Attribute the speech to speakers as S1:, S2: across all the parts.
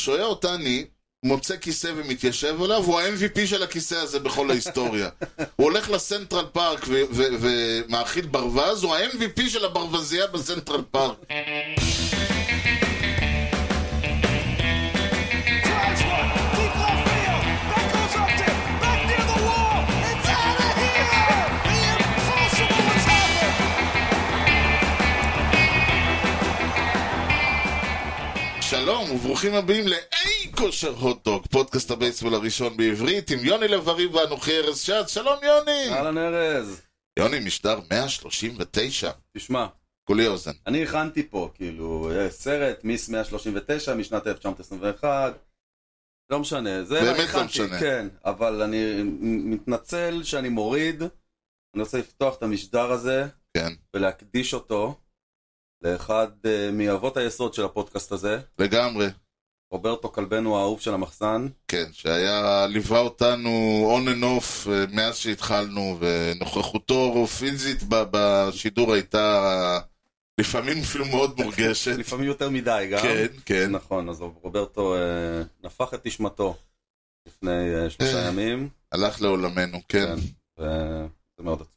S1: שוער אותני מוצא כיסא ומתיישב עליו, הוא ה-MVP של הכיסא הזה בכל ההיסטוריה. הוא הולך לסנטרל פארק ו- ו- ומאכיל ברווז, הוא ה-MVP של הברווזייה בסנטרל פארק.
S2: Drives one. Deep left field. That goes up to back near the wall. It's out of here. The impossible has happened.
S1: שלום וברוכים הבאים לאי כושר הוטדוג, פודקאסט הבייסבול הראשון בעברית עם יוני לב-ארי ואנוכי ארז שעד, שלום יוני!
S3: אהלן ארז,
S1: יוני משדר 139,
S3: תשמע,
S1: כולי אוזן.
S3: אני הכנתי פה, כאילו, אה, סרט, מיס 139 משנת 1921, לא משנה, זה
S1: באמת לא
S3: הכנתי,
S1: משנה.
S3: כן, אבל אני מתנצל שאני מוריד, אני רוצה לפתוח את המשדר הזה,
S1: כן.
S3: ולהקדיש אותו לאחד אה, מאבות היסוד של הפודקאסט הזה,
S1: לגמרי,
S3: רוברטו כלבנו האהוב של המחסן,
S1: כן, שהיה, ליווה אותנו on and off אה, מאז שהתחלנו, ונוכחותו פיזית ב- בשידור הייתה אה, לפעמים אפילו מאוד מורגשת.
S3: לפעמים יותר מדי גם.
S1: כן, כן.
S3: נכון, אז רוברטו אה, נפח את נשמתו לפני אה, שלושה
S1: אה.
S3: ימים.
S1: הלך לעולמנו, כן.
S3: כן. וזה מאוד עצוב.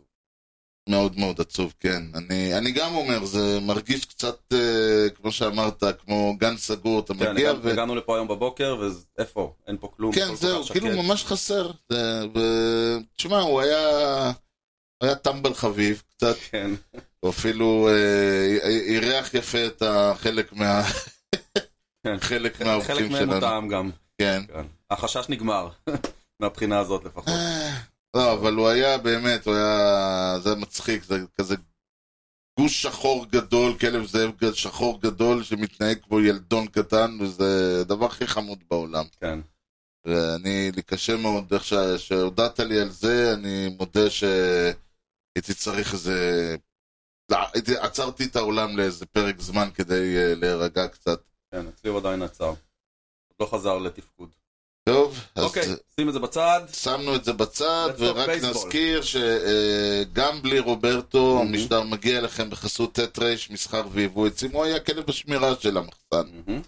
S1: מאוד מאוד עצוב, כן. אני, אני גם אומר, זה מרגיש קצת, אה, כמו שאמרת, כמו גן סגור, אתה
S3: כן,
S1: מגיע
S3: הגענו,
S1: ו...
S3: הגענו לפה היום בבוקר, ואיפה? אין פה כלום. הכל
S1: כן,
S3: כל
S1: זהו,
S3: כך שקט.
S1: כאילו ממש חסר. זה- ו... תשמע, הוא היה... הוא היה טמבל חביב קצת,
S3: כן,
S1: הוא אפילו אה, י- אירח יפה את החלק מה...
S3: כן.
S1: חלק
S3: חלק
S1: מהאורחים
S3: מהם הוא
S1: שלנו.
S3: טעם גם.
S1: כן.
S3: כן. החשש נגמר, מהבחינה הזאת לפחות.
S1: לא, אבל הוא היה באמת, הוא היה... זה מצחיק, זה כזה גוש שחור גדול, כלב זאב גד- שחור גדול שמתנהג כמו ילדון קטן, וזה הדבר הכי חמוד בעולם.
S3: כן.
S1: ואני, לי קשה מאוד, איך שה- שהודעת לי על זה, אני מודה שהייתי צריך איזה... לא, הייתי, עצרתי את העולם לאיזה פרק זמן כדי אה, להירגע קצת.
S3: כן, אצלי הוא עדיין עצר. עוד לא חזר לתפקוד.
S1: טוב, אז...
S3: אוקיי, שים את זה בצד.
S1: שמנו את זה בצד,
S3: Let's talk
S1: ורק
S3: baseball.
S1: נזכיר שגם בלי רוברטו,
S3: Mhm.
S1: המשדר מגיע אליכם בחסות ט' ר' מסחר ויבוא עצים, הוא היה כלב השמירה של המחסן.
S3: מהמם.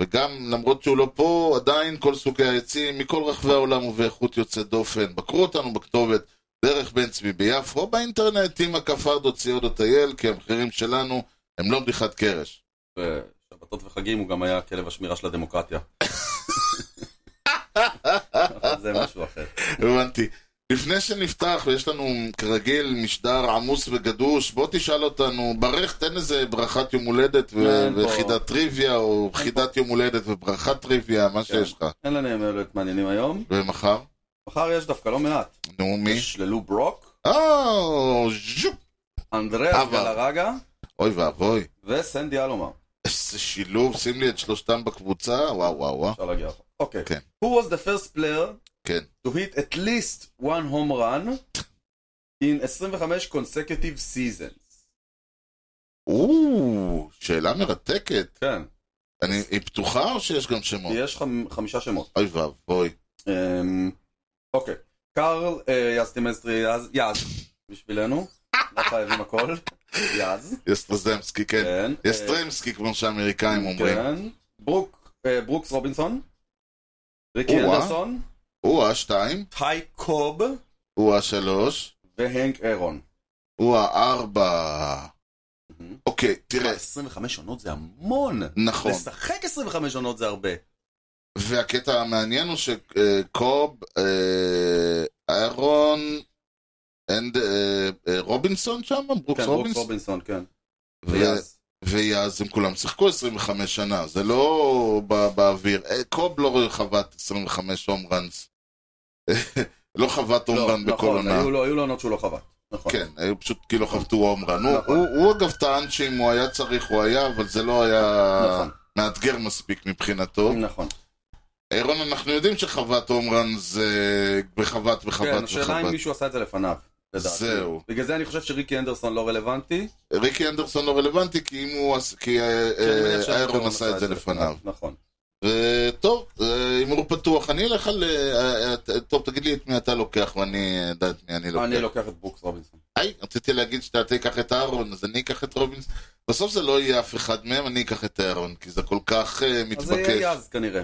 S1: וגם, למרות שהוא לא פה, עדיין כל סוגי העצים, מכל רחבי העולם ובאיכות יוצאת דופן. בקרו אותנו בכתובת דרך בן צבי ביפו, או באינטרנט, עם הכפרדו ציודו טייל, כי המחירים שלנו הם לא בדיחת קרש.
S3: בשבתות וחגים הוא גם היה כלב השמירה של הדמוקרטיה. אבל זה משהו אחר.
S1: הבנתי. לפני שנפתח, ויש לנו כרגיל משדר עמוס וגדוש, בוא תשאל אותנו, ברך, תן איזה ברכת יום הולדת ו-
S3: אין פה.
S1: וחידת טריוויה, או חידת יום הולדת וברכת טריוויה, מה שיש לך.
S3: אין לנו ימי הולדת מעניינים היום.
S1: ומחר?
S3: מחר יש דווקא לא מעט.
S1: נו, מי?
S3: יש ללו ברוק,
S1: או, ז'ופ!
S3: אנדריאס
S1: אבל.
S3: גלרגה
S1: אוי ואבוי.
S3: וסנדי אלומה.
S1: איזה שילוב, שים לי את שלושתם בקבוצה, וואו וואו וואו.
S3: אפשר להגיע רחוק. אוקיי.
S1: כן.
S3: Who was the first player
S1: כן.
S3: to hit at least one home run in 25 consecutive seasons?
S1: או, שאלה מרתקת.
S3: כן.
S1: אני, היא פתוחה או שיש גם שמות?
S3: יש חמ- חמישה שמות.
S1: אוי ואבוי.
S3: אמ, אוקיי. קארל אה, יסטימסטרי יז- יז בשבילנו. לא חייבים הכל. יז.
S1: יסטרזמסקי, כן.
S3: כן.
S1: יסטרמסקי, כמו שהאמריקאים
S3: אה,
S1: אומרים.
S3: כן. ברוק- אה, ברוקס רובינסון. ריקי
S1: או-אה.
S3: אנדרסון.
S1: הוא השתיים,
S3: טי קוב.
S1: הוא השלוש,
S3: והנק אירון.
S1: הוא הארבע.
S3: מהמם.
S1: אוקיי, תראה,
S3: 25 עונות זה המון.
S1: נכון.
S3: לשחק 25 עונות זה הרבה.
S1: והקטע המעניין הוא שקוב, איירון, אנד, אה, אה, רובינסון שם? ברוקס
S3: כן, ברוקס
S1: רובינסון?
S3: רובינסון, כן.
S1: ו-
S3: ויאז.
S1: ויאז הם כולם שיחקו 25 שנה, זה לא בא- באוויר. אה, קוב לא חבט 25 הום ראנס. לא חבט הום ראן בכל
S3: נכון,
S1: עונה.
S3: היו לו- היו לו עונות שהוא לא חבט. נכון.
S1: כן, היו פשוט כאילו חבטו הומרן. הוא,
S3: נכון.
S1: הוא, הוא אגב טען שאם הוא היה צריך הוא היה, אבל זה לא היה
S3: נכון.
S1: מאתגר מספיק מבחינתו.
S3: נכון.
S1: אירון, אנחנו יודעים שחבט הומרן זה בחבט
S3: כן,
S1: וחבט
S3: השאלה אם
S1: וחבט.
S3: מישהו עשה את זה לפניו. לדעתי.
S1: זהו. אה,
S3: בגלל זה אני חושב שריקי אנדרסון לא רלוונטי.
S1: ריקי אנדרסון לא רלוונטי, כי אם הוא עש- כי אה,
S3: כי כן, אני מניח לא
S1: אה,
S3: שאנדרסון
S1: איירון עשה את זה לפניו.
S3: נכון.
S1: וטוב, אה, הימור פתוח, אני אלך על... אה, אה, ת- טוב, תגיד לי את מי אתה לוקח ואני אדע את מי אני לוקח.
S3: אני לוקח את ברוקס רובינסון.
S1: היי, רציתי להגיד שאתה תיקח את אהרון, אז אני אקח את רובינס. בסוף זה לא יהיה אף אחד מהם, אני אקח את אהרון, כי זה כל כך אה,
S3: אז זה יהיה
S1: מתבקש.
S3: יז כנראה.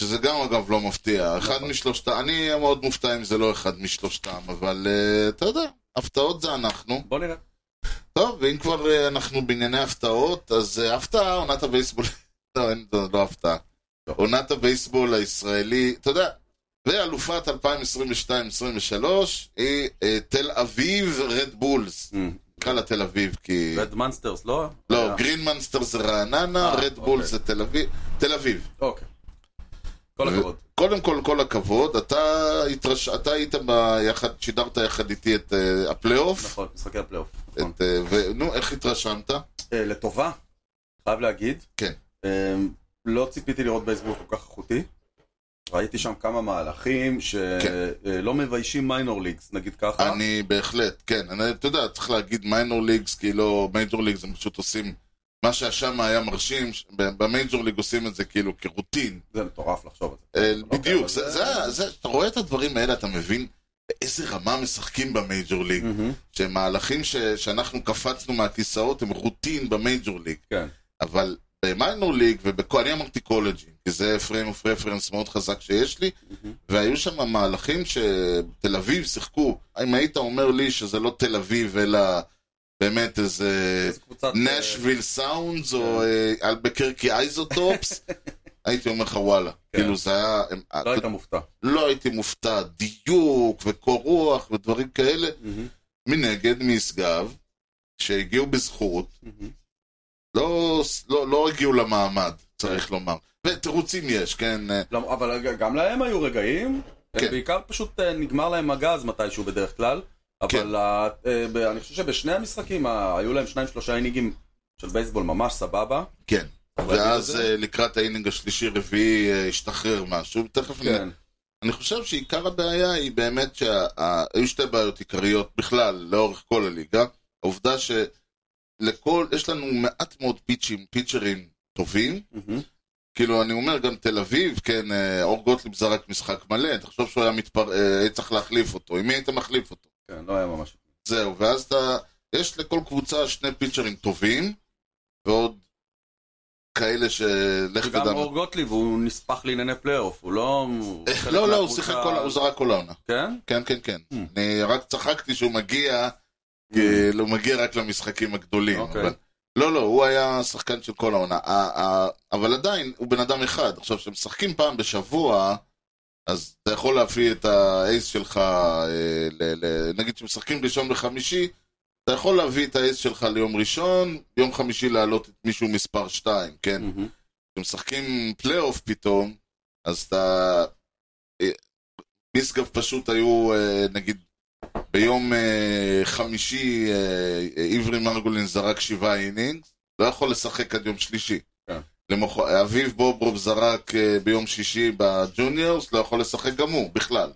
S1: שזה גם אגב לא מפתיע. אחד
S3: נכון.
S1: משלושתם, אני אהיה מאוד מופתע אם זה לא אחד משלושתם, אבל אה, אתה יודע, הפתעות זה אנחנו.
S3: בוא נראה.
S1: טוב, ואם כבר אה, אנחנו בענייני הפתעות, אז אה, הפתעה, עונת הבייסבול... לא, אין, זה לא הפתעה.
S3: לא.
S1: עונת הבייסבול הישראלי, אתה יודע, ואלופת 2022-2023 היא אה, תל אביב רדבולס. נקרא לה תל אביב, כי...
S3: רד מנסטרס, Mm. לא?
S1: אה. לא,
S3: אה,
S1: גרין מנסטר זה רעננה,
S3: אה,
S1: רדבול
S3: אוקיי.
S1: זה תל אביב. תל אביב.
S3: אוקיי. כל הכבוד.
S1: קודם כל, כל הכבוד, אתה, התרש... אתה היית ביחד, שידרת יחד איתי את uh, הפלייאוף,
S3: נכון, משחקי הפלייאוף. נכון.
S1: את, uh, ו... נו, איך התרשמת?
S3: אה, לטובה, חייב להגיד.
S1: כן.
S3: אה, לא ציפיתי לראות בייסבול כל כך איכותי. ראיתי שם כמה מהלכים שלא מביישים מיינור ליגס, נגיד ככה.
S1: כן. אני בהחלט, כן, אני, אתה יודע, צריך להגיד מיינור ליגס, כאילו מייג'ור ליגס הם פשוט עושים מה שהשם היה מרשים, ש- ב- במייג'ור ליג עושים את זה כאילו כרוטין.
S3: זה מטורף לחשוב על זה.
S1: אה,
S3: אוקיי,
S1: בדיוק,
S3: אבל
S1: זה, זה, זה, אתה רואה את הדברים האלה, אתה מבין באיזה רמה משחקים במייג'ור ליג.
S3: מהמם,
S1: שמהלכים ש... שאנחנו קפצנו מהכיסאות הם רוטין במייג'ור ליג.
S3: כן.
S1: אבל במיינור ליג, ובכל, אני אמרתי קולג'ים, כי זה פריים אוף רפרנס מאוד חזק שיש לי,
S3: מהמם.
S1: והיו שם מהלכים שתל אביב שיחקו. אם היית אומר לי שזה לא תל אביב, אלא באמת איזה
S3: איזה קבוצת... אה,
S1: נשוויל סאונדס,
S3: כן.
S1: או אה, אלבקרקי אייזוטופס, הייתי אומר לך וואלה.
S3: כן.
S1: כאילו זה היה... הם-
S3: לא היית מופתע.
S1: לא הייתי מופתע, דיוק וקור רוח ודברים כאלה.
S3: מהמם,
S1: Mm-hmm. מנגד, משגב, שהגיעו בזכות,
S3: מהמם.
S1: לא, לא, לא הגיעו למעמד, צריך לומר. ותירוצים יש, כן? אה,
S3: לא, אבל רגע, גם להם היו רגעים,
S1: כן.
S3: כן. בעיקר פשוט אה, נגמר להם הגז מתישהו בדרך כלל,
S1: כן.
S3: אבל ה- אה, ב- אני חושב שבשני המשחקים ה- היו להם שניים שלושה אינינגים של בייסבול ממש סבבה.
S1: כן.
S3: אבל
S1: ואז
S3: בגלל זה-
S1: אה, לקראת האינינג השלישי-רביעי אה, השתחרר משהו, תכף נראה.
S3: כן,
S1: אני חושב שעיקר הבעיה היא באמת שהיו שתי בעיות עיקריות בכלל, לאורך כל הליגה. העובדה שלכל, יש לנו מעט מאוד פיצ'ים, פיצ'רים טובים,
S3: מהמם.
S1: כאילו, אני אומר, גם תל אביב, כן, אה, אור גוטליב זרק משחק מלא, תחשוב שהוא היה מתפר... אה, היה צריך להחליף אותו. עם מי היית מחליף אותו?
S3: כן, לא היה ממש.
S1: זהו, ואז אתה... יש לכל קבוצה שני פיצ'רים טובים, ועוד כאלה לא, ש... לך
S3: וגם
S1: תדע. מה.
S3: אור גוטליב הוא נספח לענייני פלייאוף, הוא לא... הוא
S1: אה,
S3: חלק
S1: לא, לא, הוא
S3: מהקבוצה-
S1: שיחק כל... הוא זרק כל העונה.
S3: כן?
S1: כן, כן, כן.
S3: Hmm.
S1: אני רק צחקתי שהוא מגיע, כאילו, הוא מגיע רק למשחקים הגדולים.
S3: אוקיי.
S1: אבל- לא, לא, הוא היה שחקן של כל העונה. ה- ה- אבל עדיין, הוא בן אדם אחד. עכשיו, כשמשחקים פעם בשבוע, אז אתה יכול להביא את האייס שלך, אה, ל- ל- נגיד שמשחקים ראשון וחמישי, אתה יכול להביא את האייס שלך ליום ראשון, יום חמישי להעלות את מישהו מספר שתיים, כן?
S3: מהמם.
S1: כשמשחקים פלייאוף פתאום, אז אתה... אה, משגב פשוט היו, אה, נגיד, ביום אה, חמישי אה, אה, עברי מרגולין זרק שבעה אינינגס, לא יכול לשחק עד יום שלישי.
S3: כן.
S1: למוח... אביב בוברוב זרק אה, ביום שישי בג'וניורס, לא יכול לשחק גם הוא, בכלל.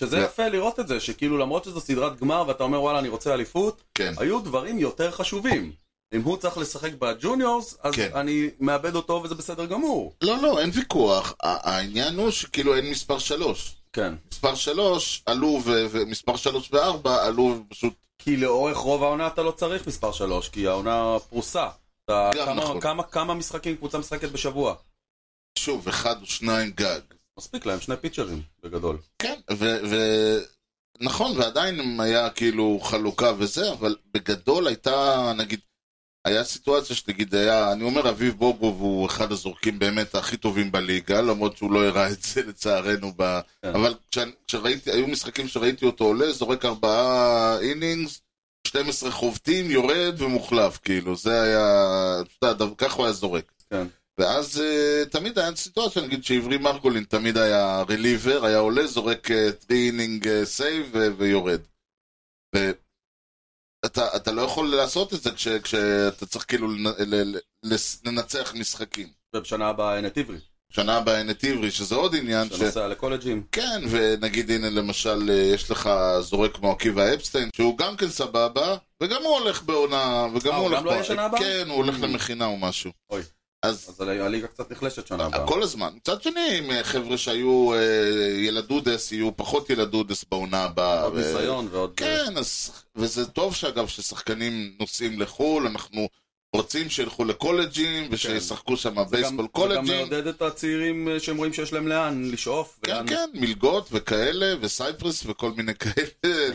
S3: שזה
S1: כן.
S3: יפה לראות את זה, שכאילו למרות שזו סדרת גמר ואתה אומר וואלה אני רוצה אליפות,
S1: כן.
S3: היו דברים יותר חשובים. אם הוא צריך לשחק בג'וניורס, אז
S1: כן.
S3: אני מאבד אותו וזה בסדר גמור.
S1: לא, לא, אין ויכוח. ה- העניין הוא שכאילו אין מספר שלוש.
S3: כן.
S1: מספר שלוש עלו, ו- ומספר שלוש וארבע עלו פשוט
S3: כי לאורך רוב העונה אתה לא צריך מספר 3, כי העונה פרוסה. אתה
S1: גם
S3: כמה,
S1: נכון.
S3: כמה, כמה משחקים קבוצה משחקת בשבוע?
S1: שוב, אחד או שניים גג.
S3: מספיק להם שני פיצ'רים, בגדול.
S1: כן, ו- ו- נכון, ועדיין אם היה כאילו חלוקה וזה, אבל בגדול הייתה, נגיד, היה סיטואציה שנגיד היה, אני אומר, אביב בוברוב הוא אחד הזורקים באמת הכי טובים בליגה, למרות שהוא לא הראה את זה לצערנו ב...
S3: כן.
S1: אבל כשאני- כשראיתי, היו משחקים שראיתי אותו עולה, זורק ארבעה אינינגס, 12 חובטים, יורד ומוחלף, כאילו, זה היה, אתה יודע, דו- ככה הוא היה זורק.
S3: כן.
S1: ואז אה, תמיד היה סיטואציה, נגיד שעברי מרגולין תמיד היה רליבר, היה עולה, זורק אה, טרי אינינג סייב ויורד. ואתה אתה לא יכול לעשות את זה כש, כשאתה צריך כאילו לנ- ל- ל- לס- לנצח משחקים.
S3: ובשנה הבאה נט עברי,
S1: שנה הבאה אין את עברי, שזה עוד עניין ש...
S3: שנוסע לקולג'ים.
S1: כן, ונגיד הנה למשל, אה, יש לך זורק כמו עקיבא אפסטיין, שהוא גם כן סבבה, וגם הוא הולך בעונה, וגם הוא
S3: אה, הוא
S1: הולך...
S3: גם לא יהיה
S1: בע-
S3: שנה הבאה?
S1: כן, הוא הולך
S3: Mm.
S1: למכינה או משהו.
S3: אוי.
S1: אז
S3: אז הליגה קצת נחלשת שנה הבאה.
S1: כל הזמן. מצד שני, אם חבר'ה שהיו אה, ילדודס, יהיו פחות ילדודס בעונה הבאה.
S3: עוד
S1: ו-
S3: ניסיון ועוד... אה,
S1: כן, אז, וזה טוב שאגב ששחקנים נוסעים לחו"ל, אנחנו רוצים שילכו לקולג'ים ושישחקו שם
S3: כן. זה גם-
S1: בייסבול
S3: זה גם
S1: קולג'ים.
S3: מעודד את הצעירים אה, שהם רואים שיש להם לאן לשאוף.
S1: כן,
S3: ולאן-
S1: כן, מלגות וכאלה, וסייפרס וכל מיני כאלה.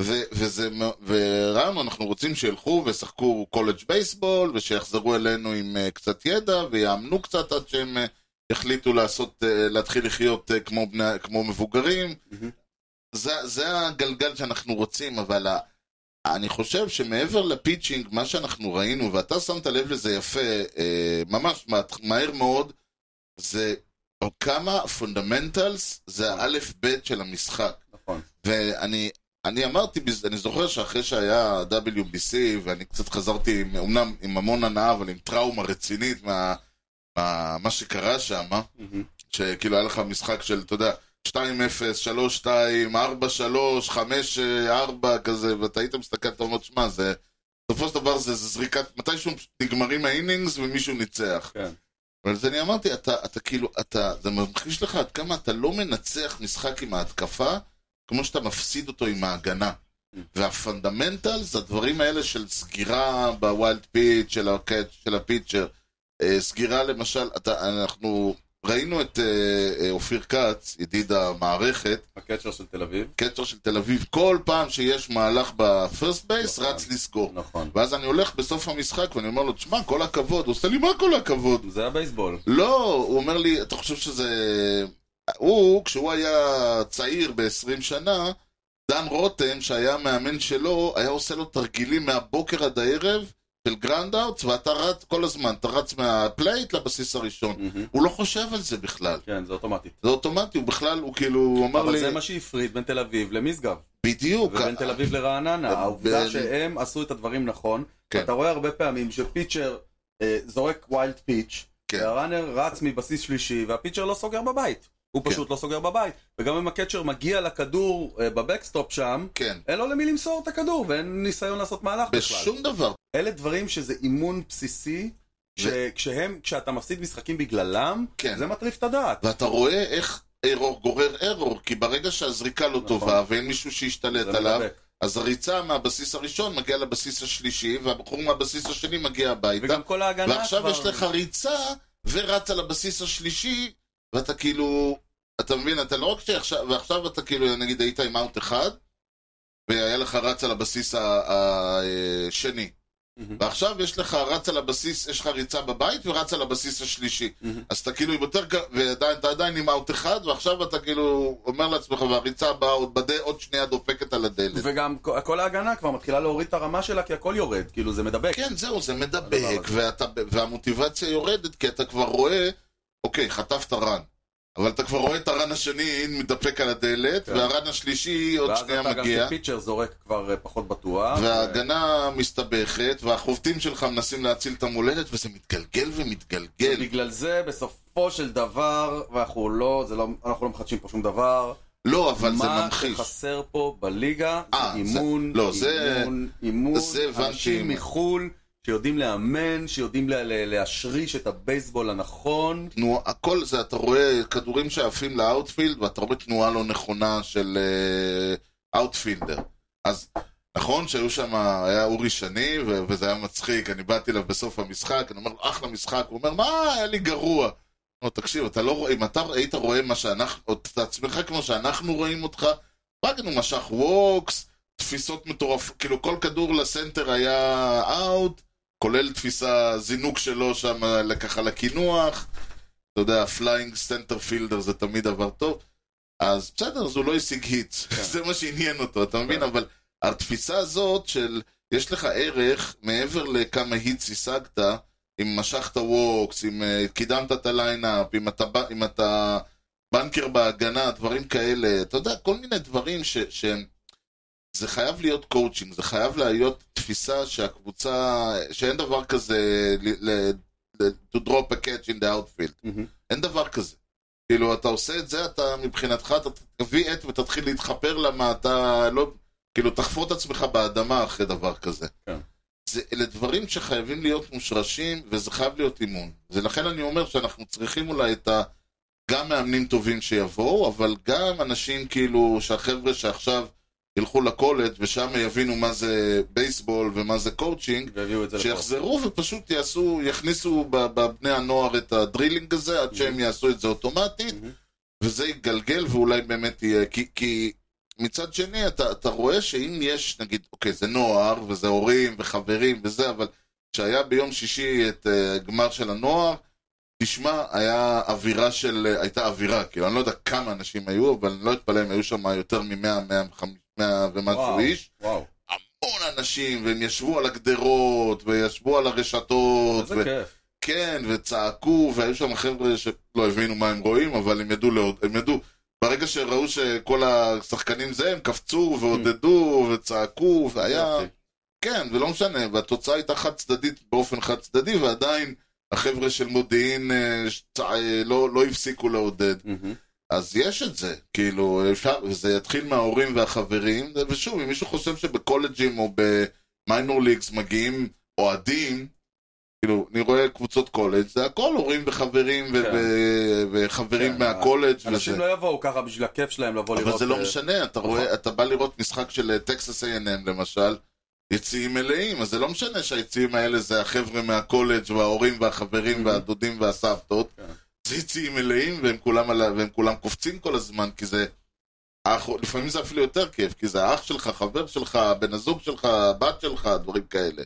S1: ו- וזה, מ- ורם, אנחנו רוצים שילכו וישחקו קולג' בייסבול, ושיחזרו אלינו עם אה, קצת ידע, ויאמנו קצת עד שהם אה, יחליטו לעשות, אה, להתחיל לחיות אה, כמו, בני, כמו מבוגרים.
S3: מהמם.
S1: זה, זה הגלגל שאנחנו רוצים, אבל ה- אני חושב שמעבר לפיצ'ינג, מה שאנחנו ראינו, ואתה שמת לב לזה יפה, אה, ממש מה- מהר מאוד, זה או כמה פונדמנטלס זה האלף-בית של המשחק.
S3: נכון.
S1: ואני אני אמרתי, בז- אני זוכר שאחרי שהיה WBC, ואני קצת חזרתי, עם- אמנם עם המון הנאה, אבל עם טראומה רצינית מה, מה, מה שקרה שם,
S3: מהמם.
S1: שכאילו היה לך משחק של, אתה יודע, 2-0, 3-2, 4-3, 5-4, כזה, ואתה היית מסתכל, אתה אומר, שמע, זה... בסופו של דבר זה, זה זריקת, מתישהו נגמרים האינינגס ומישהו ניצח.
S3: כן.
S1: אבל אז אני אמרתי, אתה, אתה כאילו, אתה, זה ממחיש לך עד כמה אתה לא מנצח משחק עם ההתקפה, כמו שאתה מפסיד אותו עם ההגנה. והפונדמנטל זה הדברים האלה של סגירה בווילד פיט, של, הקאץ', של הפיצ'ר. אה, סגירה למשל, אתה, אנחנו ראינו את אה, אה, אופיר כץ, ידיד המערכת,
S3: הקצ'ר של תל אביב.
S1: קצ'ר של תל אביב, כל פעם שיש מהלך בפרסט בייס,
S3: נכון.
S1: רץ לסגור.
S3: נכון.
S1: ואז אני הולך בסוף המשחק ואני אומר לו, תשמע, כל הכבוד. הוא עושה לי, מה כל הכבוד?
S3: זה הבייסבול.
S1: לא, הוא אומר לי, אתה חושב שזה... הוא, כשהוא היה צעיר ב-20 שנה, דן רותם, שהיה המאמן שלו, היה עושה לו תרגילים מהבוקר עד הערב של גרנדאוטס, ואתה רץ כל הזמן, אתה רץ מהפלייט לבסיס הראשון.
S3: מהמם.
S1: הוא לא חושב על זה בכלל.
S3: כן, זה אוטומטי.
S1: זה אוטומטי, הוא בכלל, הוא כאילו, הוא אמר
S3: אבל
S1: לי,
S3: זה מה שהפריד בין תל אביב למשגב.
S1: בדיוק.
S3: ובין תל אביב לרעננה. העובדה
S1: אה, בין-
S3: שהם עשו את הדברים נכון.
S1: כן.
S3: אתה רואה הרבה פעמים שפיצ'ר אה, זורק ויילד פיץ',
S1: כן.
S3: והראנר רץ מבסיס שלישי, והפיצ'ר לא סוגר בבית. הוא
S1: כן.
S3: פשוט לא סוגר בבית. וגם אם הקצ'ר מגיע לכדור אה, בבקסטופ שם,
S1: כן,
S3: אין לו למי למסור את הכדור, ואין ניסיון לעשות מהלך בכלל.
S1: בשום דבר.
S3: אלה דברים שזה אימון בסיסי, שכשהם, כשאתה מפסיד משחקים בגללם,
S1: כן.
S3: זה מטריף את הדעת.
S1: ואתה רואה איך ארור גורר ארור, כי ברגע שהזריקה לא
S3: נכון.
S1: טובה ואין מישהו שישתלט
S3: זה
S1: עליו,
S3: מדבק.
S1: אז הריצה מהבסיס הראשון מגיעה לבסיס השלישי, והבחור מהבסיס השני מגיע הביתה,
S3: וגם נכון. כל ההגנה
S1: ועכשיו יש לך ריצה, ורץ על הבסיס השלישי, ואתה כאילו... אתה מבין, אתה לא רק שעכשיו... ועכשיו אתה כאילו, נגיד, היית עם אאוט אחד, והיה לך רץ על הבסיס השני.
S3: מהמם.
S1: ועכשיו יש לך רץ על הבסיס, יש לך ריצה בבית ורץ על הבסיס השלישי.
S3: מהמם.
S1: אז אתה כאילו עם יותר, ג- ועדיין, אתה עדיין עם אאוט אחד, ועכשיו אתה כאילו אומר לעצמך, והריצה הבאה עוד בד- עוד שנייה דופקת על הדלת.
S3: וגם כל- כל ההגנה כבר מתחילה להוריד את הרמה שלה, כי הכל יורד. כאילו, זה מדבק.
S1: כן, זהו, זה
S3: הדבר
S1: מדבק,
S3: הזה.
S1: ואתה, והמוטיבציה יורדת, כי אתה כבר רואה, אוקיי, חטפת רן. אבל אתה כבר רואה את הרן השני מתדפק על הדלת,
S3: כן.
S1: והרן השלישי עוד
S3: ואז
S1: שנייה
S3: אתה גם
S1: מגיע,
S3: כפיצ'ר זורק כבר אה, פחות בטוח.
S1: וההגנה מסתבכת, והחובטים שלך מנסים להציל את המולדת, וזה מתגלגל ומתגלגל.
S3: בגלל זה, בסופו של דבר, ואנחנו לא, זה לא, אנחנו לא מחדשים פה שום דבר.
S1: לא, אבל זה
S3: מה
S1: ממחיש.
S3: שחסר פה בליגה זה
S1: אה, זה-
S3: אימון,
S1: לא, זה-
S3: אימון, אימון,
S1: זה הבנתי.
S3: אנשים מחו"ל שיודעים לאמן, שיודעים לה- לה- להשריש את הבייסבול הנכון.
S1: תנועה, הכל זה, אתה רואה כדורים שעפים לאאוטפילד, ואתה רואה תנועה לא נכונה של אה, אאוטפילדר. אז נכון שהיו שם, היה אורי שני, ו- וזה היה מצחיק, אני באתי אליו בסוף המשחק, אני אומר לו, אחלה משחק, הוא אומר, מה, היה לי גרוע. לא, תקשיב, אתה לא רואה, אם אתה היית רואה מה שאנחנו, את עצמך כמו שאנחנו רואים אותך, פאגן הוא משך ווקס, תפיסות מטורפות, כאילו כל כדור לסנטר היה אאוט, כולל תפיסה, זינוק שלו שם אה, ככה לקינוח, אתה יודע, פליינג סנטר פילדר זה תמיד דבר טוב, אז בסדר, אז הוא לא השיג היט, זה מה שעניין אותו, אתה מבין?
S3: כן.
S1: אבל התפיסה הזאת של יש לך ערך מעבר לכמה היטס השגת, אם משכת ווקס, אם אה, קידמת את הליינאפ, אם אתה, ב- אם אתה בנקר בהגנה, דברים כאלה, אתה יודע, כל מיני דברים ש, שהם... זה חייב להיות קואוצ'ינג, זה חייב להיות תפיסה שהקבוצה, שאין דבר כזה ל, ל, ל, to drop a catch in the outfield. אין דבר כזה. כאילו, אתה עושה את זה, אתה מבחינתך, אתה תביא עט ותתחיל להתחפר למה אתה לא... כאילו, תחפור את עצמך באדמה אחרי דבר כזה.
S3: כן.
S1: זה, אלה דברים שחייבים להיות מושרשים, וזה חייב להיות אימון. זה לכן אני אומר שאנחנו צריכים אולי את ה... גם מאמנים טובים שיבואו, אבל גם אנשים כאילו, שהחבר'ה שעכשיו ילכו לקולג' ושם יבינו מה זה בייסבול ומה זה קואוצ'ינג,
S3: והביאו את זה לפה.
S1: שיחזרו ופשוט יעשו, יכניסו ב- בבני הנוער את הדרילינג הזה,
S3: Mm-hmm.
S1: עד שהם יעשו את זה אוטומטית,
S3: מהמם.
S1: וזה יגלגל ואולי באמת יהיה, כי, כי מצד שני אתה, אתה רואה שאם יש, נגיד, אוקיי, זה נוער, וזה הורים, וחברים, וזה, אבל כשהיה ביום שישי את uh, גמר של הנוער, תשמע, היה אווירה של, uh, הייתה אווירה, כאילו, אני לא יודע כמה אנשים היו, אבל אני לא אתפלא אם היו שם יותר מ-100, 100 ומשהו
S3: וואו,
S1: איש.
S3: וואו,
S1: המון אנשים, והם ישבו על הגדרות, וישבו על הרשתות,
S3: איזה
S1: ו-
S3: כיף.
S1: כן, וצעקו, והיו שם חבר'ה שלא הבינו מה הם רואים, אבל הם ידעו, לעוד- הם ידעו. ברגע שראו שכל השחקנים זה, הם קפצו ועודדו וצעקו, והיה...
S3: יופי.
S1: כן, ולא משנה, והתוצאה הייתה חד צדדית באופן חד צדדי, ועדיין החבר'ה של מודיעין אה, ש- צע- אה, לא, לא הפסיקו לעודד.
S3: מהמם.
S1: אז יש את זה, כאילו, אפשר, זה יתחיל מההורים והחברים, ושוב, אם מישהו חושב שבקולג'ים או במיינור ליגס מגיעים אוהדים, כאילו, אני רואה קבוצות קולג', זה הכל הורים וחברים ו-
S3: כן.
S1: ו- וחברים
S3: כן,
S1: מהקולג' וזה.
S3: אנשים לא יבואו ככה בשביל הכיף שלהם לבוא לראות.
S1: אבל זה לא
S3: אה,
S1: משנה, אתה
S3: נכון.
S1: רואה, אתה בא לראות משחק של אה, טקסס A&M למשל, יציאים מלאים, אז זה לא משנה שהיציאים האלה זה החבר'ה מהקולג' וההורים והחברים והדודים והסבתות,
S3: Mm-hmm. כן.
S1: זה יציאים מלאים והם כולם, על ה- והם כולם קופצים כל הזמן, כי זה... אח, לפעמים זה אפילו יותר כיף, כי זה האח שלך, חבר שלך, בן הזוג שלך, הבת שלך, דברים כאלה.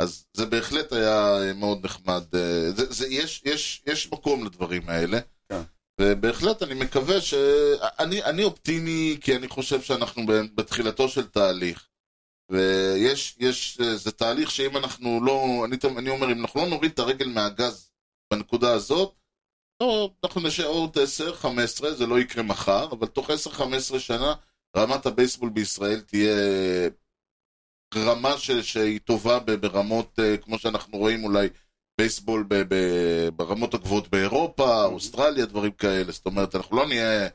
S1: אז זה בהחלט היה אה, מאוד נחמד. אה, זה, זה, יש, יש, יש מקום לדברים האלה.
S3: כן.
S1: ובהחלט אני מקווה ש... אני, אני אופטימי, כי אני חושב שאנחנו ב- בתחילתו של תהליך. ויש, יש, אה, זה תהליך שאם אנחנו לא, אני, תמ- אני אומר, אם אנחנו לא נוריד את הרגל מהגז בנקודה הזאת, לא, אנחנו נשאר עוד 10-15, זה לא יקרה מחר, אבל תוך 10-15 שנה רמת הבייסבול בישראל תהיה רמה ש, שהיא טובה ב- ברמות, אה, כמו שאנחנו רואים אולי, בייסבול ב, ב, ברמות הגבוהות באירופה, אוסטרליה, דברים כאלה. זאת אומרת, אנחנו לא נהיה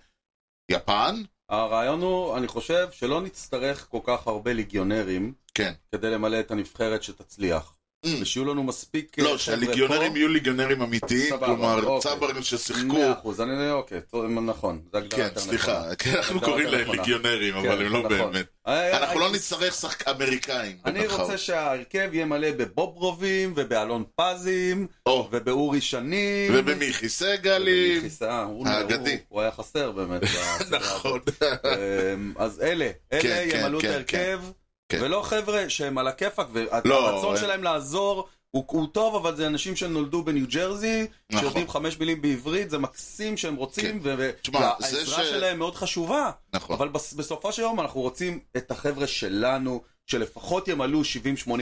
S1: יפן,
S3: הרעיון הוא, אני חושב, שלא נצטרך כל כך הרבה ליגיונרים
S1: כן.
S3: כדי למלא את הנבחרת שתצליח.
S1: Mm.
S3: ושיהיו לנו מספיק... אה,
S1: לא,
S3: חבר'ה
S1: שהליגיונרים
S3: פה.
S1: יהיו ליגיונרים אמיתיים,
S3: סבבה,
S1: כלומר,
S3: אוקיי.
S1: צברים ששיחקו.
S3: מאה אחוז, אני, אוקיי, טוב, נכון, זה הגדרה
S1: כן,
S3: יותר נכונה.
S1: סליחה, כן, אנחנו
S3: הגדרה
S1: קוראים
S3: יותר
S1: להם
S3: נכונה.
S1: ליגיונרים,
S3: כן,
S1: אבל הם לא
S3: נכון.
S1: באמת.
S3: אה, אה,
S1: אנחנו לא
S3: הייתי-
S1: נצטרך שחק אמריקאים.
S3: אני
S1: במרכאות.
S3: רוצה שההרכב יהיה מלא בבוברובים, ובאלון פזים,
S1: או,
S3: ובאורי שנים.
S1: ובמיכי סגלי,
S3: ובמיכי סער, הוא-
S1: האגדי.
S3: הוא- הוא היה חסר באמת. בסדרה
S1: נכון.
S3: אמ, אז אלה,
S1: כן,
S3: אלה
S1: כן,
S3: ימלאו את
S1: כן,
S3: ההרכב,
S1: כן.
S3: ולא חבר'ה שהם על הכיפאק,
S1: לא,
S3: והרצון
S1: אה.
S3: שלהם לעזור הוא הוא טוב, אבל זה אנשים שנולדו בניו ג'רזי,
S1: נכון. כן.
S3: שיודעים חמש מילים בעברית, זה מקסים שהם רוצים,
S1: תשמע, זה
S3: והעזרה
S1: ש-
S3: שלהם מאוד חשובה,
S1: נכון.
S3: אבל בס- בסופו של יום אנחנו רוצים את החבר'ה שלנו, שלפחות ימלאו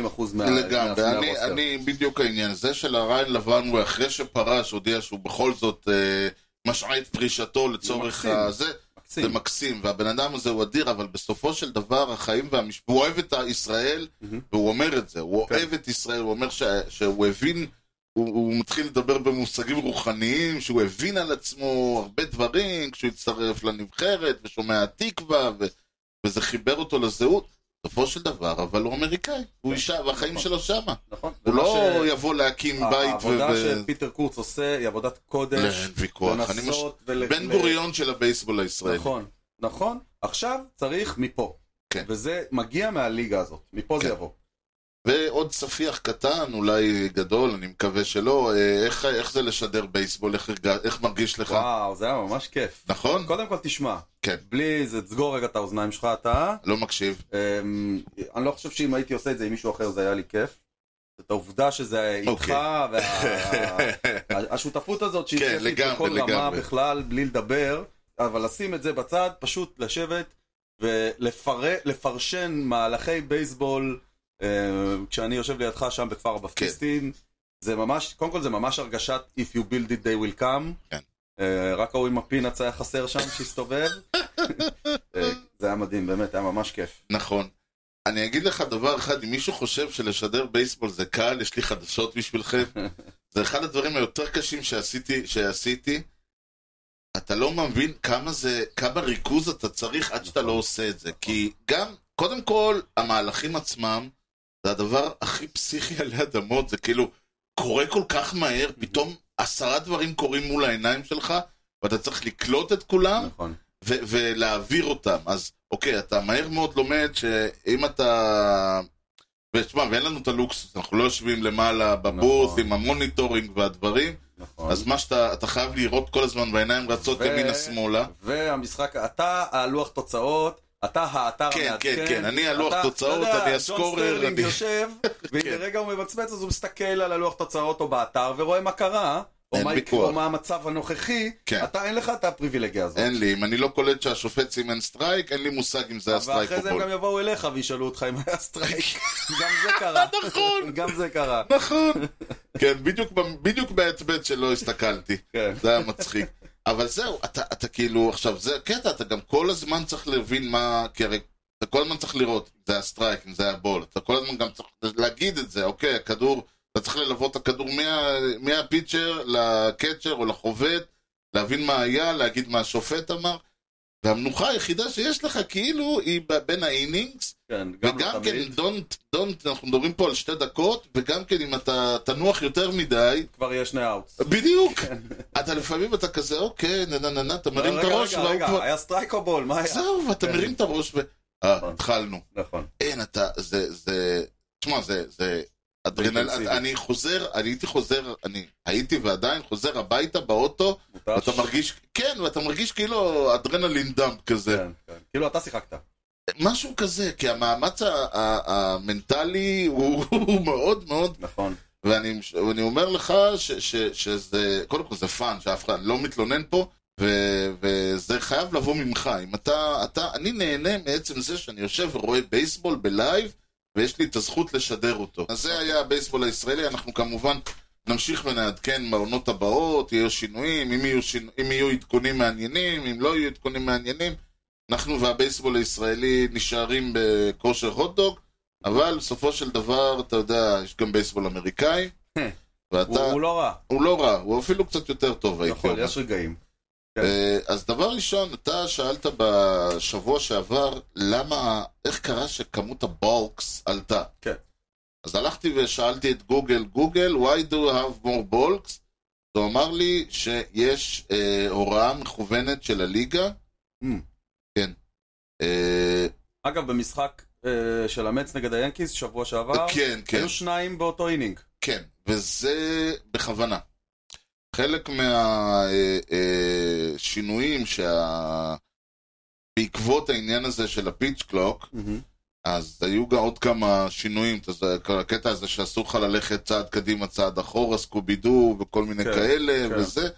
S3: 70-80 אחוז מה...
S1: לגמרי,
S3: מה-
S1: אני,
S3: מהרוסטר.
S1: אני בדיוק העניין. זה שלריין לבן הוא אחרי שפרש, הודיע שהוא בכל זאת אה, משעה את פרישתו לצורך
S3: מקסים.
S1: הזה,
S3: מקסים.
S1: זה מקסים, והבן אדם הזה הוא אדיר, אבל בסופו של דבר החיים והמשפט, הוא אוהב את ישראל,
S3: מהמם.
S1: והוא אומר את זה, הוא
S3: כן.
S1: אוהב את ישראל, הוא אומר ש- שהוא הבין, הוא- הוא מתחיל לדבר במושגים רוחניים, שהוא הבין על עצמו הרבה דברים, כשהוא הצטרף לנבחרת, ושומע התקווה, ו- וזה חיבר אותו לזהות. בסופו של דבר, אבל הוא אמריקאי, הוא אישה, והחיים
S3: נכון.
S1: שלו שמה.
S3: נכון.
S1: הוא
S3: ומה
S1: לא
S3: ש-
S1: יבוא להקים בית ו...
S3: העבודה
S1: ו-
S3: שפיטר קורץ עושה היא עבודת קודש.
S1: אין ויכוח. אני מש-
S3: לנסות ול...
S1: בן
S3: ל-
S1: גוריון של הבייסבול הישראלי.
S3: נכון, נכון. עכשיו צריך מפה.
S1: כן.
S3: וזה מגיע מהליגה הזאת. מפה זה
S1: כן.
S3: יבוא.
S1: ועוד ספיח קטן, אולי גדול, אני מקווה שלא, אה, איך, איך זה לשדר בייסבול, איך, הרג- איך מרגיש לך?
S3: וואו, זה היה ממש כיף.
S1: נכון?
S3: קודם כל תשמע,
S1: כן.
S3: בלי זה, תסגור רגע את האוזניים שלך אתה.
S1: לא מקשיב.
S3: אמ, אני לא חושב שאם הייתי עושה את זה עם מישהו אחר זה היה לי כיף. את העובדה שזה
S1: אוקיי.
S3: איתך, וה- השותפות הזאת שהיא
S1: כן,
S3: כיפית
S1: לגמרי,
S3: בכל רמה
S1: לגמרי.
S3: בכלל, בלי לדבר, אבל לשים את זה בצד, פשוט לשבת ולפרשן מהלכי בייסבול, אה, כשאני יושב לידך שם בכפר
S1: כן.
S3: הבפטיסטים, זה ממש, קודם כל זה ממש הרגשת If you build it they will come.
S1: כן.
S3: אה, רק ההוא עם הפינאץ היה חסר שם שהסתובב. אה, זה היה מדהים, באמת, היה ממש כיף.
S1: נכון. אני אגיד לך דבר אחד, אם מישהו חושב שלשדר בייסבול זה קל, יש לי חדשות בשבילכם. זה אחד הדברים היותר קשים שעשיתי, שעשיתי. אתה לא מבין כמה זה, כמה ריכוז אתה צריך עד שאתה לא עושה את זה. כי גם, קודם כל, המהלכים עצמם, זה הדבר הכי פסיכי עלי אדמות, זה כאילו, קורה כל כך מהר, פתאום עשרה דברים קורים מול העיניים שלך, ואתה צריך לקלוט את כולם,
S3: נכון.
S1: ו- ולהעביר אותם. אז אוקיי, אתה מהר מאוד לומד שאם אתה... ותשמע, ואין לנו את הלוקסוס, אנחנו לא יושבים למעלה בבורס
S3: נכון.
S1: עם המוניטורינג והדברים,
S3: נכון.
S1: אז מה שאתה אתה חייב לראות כל הזמן והעיניים רצות
S3: ו-
S1: ימינה-שמאלה.
S3: והמשחק, אתה הלוח תוצאות, אתה האתר
S1: כן,
S3: המעדכן.
S1: כן, כן, אני הלוח
S3: אתה-
S1: תוצאות,
S3: אתה יודע,
S1: אני
S3: ג'ון
S1: הסקורר,
S3: סטרלינג
S1: אני-
S3: יושב, ואם
S1: כן.
S3: לרגע הוא מבצבץ אז הוא מסתכל על הלוח תוצאות או באתר ורואה מה קרה, או
S1: אין
S3: מה יקרה,
S1: ויכוח.
S3: או מה המצב הנוכחי,
S1: כן.
S3: אתה אין לך את הפריבילגיה הזאת.
S1: אין לי, אם אני לא קולט שהשופט סימן סטרייק, אין לי מושג אם זה היה סטרייק
S3: ואחרי
S1: או
S3: זה הם
S1: בול.
S3: גם יבואו אליך וישאלו אותך אם היה סטרייק. גם זה קרה.
S1: נכון.
S3: גם זה קרה.
S1: נכון. כן, בדיוק ב- בדיוק בהטבט שלא הסתכלתי.
S3: כן.
S1: זה היה מצחיק. אבל זהו, אתה, אתה כאילו, עכשיו זה הקטע, אתה גם כל הזמן צריך להבין מה, כי הרי אתה כל הזמן צריך לראות אם זה היה סטרייק, אם זה היה בול, אתה כל הזמן גם צריך להגיד את זה, אוקיי, הכדור, אתה צריך ללוות את הכדור מה, מהפיצ'ר לקצ'ר או לחובט, להבין מה היה, להגיד מה השופט אמר, והמנוחה היחידה שיש לך כאילו היא ב- בין האינינגס,
S3: כן, גם לא
S1: וגם כן,
S3: תמיד.
S1: don't, don't, אנחנו מדברים פה על שתי דקות, וגם כן אם אתה תנוח יותר מדי,
S3: כבר יש שני אאוטס.
S1: בדיוק. אתה לפעמים אתה כזה, אוקיי, נה נה נה נה, אתה מרים את
S3: רגע,
S1: הראש,
S3: רגע,
S1: והוא
S3: רגע,
S1: כבר...
S3: היה סטרייק או בול? מה היה?
S1: זהו, ואתה
S3: כן.
S1: מרים את הראש ו... אה,
S3: נכון.
S1: התחלנו.
S3: נכון.
S1: אין, אתה, זה, זה... תשמע, זה, זה... אדרנל,
S3: אינטנסיבי.
S1: אני חוזר, אני הייתי חוזר, אני הייתי ועדיין חוזר הביתה באוטו,
S3: מותר
S1: ואתה
S3: ש-
S1: מרגיש, כן, ואתה מרגיש כאילו אדרנלין דאמפ כזה.
S3: כן, כן. כאילו אתה שיחקת. כן.
S1: משהו כזה, כי המאמץ ה- ה- המנטלי הוא הוא מאוד מאוד
S3: נכון.
S1: ואני ואני אומר לך ש, ש, שזה, קודם כל זה פאן, שאף אחד לא מתלונן פה, ו, וזה חייב לבוא ממך. אם אתה, אתה, אני נהנה מעצם זה שאני יושב ורואה בייסבול בלייב, ויש לי את הזכות לשדר אותו. אז זה היה הבייסבול הישראלי, אנחנו כמובן נמשיך ונעדכן בעונות הבאות, יהיו שינויים, אם יהיו, שינו, אם יהיו עדכונים מעניינים, אם לא יהיו עדכונים מעניינים. אנחנו והבייסבול הישראלי נשארים בכושר הוטדוג, אבל בסופו של דבר, אתה יודע, יש גם בייסבול אמריקאי,
S3: הוא
S1: ואתה,
S3: הוא לא רע.
S1: הוא לא רע, הוא אפילו קצת יותר טוב, הייתי
S3: נכון,
S1: אומר.
S3: יש רגעים. כן.
S1: אה, אז דבר ראשון, אתה שאלת בשבוע שעבר, למה, איך קרה שכמות הבולקס עלתה?
S3: כן.
S1: אז הלכתי ושאלתי את גוגל, גוגל, why do you have more bulks? הוא אמר לי שיש אה, הוראה מכוונת של הליגה. כן.
S3: Mm.
S1: אה,
S3: אגב, במשחק אה, של המץ נגד היאנקיז, שבוע שעבר,
S1: כן, כן.
S3: היו שניים באותו אינינג.
S1: כן, וזה בכוונה. חלק מהשינויים שה... בעקבות העניין הזה של הפיץ' קלוק, אז היו גם עוד כמה שינויים, אתה יודע, כל הקטע הזה שאסור לך ללכת צעד קדימה, צעד אחורה, סקובי דו וכל מיני
S3: כן,
S1: כן, כאלה
S3: כן.
S1: כן. וזה.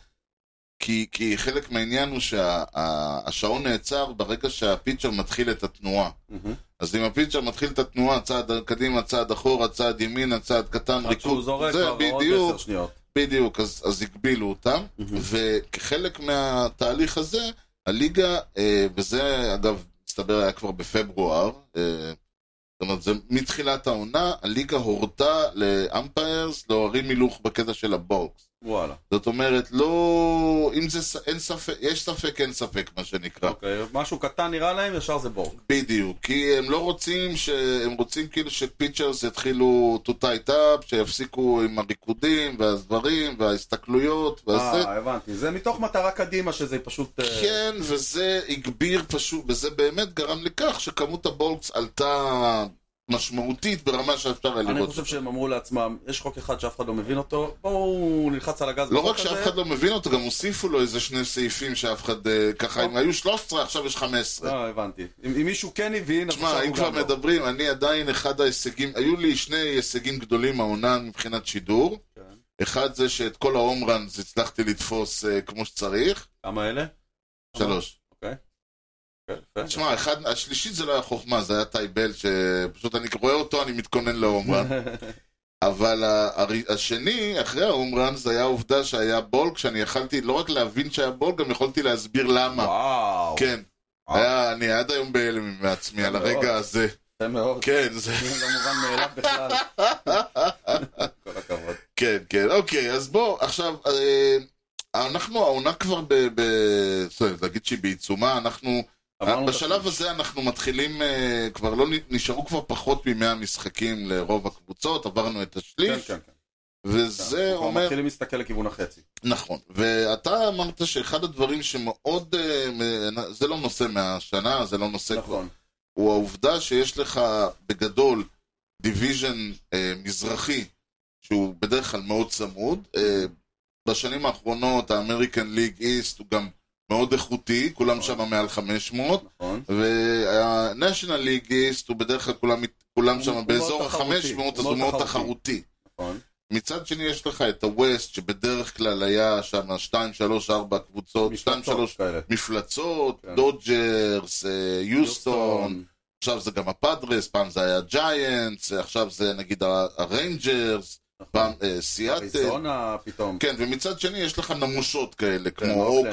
S1: כי, כי חלק מהעניין הוא שהשעון שה, ה- נעצר ברגע שהפיצ'ר מתחיל את התנועה.
S3: מהמם.
S1: אז אם הפיצ'ר מתחיל את התנועה, צעד קדימה, צעד אחורה, צעד ימינה, צעד קטן,
S3: רק שהוא
S1: ריקוד,
S3: זורק
S1: זה
S3: כבר עוד
S1: בדיוק,
S3: עשר שניות.
S1: בדיוק, אז, אז הגבילו אותם,
S3: מהמם.
S1: וכחלק מהתהליך הזה, הליגה, אה, וזה אגב, מסתבר היה כבר בפברואר, אה, זאת אומרת, זה מתחילת העונה, הליגה הורתה לאמפיירס להורים הילוך בקטע של הבוקס.
S3: וואלה.
S1: זאת אומרת, לא... אם זה... ס- אין ספק, יש ספק, אין ספק, מה שנקרא.
S3: אוקיי, משהו קטן נראה להם, ישר זה בורג.
S1: בדיוק, כי הם לא רוצים, ש... הם רוצים כאילו שפיצ'רס יתחילו to tight up, שיפסיקו עם הריקודים והדברים וההסתכלויות והזה.
S3: אה, הבנתי. זה מתוך מטרה קדימה שזה פשוט... אה,
S1: כן, וזה הגביר פשוט, וזה באמת גרם לכך שכמות הבולקס עלתה משמעותית ברמה שאפשר היה
S3: אני
S1: לראות.
S3: חושב שהם אמרו לעצמם, יש חוק אחד שאף אחד לא מבין אותו, בואו נלחץ על הגז
S1: לא
S3: בחוק
S1: רק שאף
S3: הזה."
S1: אחד לא מבין אותו, גם הוסיפו לו איזה שני סעיפים שאף אחד, אה, ככה, אם היו 13, עכשיו יש 15.
S3: אה, הבנתי. אם אם מישהו כן הבין, אז
S1: תשמע,
S3: עכשיו
S1: אם
S3: הוא
S1: כבר
S3: גם לא.
S1: מדברים, אני עדיין אחד ההישגים, היו לי שני הישגים גדולים העונה מבחינת שידור.
S3: כן.
S1: אחד זה שאת כל ההומראנס הצלחתי לתפוס אה, כמו שצריך.
S3: כמה אלה?
S1: שלוש.
S3: כן, יפה.
S1: תשמע, אחד- השלישית זה לא היה חוכמה, זה היה טייבל, שפשוט אני רואה אותו, אני מתכונן להומרן. אבל ה- הר- השני, אחרי ההומרן, זה היה העובדה שהיה בולק, שאני יכלתי לא רק להבין שהיה בולק, גם יכולתי להסביר למה.
S3: וואו.
S1: כן.
S3: וואו.
S1: היה, אני עד היום בהלם מעצמי על הרגע הזה.
S3: יפה מאוד.
S1: כן, זה...
S3: זה לא מובן מאליו בכלל. כל הכבוד.
S1: כן, כן, אוקיי, אז בוא, עכשיו, אה, אנחנו, העונה כבר ב... ב- זאת, להגיד שהיא בעיצומה, אנחנו...
S3: אמרנו את
S1: אה, בשלב
S3: הכל.
S1: הזה אנחנו מתחילים, אה, כבר לא... נ- נשארו כבר פחות מ-100 משחקים לרוב הקבוצות, עברנו את השליש.
S3: כן, כן, כן.
S1: וזה
S3: אנחנו כבר
S1: אומר...
S3: מתחילים להסתכל לכיוון החצי.
S1: נכון, ואתה אמרת שאחד הדברים שמאוד, אה, מ- זה לא נושא מהשנה, זה לא נושא כבר,
S3: נכון.
S1: הוא העובדה שיש לך בגדול דיוויז'ן אה, מזרחי, שהוא בדרך כלל מאוד צמוד. אה, בשנים האחרונות האמריקן ליג איסט הוא גם מאוד איכותי, כולם
S3: נכון.
S1: שם מעל 500,
S3: נכון.
S1: והנשיונל ליג איסט הוא בדרך כלל כולם, כולם
S3: הוא-
S1: שם
S3: הוא
S1: באזור
S3: מאוד תחרותי,
S1: ה-500, אז הוא מאוד תחרותי.
S3: נכון.
S1: מצד שני יש לך את הווסט, שבדרך כלל היה שם 2, 3, 4 קבוצות, 2, 3
S3: כאלה.
S1: מפלצות,
S3: כן.
S1: דודג'רס, אה, יוסטון, עכשיו זה גם הפאדרס, פעם זה היה ג'יינטס, אה, עכשיו זה נגיד ה- הריינג'רס,
S3: נכון.
S1: פעם אה, סיאטל.
S3: אריזונה פתאום.
S1: כן, ומצד שני יש לך נמושות כאלה, כמו
S3: אוקלנד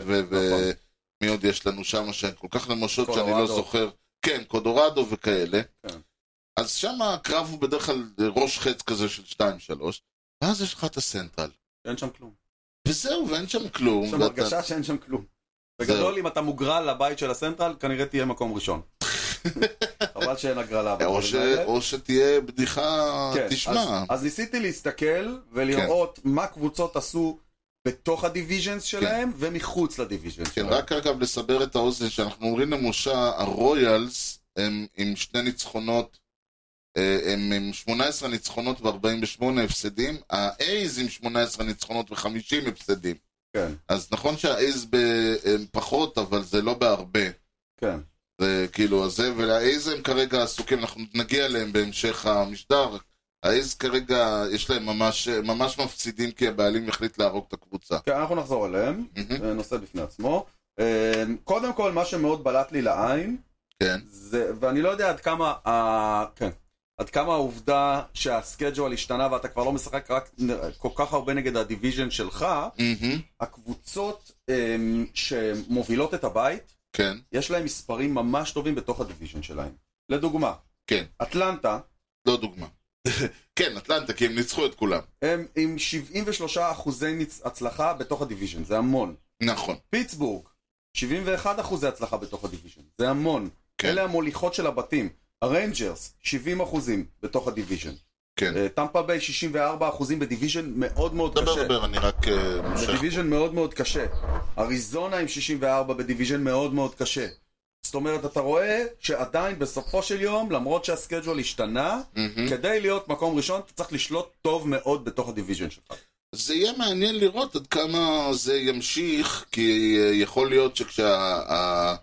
S1: אוקלנד,
S3: כאלה,
S1: ו... ו-
S3: כן, נכון.
S1: מי עוד יש לנו שם שהן כל כך נמושות שאני לא
S3: קולורדו.
S1: זוכר. כן, קודורדו וכאלה.
S3: כן.
S1: אז שם הקרב הוא בדרך כלל ראש חץ כזה של 2-3, ואז יש לך את הסנטרל.
S3: אין שם כלום.
S1: וזהו, ואין שם כן. כלום.
S3: יש שם
S1: ואתה-
S3: הרגשה שאין שם כלום.
S1: זהו.
S3: בגדול, אם אתה מוגרל לבית של הסנטרל, כנראה תהיה מקום ראשון. חבל שאין הגרלה.
S1: אה, או,
S3: בדברים
S1: ש...
S3: האלה.
S1: או שתהיה בדיחה,
S3: כן,
S1: אה, תשמע. כן.
S3: אז, אז ניסיתי להסתכל ולראות מה קבוצות עשו בתוך הדיוויז'נס שלהם ומחוץ לדיוויז'נס
S1: כן,
S3: שלהם.
S1: רק אגב לסבר את האוזן, שאנחנו אומרים למושה, הרויאלס הם עם שני ניצחונות, אה, הם עם 18 ניצחונות ו-48 הפסדים, האייז עם 18 ניצחונות ו-50 הפסדים.
S3: כן,
S1: אז נכון שהאייז ב- הם פחות, אבל זה לא בהרבה.
S3: כן.
S1: זה כאילו הזה, והאייז הם כרגע עסוקים, אנחנו נגיע אליהם בהמשך המשדר. האייז כרגע, יש להם ממש, ממש מפסידים כי הבעלים החליט להרוג את הקבוצה.
S3: כן, אנחנו נחזור אליהם,
S1: מהמם.
S3: אה, נושא בפני עצמו. אה, קודם כל, מה שמאוד בלט לי לעין,
S1: כן,
S3: זה, ואני לא יודע עד כמה, ה... כן, עד כמה העובדה שהסקייג'ואל השתנה ואתה כבר לא משחק רק נ- כל כך הרבה נגד הדיוויז'ן שלך,
S1: מהמם.
S3: הקבוצות אה, שמובילות את הבית,
S1: כן,
S3: יש להם מספרים ממש טובים בתוך הדיוויז'ן שלהם. לדוגמה,
S1: כן.
S3: אטלנטה,
S1: לא דוגמה. כן, אטלנטה, כי הם ניצחו את כולם.
S3: הם עם 73 אחוזי ניצ- הצלחה בתוך הדיוויז'ן, זה המון.
S1: נכון,
S3: פיטסבורג, 71 אחוזי הצלחה בתוך הדיוויז'ן, זה המון.
S1: כן.
S3: כן. אלה המוליכות של הבתים. הריינג'רס, 70 אחוזים בתוך הדיוויז'ן.
S1: כן.
S3: אה, טמפה ביי, 64 אחוזים בדיוויז'ן מאוד מאוד
S1: דבר,
S3: קשה.
S1: דבר, אני רק אה, מושך.
S3: בדיוויז'ן מאוד מאוד קשה. אריזונה עם 64 בדיוויז'ן מאוד מאוד קשה. זאת אומרת, אתה רואה שעדיין בסופו של יום, למרות שהסקייג'ואל השתנה,
S1: מהמם.
S3: כדי להיות מקום ראשון, אתה צריך לשלוט טוב מאוד בתוך הדיוויז'ן שלך.
S1: זה יהיה מעניין לראות עד כמה זה ימשיך, כי אה, יכול להיות שכשה... ה-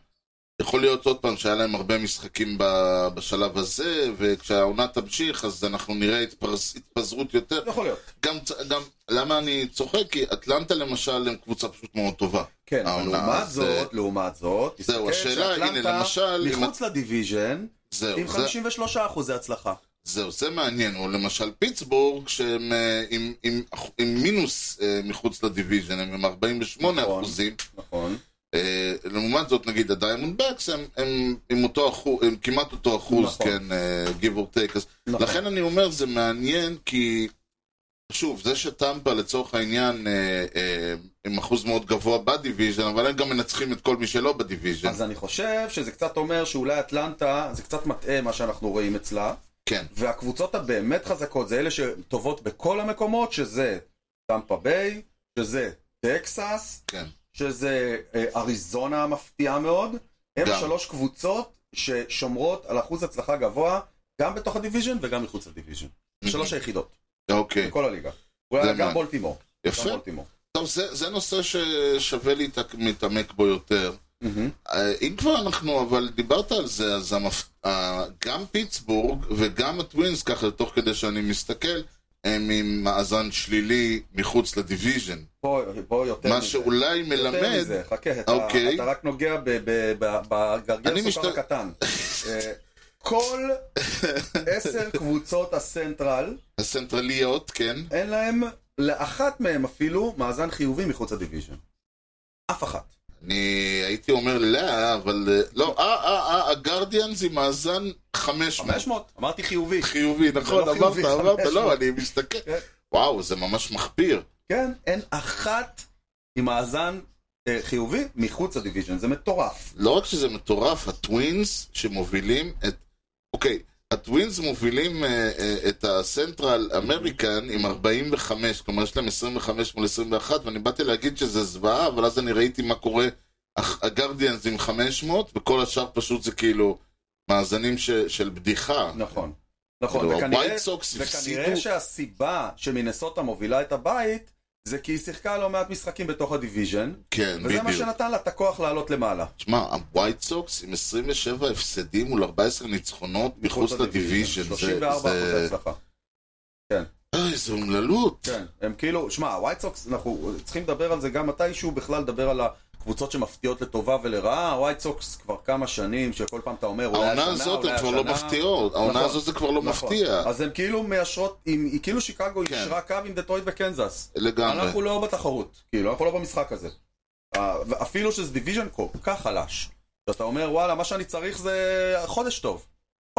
S1: יכול להיות עוד פעם שהיה להם הרבה משחקים ב- בשלב הזה, וכשהעונה תמשיך אז אנחנו נראה התפרס... התפזרות יותר.
S3: יכול להיות.
S1: גם, צ- גם, למה אני צוחק? כי אטלנטה למשל הם קבוצה פשוט מאוד טובה.
S3: כן, אבל
S1: העונה,
S3: לעומת
S1: אז,
S3: זאת, לעומת זאת,
S1: זהו,
S3: תסתכל
S1: השאלה, הנה
S3: שאטלנטה
S1: למשל, אם
S3: מחוץ לדיוויז'ן,
S1: זהו,
S3: עם
S1: זה,
S3: 53 אחוזי הצלחה.
S1: זהו, זה מעניין. או למשל פיטסבורג, שהם אה, עם, עם, עם מינוס אה, מחוץ לדיוויז'ן, הם עם 48
S3: נכון.
S1: אחוזים.
S3: נכון.
S1: אה, לעומת זאת, נגיד הדיימונד בקס הם, הם עם אותו אחוז, הם כמעט אותו אחוז,
S3: נכון.
S1: כן, אה, give or take. אז
S3: נכון.
S1: לכן אני אומר, זה מעניין, כי שוב, זה שטמפה לצורך העניין אה, אה, עם אחוז מאוד גבוה בדיוויז'ן, אבל הם גם מנצחים את כל מי שלא בדיוויז'ן.
S3: אז אני חושב שזה קצת אומר שאולי אטלנטה, זה קצת מטעה מה שאנחנו רואים אצלה.
S1: כן.
S3: והקבוצות הבאמת חזקות זה אלה שטובות בכל המקומות, שזה טמפה ביי, שזה טקסס,
S1: כן.
S3: שזה אה, אריזונה המפתיעה מאוד. הם
S1: גם.
S3: שלוש קבוצות ששומרות על אחוז הצלחה גבוה, גם בתוך הדיוויז'ן וגם מחוץ לדיוויז'ן. שלוש היחידות,
S1: אוקיי,
S3: בכל הליגה.
S1: זה
S3: אולי
S1: מעניין.
S3: גם בולטימור. גם
S1: יפה.
S3: בולטימור.
S1: טוב, זה, זה נושא ששווה להתעמק בו יותר.
S3: מהמם.
S1: אה, אם כבר אנחנו, אבל דיברת על זה, אז המפ... אה, גם פיטסבורג וגם הטווינס, ככה תוך כדי שאני מסתכל, הם עם מאזן שלילי מחוץ לדיוויז'ן.
S3: פה פה יותר
S1: מה
S3: מזה.
S1: שאולי
S3: יותר
S1: מלמד,
S3: מזה, חכה, אתה,
S1: אוקיי.
S3: אתה רק נוגע ב- ב- ב-
S1: אני
S3: בגרגר סוכר
S1: משת-
S3: הקטן. אה, כל עשר קבוצות הסנטרל,
S1: הסנטרליות, כן,
S3: אין להם, לאחת מהם אפילו, מאזן חיובי מחוץ לדיוויז'ן. אף אחת.
S1: אני הייתי אומר לא, אבל אה, לא, אה, אה, אה, הגרדיאנס עם מאזן 500.
S3: 500, אמרתי חיובי.
S1: חיובי, נכון,
S3: לא
S1: אמרת,
S3: חיובי,
S1: אמרת,
S3: 500.
S1: לא, אני מסתכל.
S3: כן.
S1: וואו, זה ממש מחפיר.
S3: כן, אין אחת עם מאזן אה, חיובי מחוץ לדיוויז'ן, זה מטורף.
S1: לא רק שזה מטורף, הטווינס שמובילים את... אוקיי, הטווינס מובילים אה, אה, את הסנטרל אמריקן עם 45, כלומר יש להם 25 מול 21, ואני באתי להגיד שזה זוועה, אבל אז אני ראיתי מה קורה, אך- הגרדיאנס עם 500, וכל השאר פשוט זה כאילו מאזנים ש- של בדיחה.
S3: נכון. נכון,
S1: כאילו,
S3: וכנראה,
S1: הווייט סוקס
S3: וכנראה
S1: הפסידו-
S3: שהסיבה שמינסוטה מובילה את הבית זה כי היא שיחקה לא מעט משחקים בתוך הדיוויז'ן,
S1: כן,
S3: וזה מה
S1: בדיוק.
S3: שנתן לה את הכוח לעלות למעלה.
S1: תשמע, הווייט סוקס עם 27 הפסדים מול 14 ניצחונות מחוץ לדיוויז'ן. זה-
S3: 34 אחוזי
S1: זה-
S3: הצלחה.
S1: אה, איזה אומללות.
S3: כן, הם כאילו, שמע, הווייט סוקס, אנחנו צריכים לדבר על זה גם מתישהו, בכלל לדבר על הקבוצות שמפתיעות לטובה ולרעה, הווייט סוקס כבר כמה שנים, שכל פעם אתה אומר, אולי השנה,
S1: העונה
S3: אולי
S1: הזאת
S3: השנה.
S1: הן כבר לא מפתיעות, העונה
S3: נכון,
S1: הזאת זה כבר לא
S3: נכון.
S1: מפתיע.
S3: אז הם כאילו מאשרות, עם- היא כאילו שיקגו
S1: כן.
S3: אישרה קו עם דטרויט וקנזס.
S1: לגמרי.
S3: אנחנו לא בתחרות, כאילו, אנחנו לא במשחק הזה. אה, אפילו שזה דיוויז'ן כל כך חלש, שאתה אומר, וואלה, מה שאני צריך זה חודש טוב.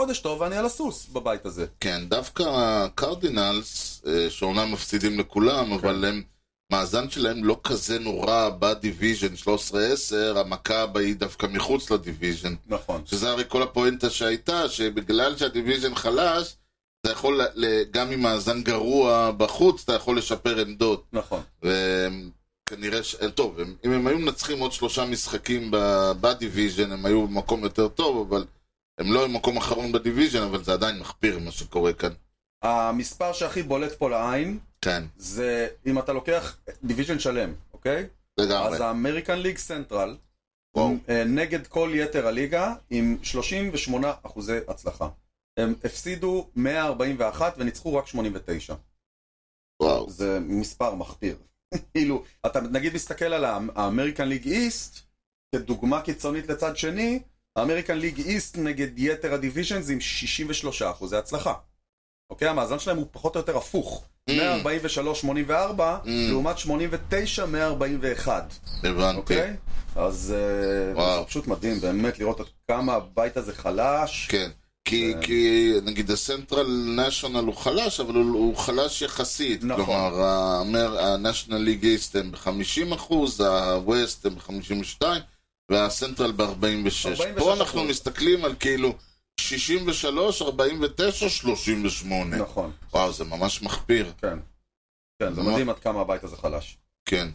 S3: חודש טוב ואני על הסוס בבית הזה.
S1: כן, דווקא הקרדינלס, אה, שאומנם מפסידים
S3: כן.
S1: לכולם, אבל הם, מאזן שלהם לא כזה נורא בדיוויז'ן 13-10, המכה הבאה היא דווקא מחוץ לדיוויז'ן.
S3: נכון.
S1: שזה הרי כל הפואנטה שהייתה, שבגלל שהדיוויז'ן חלש, אתה יכול, ל- ל- גם עם מאזן גרוע בחוץ, אתה יכול לשפר עמדות.
S3: נכון.
S1: וכנראה ש... אה, טוב, הם, אם הם היו מנצחים עוד שלושה משחקים ב- בדיוויז'ן, הם היו במקום יותר טוב, אבל הם לא במקום אחרון בדיוויז'ן, אבל זה עדיין מחפיר מה שקורה כאן.
S3: המספר שהכי בולט פה לעין,
S1: כן,
S3: זה אם אתה לוקח דיוויז'ן שלם, אוקיי?
S1: לגמרי.
S3: אז האמריקן ליג סנטרל,
S1: וואו.
S3: אה, נגד כל יתר הליגה, עם 38 אחוזי הצלחה. הם הפסידו 141 וניצחו רק 89.
S1: וואו.
S3: זה מספר מחפיר. כאילו, אתה נגיד מסתכל על האמריקן ליג איסט, כדוגמה קיצונית לצד שני, האמריקן ליג איסט נגד יתר הדיוויז'נס עם 63 אחוזי הצלחה. אוקיי? המאזן שלהם הוא פחות או יותר הפוך.
S1: Mm.
S3: 143-84, לעומת 89-141,
S1: הבנתי.
S3: אוקיי? אז אה,
S1: וואו.
S3: זה פשוט מדהים באמת לראות עד כמה הבית הזה חלש.
S1: כן. כי,
S3: זה-
S1: כי נגיד הסנטרל נשיונל הוא חלש, אבל הוא, הוא חלש יחסית.
S3: נכון.
S1: כלומר, הנשיונל ליג איסט הם ב-50 אחוז, הווסט הם ב-52, והסנטרל ב-46.
S3: 46%.
S1: פה אנחנו מסתכלים על כאילו 63, 49, 38.
S3: נכון,
S1: וואו, זה ממש מחפיר.
S3: כן. כן, זה
S1: מה-
S3: מדהים עד כמה הבית הזה חלש.
S1: כן.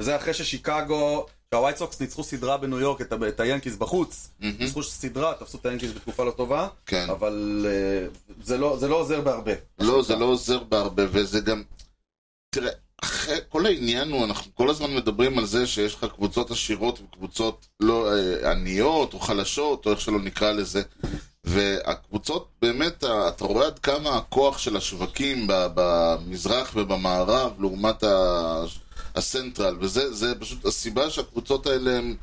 S3: וזה אחרי ששיקגו, שהווייט סוקס ניצחו סדרה בניו יורק, את, ה- את היאנקיז בחוץ.
S1: מהמם.
S3: ניצחו סדרה, תפסו את היאנקיז בתקופה לא טובה,
S1: כן.
S3: אבל אה, זה לא, זה לא עוזר בהרבה.
S1: לא, זה לא עוזר בהרבה, וזה גם... תראה, אחרי, כל העניין הוא, אנחנו כל הזמן מדברים על זה שיש לך קבוצות עשירות וקבוצות לא אה, עניות או חלשות, או איך שלא נקרא לזה. והקבוצות, באמת, ה- אתה רואה עד כמה הכוח של השווקים ב- במזרח ובמערב לעומת ה- הסנטרל, וזה זה פשוט הסיבה שהקבוצות האלה הן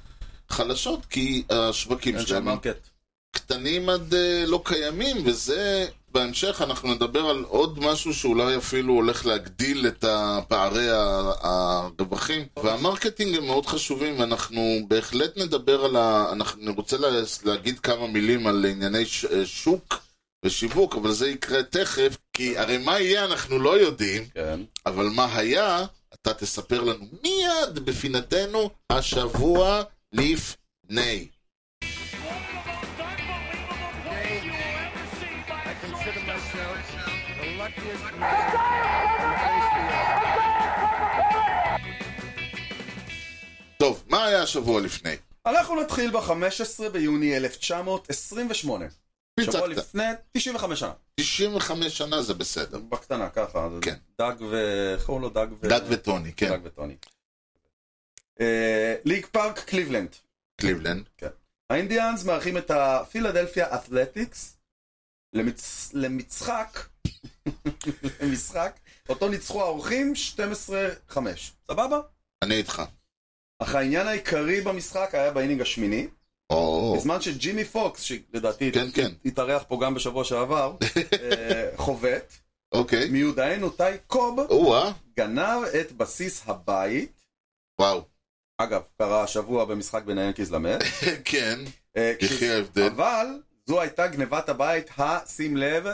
S1: חלשות, כי השווקים
S3: אין
S1: שלהם
S3: שם
S1: הם
S3: מרקט.
S1: קטנים עד אה, לא קיימים, וזה, בהמשך אנחנו נדבר על עוד משהו שאולי אפילו הולך להגדיל את פערי ה- הרווחים. והמרקטינג הם מאוד חשובים, ואנחנו בהחלט נדבר על ה... אנחנו, אני רוצה לה, להגיד כמה מילים על ענייני ש, אה, שוק ושיווק, אבל זה יקרה תכף, כי הרי מה יהיה אנחנו לא יודעים,
S3: כן.
S1: אבל מה היה, אתה תספר לנו מיד בפינתנו השבוע לפני. טוב, מה היה השבוע לפני?
S3: אנחנו נתחיל ב-15 ביוני 1928. שבוע
S1: פיצקת.
S3: לפני 95 שנה.
S1: 95 שנה זה בסדר.
S3: בקטנה, ככה.
S1: כן.
S3: דג ו... איך קוראים לו? דג ו...
S1: דג וטוני, כן,
S3: דג וטוני. אה, ליג פארק קליבלנד.
S1: קליבלנד.
S3: האינדיאנס מארחים את הפילדלפיה אתלטיקס למצ... למצחק, למשחק, אותו ניצחו האורחים 12-5. סבבה?
S1: אני איתך.
S3: אך העניין העיקרי במשחק היה באינינג השמיני,
S1: או,
S3: בזמן שג'ימי פוקס, שלדעתי
S1: כן, כן,
S3: התארח פה גם בשבוע שעבר, אה, חובט,
S1: אוקיי.
S3: מיודענו טי קוב
S1: או-אה,
S3: גנב את בסיס הבית,
S1: וואו.
S3: אגב, קרה השבוע במשחק בין היאנקיז למט,
S1: כן,
S3: אה,
S1: יחי ההבדל.
S3: אבל זו הייתה גנבת הבית, השים לב,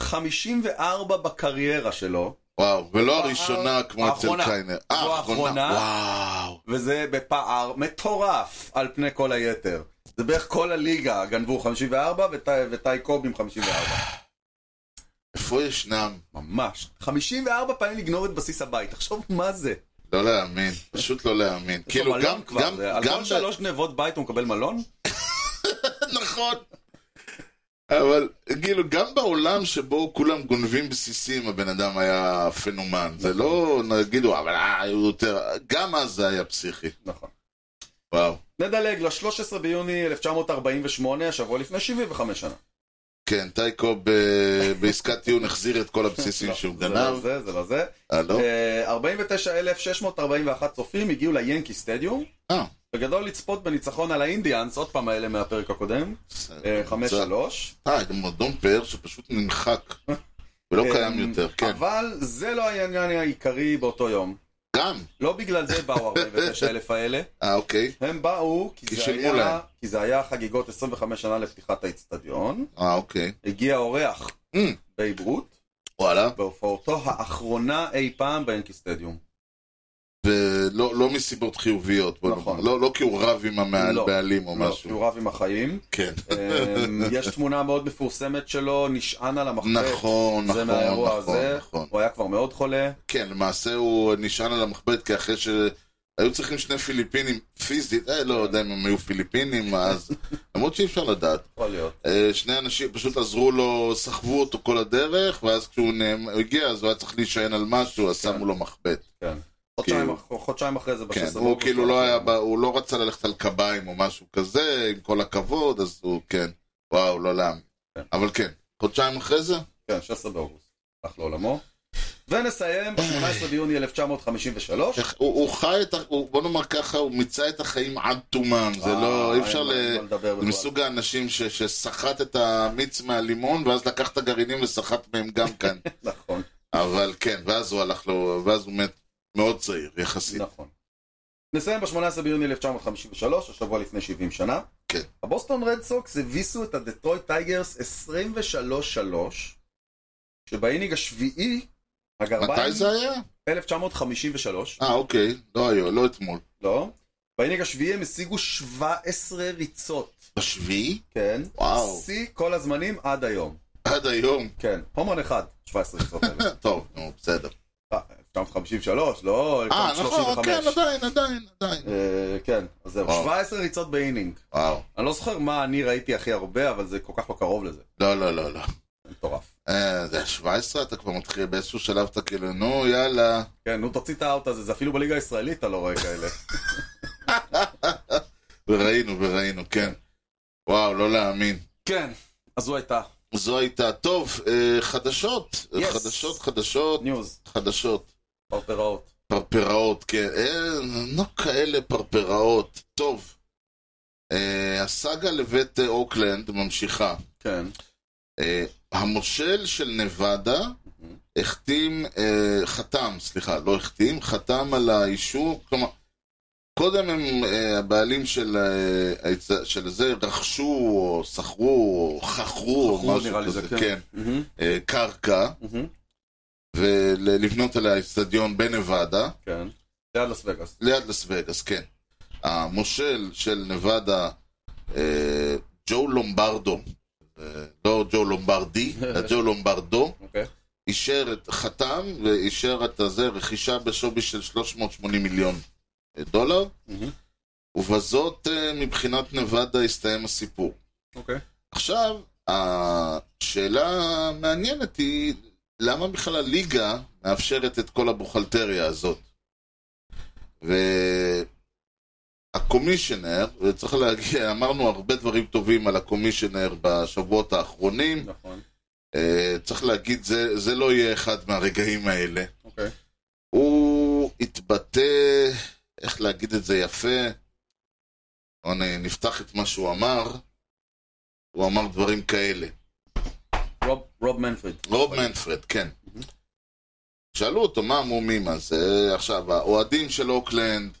S3: 54 בקריירה שלו,
S1: וואו, ולא הראשונה כמו
S3: האחרונה.
S1: אצל קיינר. אה,
S3: זו האחרונה.
S1: וואו.
S3: וזה בפער מטורף על פני כל היתר. זה בערך כל הליגה גנבו 54 וטי- וטי קוב עם 54.
S1: איפה ישנם?
S3: ממש. 54 פעמים לגנוב את בסיס הבית, תחשוב מה זה.
S1: לא להאמין, פשוט לא להאמין.
S3: יש לו
S1: כאילו
S3: מלון
S1: גם,
S3: כבר,
S1: גם,
S3: זה- על
S1: גם,
S3: כל שלוש גנבות בית הוא מקבל מלון?
S1: נכון. אבל כאילו גם בעולם שבו כולם גונבים בסיסים הבן אדם היה פנומן. זה לא, נגידו, אבל אה, היו יותר, גם אז זה היה פסיכי.
S3: נכון.
S1: וואו.
S3: נדלג ל-13 ביוני 1948, השבוע לפני 75 שנה.
S1: כן, טייקו ב- בעסקת טיעון החזיר את כל הבסיסים
S3: לא,
S1: שהוא
S3: זה לא
S1: גנב.
S3: זה, זה לא זה.
S1: אה, לא?
S3: אה, 49,641 צופים הגיעו ליאנקי סטדיום.
S1: אה.
S3: בגדול לצפות בניצחון על האינדיאנס, עוד פעם האלה מהפרק הקודם, אה, 5-3.
S1: אה, גם אדום פאר שפשוט נמחק. ולא
S3: אה,
S1: קיים יותר, כן.
S3: אבל זה לא העניין העיקרי באותו יום.
S1: גם.
S3: לא בגלל זה באו 49,000 האלה,
S1: אה, אוקיי.
S3: הם באו כי
S1: כי
S3: זה,
S1: שילמו
S3: היה,
S1: להם.
S3: כי זה היה חגיגות 25 שנה לפתיחת האיצטדיון.
S1: אה, אוקיי.
S3: הגיע אורח
S1: Mm.
S3: בייב רות,
S1: וואלה.
S3: בהופעתו האחרונה אי פעם באנקי סטדיום.
S1: ולא לא מסיבות חיוביות, בוא
S3: נכון.
S1: נאמר. לא, לא כי הוא רב עם המעל-
S3: לא.
S1: הבעלים או
S3: לא,
S1: משהו.
S3: שהוא רב עם החיים.
S1: כן.
S3: אמ, יש תמונה מאוד מפורסמת שלו, נשען על המחבט.
S1: נכון,
S3: זה
S1: נכון,
S3: מהאירוע
S1: נכון,
S3: הזה.
S1: נכון.
S3: הוא היה כבר מאוד חולה.
S1: כן, למעשה הוא נשען על המחבט, כי אחרי שהיו צריכים שני פיליפינים פיזית, אה, לא יודע אם הם היו פיליפינים אז, למרות שאי אפשר לדעת.
S3: יכול להיות.
S1: אה, שני אנשים פשוט עזרו לו, סחבו אותו כל הדרך, ואז כשהוא נאמ- הוא הגיע, אז הוא היה צריך להישען על משהו, אז
S3: כן.
S1: שמו לו מחבט.
S3: חודשיים
S1: כאילו-
S3: אח- חודשיים אחרי זה,
S1: כן,
S3: ב-16
S1: הוא כאילו לא היה, ב- הוא לא רצה ללכת על קביים או משהו כזה, עם כל הכבוד, אז הוא, כן, וואו, לא להאמין.
S3: כן.
S1: אבל כן, חודשיים אחרי זה,
S3: כן, 16 באוגוסט. הלך לעולמו. ונסיים ב-18 ביוני 1953.
S1: איך- הוא הוא חי את, ה- הוא- בוא נאמר ככה, הוא מיצה את החיים עד תומם, זה לא,
S3: אה,
S1: אי אפשר
S3: אין
S1: ל...
S3: מה- מה לדבר
S1: זה
S3: בכלל.
S1: מסוג האנשים ש- שסחט את המיץ מהלימון, ואז לקח את הגרעינים וסחט מהם גם כאן.
S3: נכון.
S1: אבל כן, ואז הוא הלך לו, ואז הוא מת מאוד צעיר, יחסית.
S3: נכון. נסיים ב-18 ביוני 1953, השבוע לפני 70 שנה.
S1: כן.
S3: הבוסטון רד סוקס הביסו את הדטרויט טייגרס 23-3, שבאינינג השביעי, הגרביים...
S1: מתי זה היה?
S3: 1953,
S1: אה, אוקיי, לא היום, לא אתמול.
S3: לא. באינינג השביעי הם השיגו 17 ריצות,
S1: בשביעי?
S3: כן.
S1: וואו.
S3: שיא כל הזמנים עד היום.
S1: עד היום.
S3: כן. הומון אחד, 17 ריצות האלה.
S1: טוב, נו, בסדר.
S3: אה, 1953, לא
S1: אה,
S3: 1935.
S1: נכון, כן, עדיין, עדיין, עדיין.
S3: אה, כן, אז זהו,
S1: וואו.
S3: 17 ריצות באינינג.
S1: וואו.
S3: אני לא זוכר מה אני ראיתי הכי הרבה, אבל זה כל כך לא קרוב לזה.
S1: לא, לא, לא, לא.
S3: זה מטורף.
S1: אה, זה ה-17, אתה כבר מתחיל באיזשהו שלב, אתה כאילו, נו, יאללה.
S3: כן, נו תוציא את האאוט הזה, זה אפילו בליגה הישראלית אתה לא רואה כאלה.
S1: וראינו, וראינו, כן. וואו, לא להאמין.
S3: כן, אז זו הייתה.
S1: זו הייתה, טוב, אה, חדשות.
S3: Yes.
S1: חדשות, חדשות,
S3: ניוז,
S1: חדשות.
S3: פרפראות.
S1: פרפראות, כן. אין, לא כאלה פרפראות. טוב. אה, הסאגה לבית אה, אוקלנד ממשיכה.
S3: כן.
S1: אה, המושל של נבדה החתים, אה, חתם, סליחה, לא החתים, חתם על האישור, כלומר, קודם הם, אה, הבעלים של, אה, ההצ- של זה רכשו, או שכרו, או חכרו,
S3: חכרו,
S1: או משהו
S3: נראה לי
S1: כזה,
S3: זה, כן.
S1: כן,
S3: מהמם,
S1: אה, קרקע,
S3: מהמם,
S1: ולבנות עליה אצטדיון בנבדה.
S3: כן. ליד לס וגאס.
S1: ליד לס וגאס, כן. המושל של נבדה, אה, ג'ו לומברדו, אה, לא ג'ו לומברדי, אלא ג'ו לומברדו,
S3: אוקיי.
S1: אישר את חתם ואישר את הזה, רכישה בשווי של 380 מיליון אה, דולר,
S3: מהמם,
S1: ובזאת אה, מבחינת נבדה הסתיים הסיפור.
S3: אוקיי.
S1: עכשיו, השאלה המעניינת היא, למה בכלל הליגה מאפשרת את כל הבוכלטריה הזאת? והקומישיונר, וצריך להגיע, אמרנו הרבה דברים טובים על הקומישיונר בשבועות האחרונים,
S3: נכון.
S1: אה, צריך להגיד, זה, זה לא יהיה אחד מהרגעים האלה.
S3: אוקיי.
S1: הוא התבטא, איך להגיד את זה יפה, בוא נ- נפתח את מה שהוא אמר, הוא אמר דברים כאלה.
S3: רוב- רוב מנפריד.
S1: רוב מנפרד, כן.
S3: Mhm.
S1: שאלו אותו מה המומים, אז אה, עכשיו, האוהדים של אוקלנד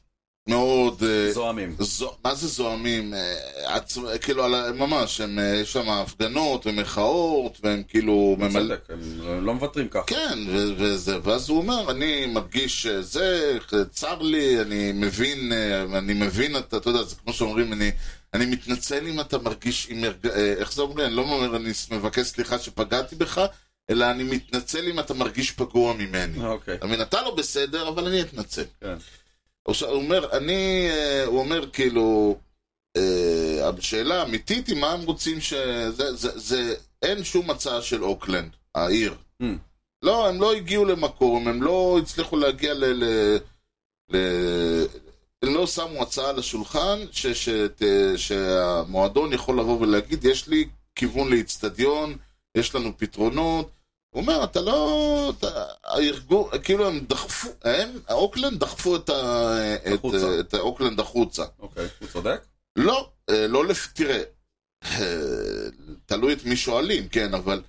S1: מאוד אה,
S3: זועמים.
S1: זו, מה זה זועמים? אה, עצ... כאילו, על ה- ממש, הם, אה, יש שם הפגנות ומחאות, והם כאילו ממלא...
S3: צודק, הם לא מוותרים ככה.
S1: כן, ו- וזה, ואז הוא אומר, אני מרגיש אה, זה, אה, צר לי, אני מבין, אה, אני מבין, אתה, אתה יודע, זה כמו שאומרים, אני, אני מתנצל אם אתה מרגיש, אם הרג... אה, איך זה אומרים? אני לא אומר, אני ס- מבקש סליחה שפגעתי בך, אלא אני מתנצל אם אתה מרגיש פגוע ממני.
S3: אה, אוקיי.
S1: אתה מבין, אתה לא בסדר, אבל אני אתנצל.
S3: כן.
S1: עכשיו, הוא אומר, אני, אה, הוא אומר כאילו, אה, השאלה האמיתית היא מה הם רוצים ש... זה, זה, זה, אין שום הצעה של אוקלנד, העיר.
S3: Mm.
S1: לא, הם לא הגיעו למקום, הם לא הצליחו להגיע ל... ל, ל הם לא שמו הצעה על השולחן ש, ש, ת, שהמועדון יכול לבוא ולהגיד, יש לי כיוון לאיצטדיון, יש לנו פתרונות. הוא אומר, אתה לא... אתה, הארגון, כאילו הם דחפו, הם, אוקלנד דחפו את, ה, את,
S3: החוצה.
S1: את אוקלנד החוצה.
S3: אוקיי, הוא צודק?
S1: לא, אה, לא לפ... תראה, אה, תלוי את מי שואלים, כן, אבל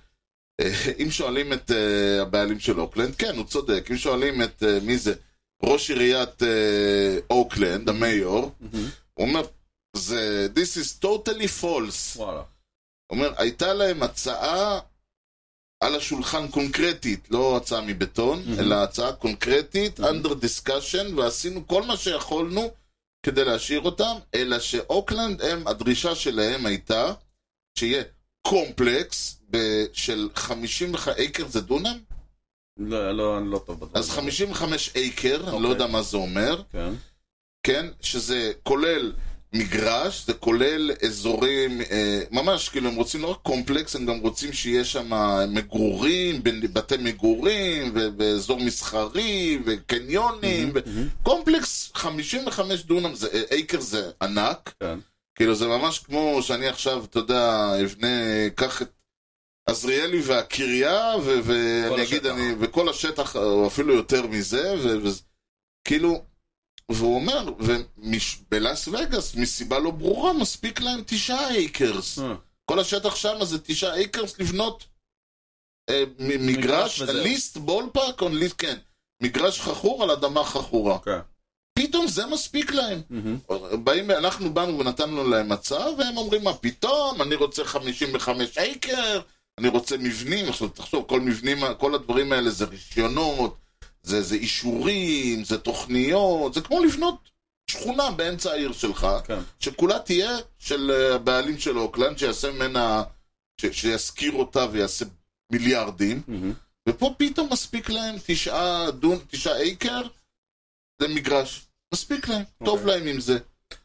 S1: אה, אם שואלים את אה, הבעלים של אוקלנד, כן, הוא צודק. אם שואלים את, אה, מי זה, ראש עיריית אה, אוקלנד, המייור, הוא אומר, זה, this is totally false.
S3: וואלה.
S1: הוא אומר, הייתה להם הצעה על השולחן קונקרטית, לא הצעה מבטון,
S3: Mhm.
S1: אלא הצעה קונקרטית,
S3: Mhm.
S1: under discussion, ועשינו כל מה שיכולנו כדי להשאיר אותם, אלא שאוקלנד, הם, הדרישה שלהם הייתה שיהיה קומפלקס ב- של 55 אייקר זה דונם?
S3: לא, לא, אני לא טוב בדברים.
S1: אז 55 אייקר, אני לא
S3: אוקיי.
S1: יודע מה זה אומר,
S3: כן.
S1: כן? שזה כולל מגרש, זה כולל אזורים, אה, ממש, כאילו, הם רוצים לא רק קומפלקס, הם גם רוצים שיהיה שם מגורים, בין- בתי מגורים, ו- ואזור מסחרי, וקניונים, ו-
S3: מהמם.
S1: קומפלקס 55 דונם, זה, אה, אייקר זה ענק,
S3: כן.
S1: כאילו, זה ממש כמו שאני עכשיו, אתה יודע, אבנה, קח את... עזריאלי והקריה, ו-
S3: כל
S1: ואני אגיד,
S3: השטח.
S1: אני, וכל השטח, או אפילו יותר מזה, ו- וזה- כאילו, והוא אומר, ובלאס וגאס, מסיבה לא ברורה, מספיק להם תשעה אייקרס.
S3: אה,
S1: כל השטח שם זה תשעה אייקרס לבנות אה, מ-
S3: מגרש
S1: מגרש,
S3: וזהו.
S1: ליסט בול פארק, כן, מגרש חכור על אדמה חכורה.
S3: אוקיי.
S1: פתאום זה מספיק להם.
S3: מהמם.
S1: באים, אנחנו באנו ונתנו להם הצעה, והם אומרים, מה פתאום, אני רוצה 55 אייקר, אני רוצה מבנים, עכשיו תחשוב, כל מבנים, כל הדברים האלה זה רישיונות, זה, זה אישורים, זה תוכניות, זה כמו לבנות שכונה באמצע העיר שלך,
S3: כן.
S1: שכולה תהיה של אה, הבעלים של אוקלנד, שיעשה ממנה, ש, שישכיר אותה ויעשה מיליארדים,
S3: מהמם.
S1: ופה פתאום מספיק להם תשעה דון, תשעה אייקר למגרש. מספיק להם, טוב
S3: אוקיי.
S1: להם עם זה.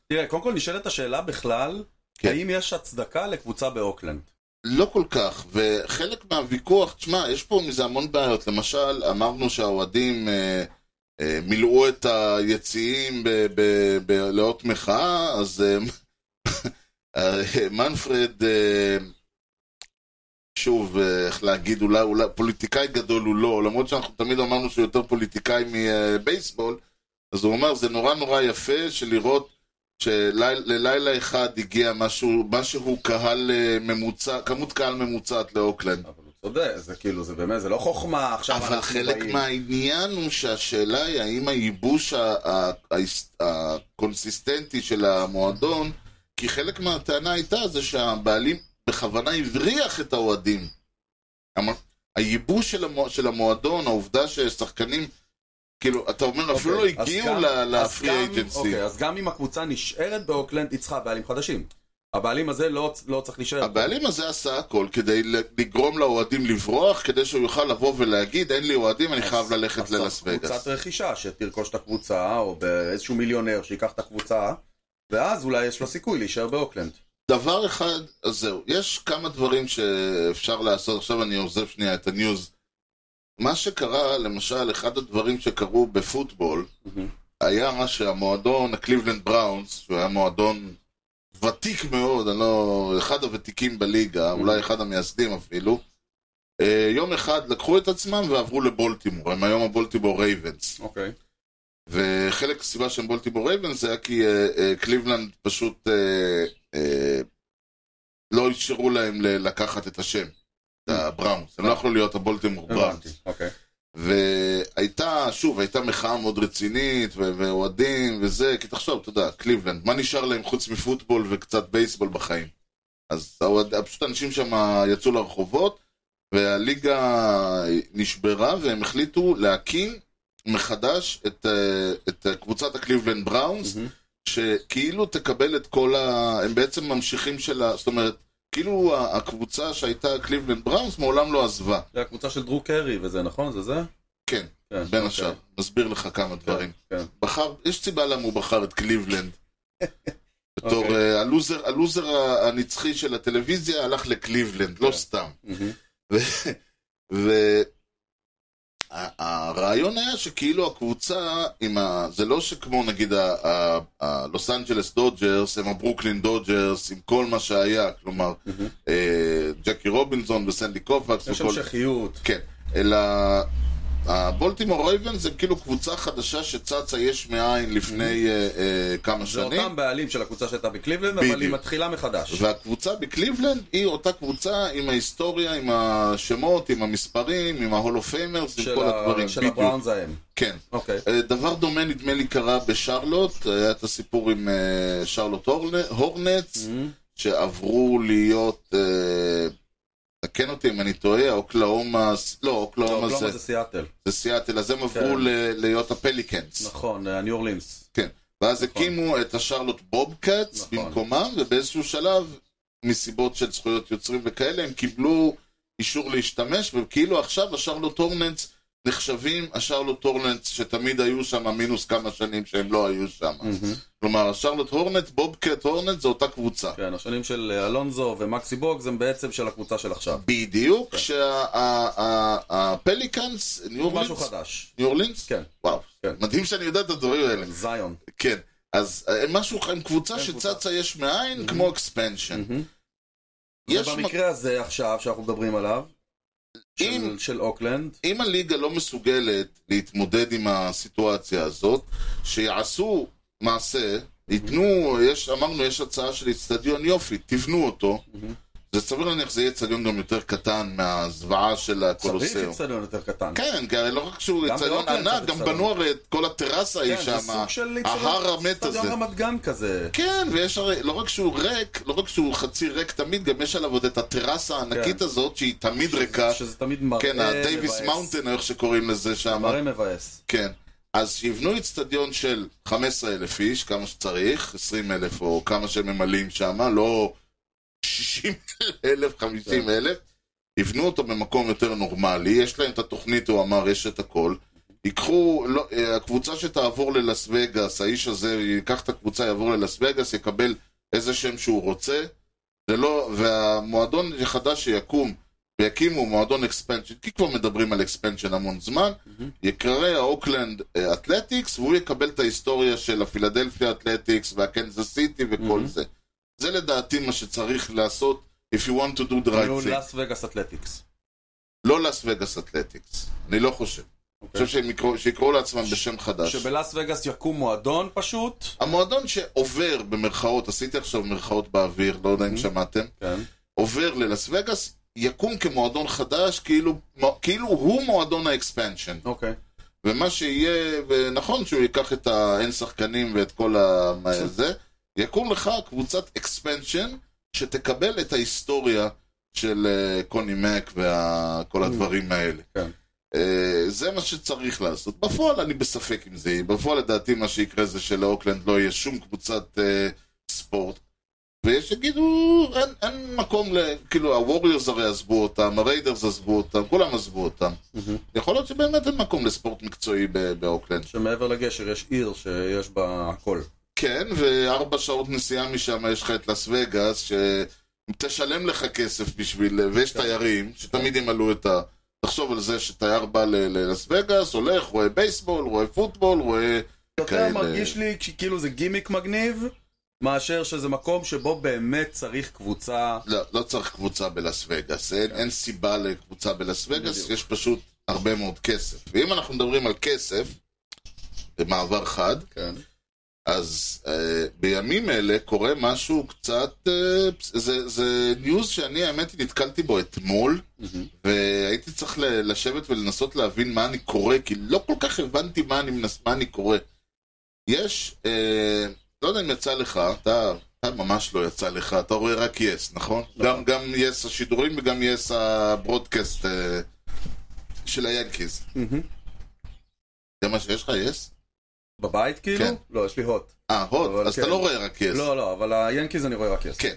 S3: תראה, קודם כל נשאלת השאלה בכלל,
S1: כן.
S3: האם יש הצדקה לקבוצה באוקלנד?
S1: לא כל כך, וחלק מהוויכוח, תשמע, יש פה מזה המון בעיות. למשל, אמרנו שהאוהדים אה, אה, מילאו את היציעים ב- ב- ב- לאות מחאה, אז אה, אה, מנפרד, אה, שוב, אה, איך להגיד, אולי, אולי פוליטיקאי גדול הוא לא, למרות שאנחנו תמיד אמרנו שהוא יותר פוליטיקאי מבייסבול, אז הוא אמר, זה נורא נורא יפה שלראות שללילה אחד הגיע משהו, משהו קהל אה, ממוצע, כמות קהל ממוצעת לאוקלנד.
S3: אבל הוא צודק, זה כאילו, זה באמת, זה לא חוכמה, עכשיו אנחנו
S1: אבל
S3: באים.
S1: חלק מהעניין הוא שהשאלה היא האם הייבוש ה- ה- ה- הקונסיסטנטי של המועדון, כי חלק מהטענה הייתה זה שהבעלים בכוונה הבריח את האוהדים. המ- הייבוש של, המו, של המועדון, העובדה ששחקנים, כאילו, אתה אומר, אפילו לא
S3: אוקיי, אז
S1: הגיעו
S3: גם-
S1: ל-
S3: אז
S1: לפרי
S3: גם-
S1: אייג'נסי.
S3: אוקיי, אז גם אם הקבוצה נשארת באוקלנד, היא צריכה בעלים חדשים. הבעלים הזה לא לא צריך להישאר.
S1: הבעלים הזה עשה הכל כדי לגרום לאוהדים לברוח, כדי שהוא יוכל לבוא ולהגיד, אין לי אוהדים, אני חייב ללכת
S3: אז צריך
S1: ללאס וגאס.
S3: קבוצת רכישה, שתרכוש את הקבוצה, או באיזשהו מיליונר שיקח את הקבוצה, ואז אולי יש לו סיכוי להישאר באוקלנד.
S1: דבר אחד, אז זהו, יש כמה דברים שאפשר לעשות, עכשיו אני עוזב שנייה את הניוז. מה שקרה, למשל, אחד הדברים שקרו בפוטבול, היה שהמועדון, הקליבלנד בראונס, שהוא היה מועדון ותיק מאוד, אני לא... אחד הוותיקים בליגה, אולי אחד המייסדים אפילו, אה, יום אחד לקחו את עצמם ועברו לבולטימור, הם היום הבולטימור רייבנס.
S3: אוקיי.
S1: וחלק מהסיבה שהם בולטימור רייבנס זה היה כי אה, אה, קליבלנד פשוט אה, אה, לא אפשרו להם ל- לקחת את השם, את הבראונס. הם לא יכלו להיות הבולטימור
S3: הבנתי.
S1: בראונס.
S3: אוקיי.
S1: והייתה, שוב, הייתה מחאה מאוד רצינית, ו- ואוהדים וזה, כי תחשוב, אתה יודע, קליבלנד, מה נשאר להם חוץ מפוטבול וקצת בייסבול בחיים? אז האוהד- פשוט אנשים שם יצאו לרחובות, והליגה נשברה, והם החליטו להקים מחדש את, אה, את אה, קבוצת הקליבלנד בראונס, שכאילו תקבל את כל ה... הם בעצם ממשיכים של ה... זאת אומרת, כאילו ה- הקבוצה שהייתה קליבלנד בראונס מעולם לא עזבה.
S3: זה הקבוצה של דרו קרי וזה, נכון? זה זה?
S1: כן,
S3: כן,
S1: בין
S3: אוקיי.
S1: השאר. מסביר לך כמה דברים.
S3: כן.
S1: בחר, יש סיבה למה הוא בחר את קליבלנד. בתור
S3: אוקיי.
S1: אה, הלוזר, הלוזר ה- הנצחי של הטלוויזיה הלך לקליבלנד, לא
S3: כן.
S1: סתם.
S3: מהמם.
S1: והרעיון היה שכאילו הקבוצה, עם ה... זה לא שכמו נגיד ה- ה- הלוס אנג'לס דודג'רס, הם הברוקלין דודג'רס, עם כל מה שהיה, כלומר,
S3: מהמם.
S1: אה, ג'קי רובינזון וסנדי קופקס
S3: יש המשכיות.
S1: כן, אלא הבולטימור רייבנס הם כאילו קבוצה חדשה שצצה יש מאין לפני אה, אה, כמה
S3: זה
S1: שנים.
S3: אותם בעלים של הקבוצה שהייתה בקליבלנד, אבל היא
S1: בדיוק.
S3: מתחילה מחדש.
S1: והקבוצה בקליבלנד היא אותה קבוצה עם ההיסטוריה, עם השמות, עם המספרים, עם ההולו פיימרס, עם
S3: של
S1: כל
S3: ה-
S1: הדברים.
S3: של
S1: בדיוק.
S3: הבראונס ההם.
S1: כן.
S3: אוקיי.
S1: אה, דבר דומה נדמה לי קרה בשרלוט, היה את הסיפור עם אה, שרלוט הורנ- הורנץ,
S3: מהמם.
S1: שעברו להיות, אה, תקן אותי אם אני טועה, אוקלאומה, לא,
S3: לא,
S1: אוקלאומה
S3: אוקלאומה
S1: זה
S3: זה סיאטל.
S1: זה סיאטל, אז הם עברו
S3: כן.
S1: ל- להיות הפליקנס.
S3: נכון, אה, ניו אורלינס.
S1: ואז
S3: נכון.
S1: הקימו את השרלוט בובקאטס
S3: נכון.
S1: במקומם, ובאיזשהו שלב, מסיבות של זכויות יוצרים וכאלה, הם קיבלו אישור להשתמש, וכאילו עכשיו השרלוט הורנטס נחשבים השרלוט הורנטס שתמיד היו שם, מינוס כמה שנים שהם לא היו שם.
S3: מהמם.
S1: כלומר, השרלוט הורנטס, בובקאט הורנטס, זו אותה קבוצה.
S3: כן, השנים של אה, אלונזו ומקסי בוגס הם בעצם של הקבוצה של עכשיו.
S1: בדיוק,
S3: כן.
S1: כשהפליקאנס, ניו
S3: משהו
S1: אורלינס,
S3: חדש.
S1: ניו אורלינס,
S3: כן,
S1: וואו,
S3: כן.
S1: מדהים שאני יודע את הדברים האלה.
S3: זיון.
S1: כן, אז אה, הם משהו, הם קבוצה
S3: הם
S1: שצצה
S3: קבוצה.
S1: יש מאין, כמו אקספנשן.
S3: מהמם.
S1: כן. יש מק-
S3: ובמקרה הזה עכשיו, שאנחנו מדברים עליו, של-
S1: אם-
S3: של אוקלנד,
S1: אם הליגה לא מסוגלת להתמודד עם הסיטואציה הזאת, שיעשו מעשה, ייתנו, יש, אמרנו, יש הצעה של אצטדיון יופי, תבנו אותו.
S3: מהמם.
S1: זה סביר להניח שזה יהיה אצטדיון גם יותר קטן מהזוועה של
S3: צריך
S1: הקולוסיאום.
S3: אצטדיון יותר קטן.
S1: כן, כי הרי לא רק שהוא
S3: גם
S1: אצטדיון
S3: באוקלנד
S1: ענק,
S3: צריך
S1: גם
S3: אצטדיון.
S1: בנו הרי את כל הטרסה
S3: כן,
S1: היא
S3: זה
S1: שם.
S3: סוג של
S1: ההר המת הזה.
S3: אצטדיון רמת גן כזה.
S1: כן, ויש הרי, לא רק שהוא ריק, לא רק שהוא חצי ריק תמיד, גם יש עליו עוד את הטרסה הענקית
S3: כן.
S1: הזאת, שהיא תמיד ריקה.
S3: שזה תמיד מראה
S1: כן, הדייוויס
S3: מבאס.
S1: מאונטן, או איך שקוראים לזה שם.
S3: מראה מבאס.
S1: כן. אז שיבנו אצטדיון של 15,000 איש, כמה שצריך, 20,000 או כמה שממלאים שם, לא 60,000, 50,000. יבנו אותו במקום יותר נורמלי, יש להם את התוכנית, הוא אמר, יש את הכל. ייקחו, לא, אה, הקבוצה שתעבור ללאס וגאס, האיש הזה ייקח את הקבוצה, יעבור ללאס וגאס, יקבל איזה שם שהוא רוצה. זה לא, והמועדון החדש שיקום, ויקימו מועדון אקספנשן, כי כבר מדברים על אקספנשן המון זמן, יקרא האוקלנד אה, אתלטיקס, והוא יקבל את ההיסטוריה של הפילדלפיה אתלטיקס והקנזס סיטי וכל
S3: Mhm.
S1: זה. זה לדעתי מה שצריך לעשות, if you want to do the
S3: היו
S1: right thing.
S3: לאס וגאס אתלטיקס.
S1: לא לאס וגאס אתלטיקס, אני לא חושב. אני חושב שהם יקראו- שיקראו לעצמם בשם חדש.
S3: אוקיי. שבלאס וגאס יקום מועדון פשוט.
S1: המועדון שעובר במרכאות, עשיתי עכשיו מרכאות באוויר, לא יודע אם
S3: Mhm.
S1: שמעתם,
S3: כן.
S1: עובר ללאס וגאס, יקום כמועדון חדש, כאילו כאילו הוא מועדון האקספנשן.
S3: אוקיי.
S1: ומה שיהיה, ונכון שהוא ייקח את האין שחקנים ואת כל ה... מה זה, יקום לך קבוצת אקספנשן שתקבל את ההיסטוריה של אה, קוני מק וכל הדברים האלה.
S3: כן.
S1: אה, זה מה שצריך לעשות. בפועל אני בספק אם זה יהיה. בפועל לדעתי מה שיקרה זה שלאוקלנד לא יהיה שום קבוצת אה, ספורט. ויש שיגידו, אין, אין מקום ל... כאילו, הווריורס הרי עזבו אותם, הריידרס עזבו אותם, כולם עזבו אותם. יכול להיות שבאמת אין מקום לספורט מקצועי ב- באוקלנד.
S3: שמעבר לגשר יש עיר שיש בה הכל.
S1: כן, וארבע שעות נסיעה משם יש לך את לאס וגאס, שתשלם לך כסף בשביל, ויש
S3: כן.
S1: תיירים, שתמיד ימלאו את ה... תחשוב על זה שתייר בא ל- ללאס וגאס, הולך, רואה בייסבול, רואה פוטבול, רואה...
S3: יותר
S1: כאלה.
S3: אוקיי, מרגיש לי כאילו זה גימיק מגניב, מאשר שזה מקום שבו באמת צריך קבוצה.
S1: לא, לא צריך קבוצה בלאס וגאס, אין, אין סיבה לקבוצה בלאס וגאס,
S3: כן. בדיוק.
S1: יש פשוט הרבה מאוד כסף. ואם אנחנו מדברים על כסף, במעבר חד,
S3: כן.
S1: אז אה, בימים אלה קורה משהו קצת, אה, פס- זה, זה ניוז שאני האמת היא נתקלתי בו אתמול, והייתי צריך ל- לשבת ולנסות להבין מה אני קורא, כי לא כל כך הבנתי מה אני, מנס, מה אני קורא. יש, אה, לא יודע אם יצא לך, אתה, אתה ממש לא יצא לך, אתה רואה רק יס, נכון? גם, גם יס השידורים וגם יס הברודקאסט אה, של היאנקיז.
S3: מהמם.
S1: זה מה שיש לך, יס?
S3: בבית כאילו?
S1: כן.
S3: לא, יש לי הוט.
S1: אה, הוט,
S3: אבל
S1: אז
S3: כן.
S1: אתה לא רואה רק יס.
S3: לא, לא, אבל היאנקיז אני רואה רק יס.
S1: כן.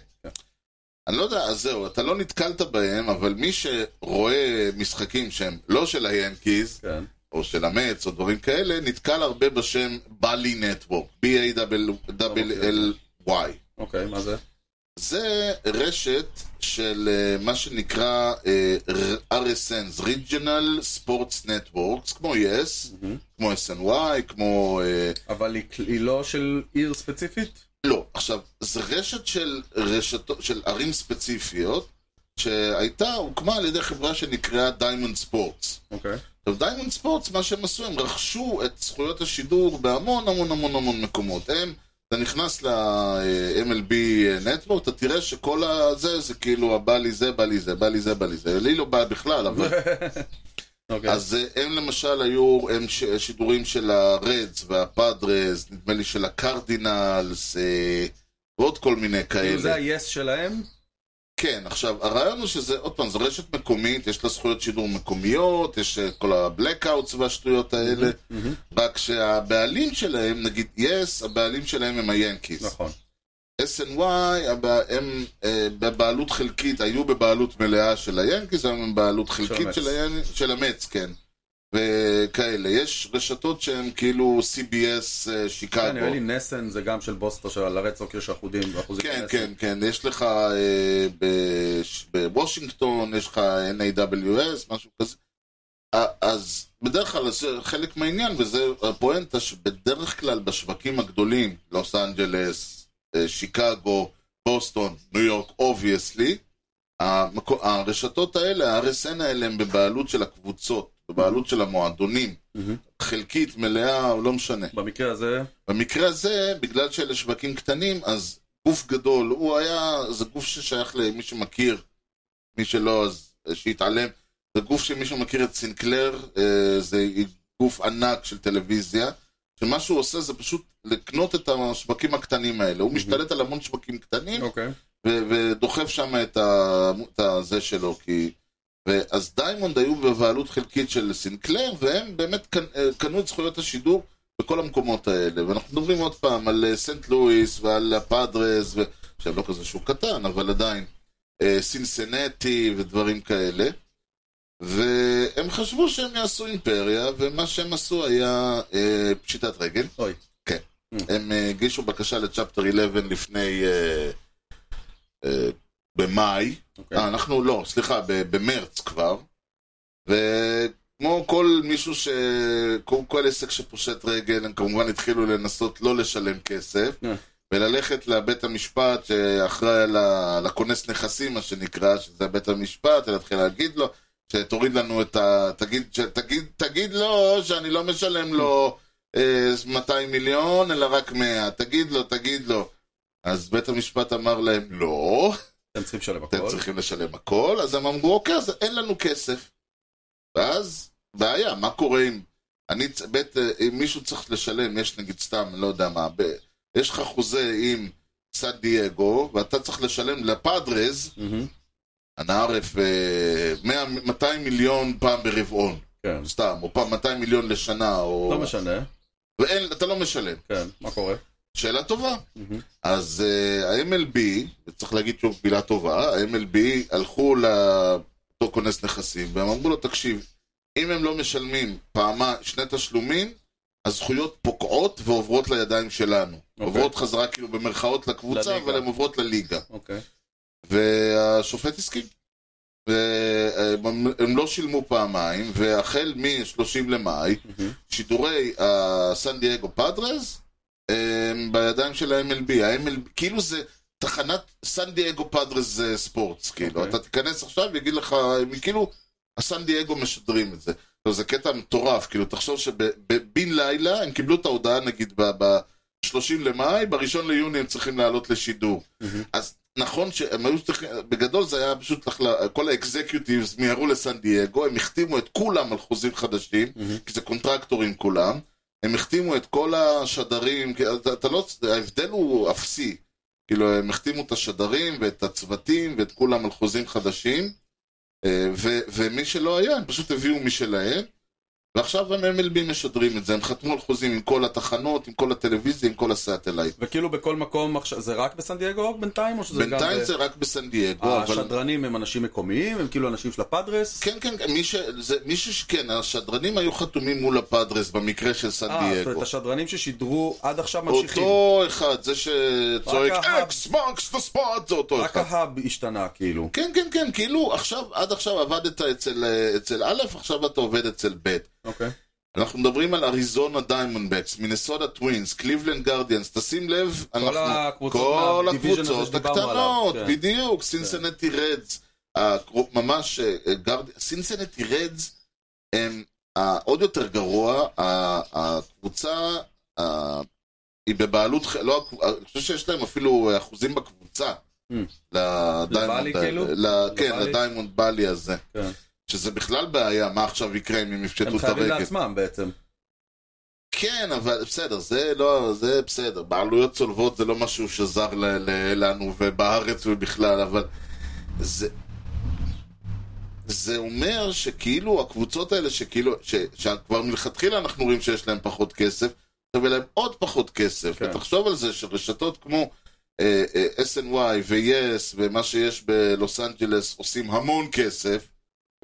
S1: אני לא יודע, אז זהו, אתה לא נתקלת בהם, אבל מי שרואה משחקים שהם לא של היאנקיז,
S3: כן.
S1: או של המץ, או דברים כאלה, נתקל הרבה בשם בלי נטוורק, B-A-L-L-Y.
S3: אוקיי, מה זה?
S1: זה רשת של אה, מה שנקרא אה, RSNs, Regional Sports Networks, כמו YES,
S3: מהמם.
S1: כמו SNY, כמו... אה,
S3: אבל היא היא לא של עיר ספציפית?
S1: לא, עכשיו, זה רשת של, רשתו, של ערים ספציפיות, שהייתה, הוקמה על ידי חברה שנקראה דיימונד ספורטס.
S3: אוקיי.
S1: עכשיו, דיימונד ספורטס, מה שהם עשו, הם רכשו את זכויות השידור בהמון המון המון המון מקומות. הם, אתה נכנס ל-MLB נטוורק, אתה תראה שכל הזה, זה כאילו, הבא לי זה, בא לי זה, בא לי זה, בא לי זה. לי לא בא בכלל, אבל...
S3: אוקיי.
S1: אז אה, הם למשל היו, הם ש- שידורים של הרדס והפאדרס, נדמה לי של הקרדינלס, אה, ועוד כל מיני
S3: כאילו זה
S1: כאלה.
S3: היס שלהם?
S1: כן, עכשיו, הרעיון הוא שזה, עוד פעם, זו רשת מקומית, יש לה זכויות שידור מקומיות, יש אה, כל הבלקאוטס והשטויות האלה,
S3: מהמם.
S1: רק שהבעלים שלהם, נגיד יס, הבעלים שלהם הם היאנקיס.
S3: נכון.
S1: SNY, הבע- הם אה, בבעלות חלקית, היו בבעלות מלאה של היאנקיז, היום הם בבעלות חלקית
S3: המץ.
S1: של, היאנ... של המץ, כן. וכאלה. יש רשתות שהן כאילו CBS אה,
S3: כן, נראה
S1: שיקגו.
S3: לי נסן זה גם של בוסטו, של הרדסוק יש אחוזים. אחוזים
S1: כן,
S3: נסן.
S1: כן, כן. יש לך אה, בש- בוושינגטון, יש לך NAWS, משהו כזה. אה, אז בדרך כלל זה חלק מהעניין, וזה הפואנטה שבדרך כלל בשווקים הגדולים, לוס אנג'לס, אה, שיקגו, בוסטון, ניו יורק, אובייסלי, הרשתות האלה, ה-RSN האלה הם בבעלות של הקבוצות, בבעלות של המועדונים,
S3: מהמם.
S1: חלקית, מלאה, או לא משנה.
S3: במקרה הזה,
S1: במקרה הזה, בגלל שאלה שווקים קטנים, אז גוף גדול, הוא היה, זה גוף ששייך למי שמכיר, מי שלא, אז אה, שיתעלם. זה גוף שמי שמכיר את סינקלר, אה, זה גוף ענק של טלוויזיה, שמה שהוא עושה זה פשוט לקנות את השווקים הקטנים האלה. הוא משתלט על המון שווקים קטנים,
S3: אוקיי.
S1: ו- ודוחף שם את, ה- את הזה שלו, כי... ו- אז דיימונד היו בבעלות חלקית של סינקלר, והם באמת קנ- אה, קנו את זכויות השידור בכל המקומות האלה. ואנחנו מדברים עוד פעם על אה, סנט לואיס ועל הפאדרס, ו... עכשיו לא כזה שהוא קטן, אבל עדיין, אה, סינסנטי ודברים כאלה. והם חשבו שהם יעשו אימפריה, ומה שהם עשו היה אה, פשיטת רגל. כן.
S3: אוי.
S1: הם אה, הגישו בקשה לצ'פטר 11 לפני... אה, אה, במאי,
S3: אוקיי.
S1: אה, אנחנו לא, סליחה, ב- במרץ כבר, וכמו כל מישהו ש... כמו כל עסק שפושט רגל, הם כמובן התחילו לנסות לא לשלם כסף,
S3: אה.
S1: וללכת לבית המשפט שאחראי על ה- לכונס נכסים, מה שנקרא, שזה בית המשפט, ולהתחיל להגיד לו, שתוריד לנו את ה... תגיד, ש... תגיד, תגיד לו שאני לא משלם לו אה, 200 מיליון, אלא רק 100. תגיד לו, תגיד לו. אז בית המשפט אמר להם, לא,
S3: אתם צריכים לשלם הכל.
S1: אתם צריכים לשלם הכל, אז הם אמרו, אוקיי, אז אין לנו כסף. ואז, בעיה, מה קורה אם... אני, צ- בית, אה, אם מישהו צריך לשלם, יש נגיד סתם, לא יודע מה, ב, יש לך חוזה עם סן דייגו, ואתה צריך לשלם לפאדרז,
S3: מהמם.
S1: אנא ערף, אה, 100 200 מיליון פעם ברבעון,
S3: כן.
S1: סתם, או פעם 200 מיליון לשנה, או...
S3: לא משנה.
S1: ואין, אתה לא משלם.
S3: כן. מה קורה?
S1: שאלה טובה.
S3: מהמם.
S1: אז uh, ה-MLB, וצריך להגיד שוב מילה טובה, ה-MLB הלכו לאותו כונס נכסים, והם אמרו לו, תקשיב, אם הם לא משלמים פעמה, שני תשלומים, הזכויות פוקעות ועוברות לידיים שלנו. Okay.
S3: אוקיי.
S1: עוברות חזרה כאילו במרכאות לקבוצה,
S3: לליגה.
S1: אבל הן עוברות לליגה.
S3: אוקיי.
S1: והשופט הסכים. והם הם לא שילמו פעמיים, והחל מ-30 למאי,
S3: מהמם.
S1: שידורי הסן דייגו פאדרס הם בידיים של ה-MLB. ה-MLB, כאילו זה תחנת סן דייגו פאדרס זה ספורטס, כאילו.
S3: אוקיי.
S1: אתה תיכנס עכשיו ויגיד לך, הם כאילו, הסן דייגו משדרים את זה. לא, זה קטע מטורף, כאילו, תחשוב שבן לילה הם קיבלו את ההודעה, נגיד, ב- ב- 30 למאי, בראשון ליוני הם צריכים לעלות לשידור.
S3: מהמם.
S1: אז נכון שהם היו צריכים, בגדול זה היה פשוט, החלה- כל האקזקיוטיבס מיהרו לסן דייגו, הם החתימו את כולם על חוזים חדשים,
S3: מהמם.
S1: כי זה קונטרקטורים כולם, הם החתימו את כל השדרים, כי אתה אתה לא, ההבדל הוא אפסי. כאילו, הם החתימו את השדרים ואת הצוותים ואת כולם על חוזים חדשים, אה, ו, ומי שלא היה, הם פשוט הביאו משלהם, ועכשיו הם MLB משדרים את זה, הם חתמו על חוזים עם כל התחנות, עם כל הטלוויזיה, עם כל הסאטלייט.
S3: וכאילו בכל מקום עכשיו, זה רק בסן דייגו בינתיים, או שזה גם...
S1: בינתיים
S3: ב-
S1: זה רק בסן דייגו, אבל...
S3: השדרנים הם אנשים מקומיים, הם כאילו אנשים של הפאדרס?
S1: כן, כן, מי ש... זה, מי שכן, השדרנים היו חתומים מול הפאדרס במקרה של סן
S3: אה, זאת
S1: דייגו.
S3: אומרת, השדרנים ששידרו עד עכשיו ממשיכים.
S1: אותו אחד, זה שצועק
S3: רק ההאב.
S1: אקס מרקס דה ספוט, זה אותו
S3: רק
S1: אחד.
S3: ההאב השתנה, כאילו.
S1: כן, כן, כן, כאילו עכשיו, עד עכשיו עבדת אצל, אה, אצל א', עכשיו אתה עובד אצל ב'.
S3: אוקיי.
S1: אנחנו מדברים על אריזונה דיימונדבקס, מינסודה טווינס, קליבלנד גרדיאנס, תשים לב, אנחנו...
S3: הקבוצות
S1: כל
S3: מהדיוויז'ן הזה
S1: הקבוצות
S3: שדיברנו
S1: הקטנות,
S3: עליו, כן.
S1: בדיוק, סינסנטי רדס, הקרו- ממש, אה, אה, גרד- סינסנטי רדס הם העוד יותר גרוע, ה- הקבוצה ה- היא בבעלות, ח- לא, הקב- אני חושב שיש להם אפילו אחוזים בקבוצה.
S3: Mm. לבעלי
S1: לדיימונד,
S3: כאילו?
S1: ל- כן,
S3: לבעלי?
S1: לדיימונד בלי הזה.
S3: כן.
S1: שזה בכלל בעיה, מה עכשיו יקרה אם הם יפשטו
S3: הם
S1: את
S3: חייבים
S1: הרגל.
S3: לעצמם בעצם.
S1: כן, אבל בסדר, זה לא, זה בסדר. בעלויות צולבות זה לא משהו שזר ל- ל- לנו ובארץ ובכלל, אבל זה... זה אומר שכאילו הקבוצות האלה שכאילו, ש, שכבר מלכתחילה אנחנו רואים שיש להם פחות כסף, עכשיו יהיה להם עוד פחות כסף.
S3: כן.
S1: כן. ותחשוב על זה שרשתות כמו אה, אה, SNY ו-yes ומה שיש בלוס אנג'לס עושים המון כסף,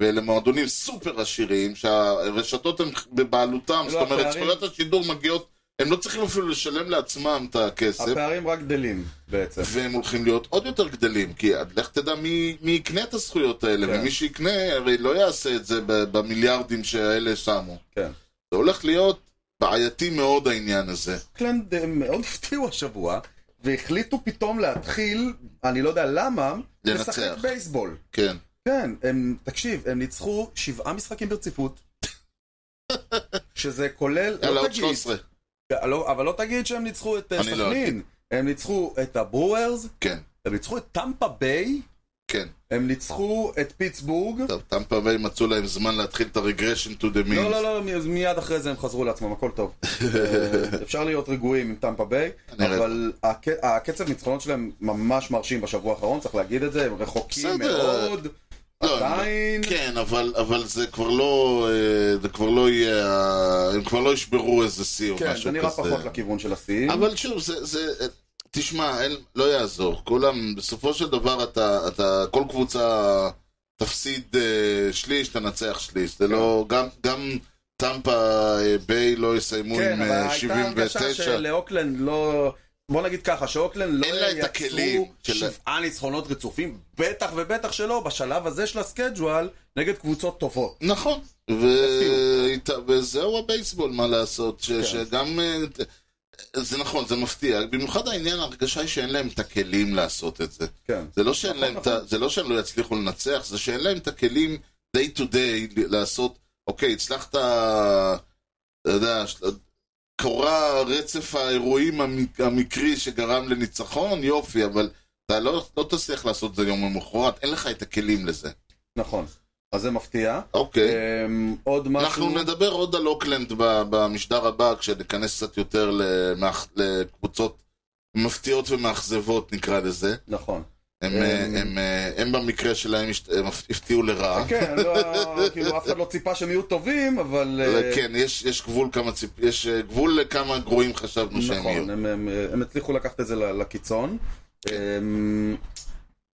S1: ואלה מועדונים סופר עשירים, שהרשתות הן בבעלותם,
S3: לא,
S1: זאת אומרת,
S3: הפערים-
S1: זכויות השידור מגיעות, הם לא צריכים אפילו לשלם לעצמם את הכסף,
S3: הפערים רק גדלים, בעצם.
S1: והם הולכים להיות עוד יותר גדלים, כי עד לך תדע מי, מי יקנה את הזכויות האלה,
S3: כן.
S1: ומי שיקנה הרי לא יעשה את זה ב- במיליארדים שהאלה שמו.
S3: כן.
S1: זה הולך להיות בעייתי מאוד העניין הזה.
S3: אוקלנד אה, מאוד הפתיעו השבוע, והחליטו פתאום להתחיל, אני לא יודע למה,
S1: לנצח.
S3: לשחק בייסבול.
S1: כן.
S3: כן, הם, תקשיב, הם ניצחו שבעה משחקים ברציפות. שזה כולל,
S1: יאללה,
S3: לא
S1: עוד
S3: תגיד,
S1: 13.
S3: לא, אבל לא תגיד שהם ניצחו את אה,
S1: אני לא
S3: סכנין, הם ניצחו את הברוארס,
S1: כן,
S3: הם ניצחו את טמפה ביי,
S1: כן.
S3: הם ניצחו את פיטסבורג,
S1: טוב, טמפה ביי מצאו להם זמן להתחיל את הרגרשן to the means.
S3: לא, לא, לא, מ- מיד אחרי זה הם חזרו לעצמם, הכל טוב. אה, אפשר להיות רגועים עם טמפה ביי,
S1: נראה.
S3: אבל הק- הקצב ניצחונות שלהם ממש מרשים בשבוע האחרון, צריך להגיד את זה, הם רחוקים
S1: בסדר.
S3: מאוד,
S1: לא, הם-
S3: עדיין,
S1: כן, אבל, אבל זה כבר לא, אה, זה כבר לא יהיה, ה- הם כבר לא ישברו איזה שיא או משהו
S3: כן,
S1: כזה.
S3: זה נראה פחות לכיוון של השיאים.
S1: אבל שוב, זה, זה, אה, תשמע, אין, לא יעזור. כולם, בסופו של דבר אתה, אתה כל קבוצה תפסיד אה, שליש, תנצח שליש. זה לא,
S3: כן.
S1: גם, גם טמפה אה, ביי לא יסיימו
S3: כן,
S1: עם
S3: אבל
S1: אה,
S3: הייתה
S1: 79.
S3: הרגשה שלאוקלנד לא... בוא נגיד ככה, שאוקלנד לא
S1: אין לה את הכלים
S3: יצרו
S1: של-
S3: שבעה ניצחונות רצופים, בטח ובטח שלא, בשלב הזה של הסקייג'ואל, נגד קבוצות טובות.
S1: נכון, ו... איתה- וזהו הבייסבול, מה לעשות, ש...
S3: כן.
S1: שגם... אה, זה נכון, זה מפתיע, במיוחד העניין, ההרגשה היא שאין להם את הכלים לעשות את זה.
S3: כן.
S1: זה לא שאין
S3: נכון,
S1: להם את ה...
S3: נכון.
S1: זה לא שהם לא יצליחו לנצח, זה שאין להם את הכלים day to day לעשות, אוקיי, הצלחת, אתה יודע, של- קרה רצף האירועים המ- המקרי שגרם לניצחון, יופי, אבל אתה לא, לא תצליח לעשות את זה יום למחרת, אין לך את הכלים לזה.
S3: נכון. אז זה מפתיע.
S1: אוקיי.
S3: אמ, עוד משהו...
S1: אנחנו נדבר עוד על אוקלנד ב- במשדר הבא, כשניכנס קצת יותר למאח- לקבוצות מפתיעות ומאכזבות, נקרא לזה.
S3: נכון.
S1: הם,
S3: אמ,
S1: אה, הם, אה, הם במקרה שלהם השת- הם הפתיעו לרעה.
S3: כן, לא- כאילו אף אחד לא ציפה שהם יהיו טובים, אבל... אה,
S1: כן, יש, יש גבול כמה ציפ... יש אה, גבול לכמה גרועים חשבנו שהם יהיו. כן.
S3: נכון, הם- הם- הם הצליחו לקחת את זה ל- לקיצון. אמ,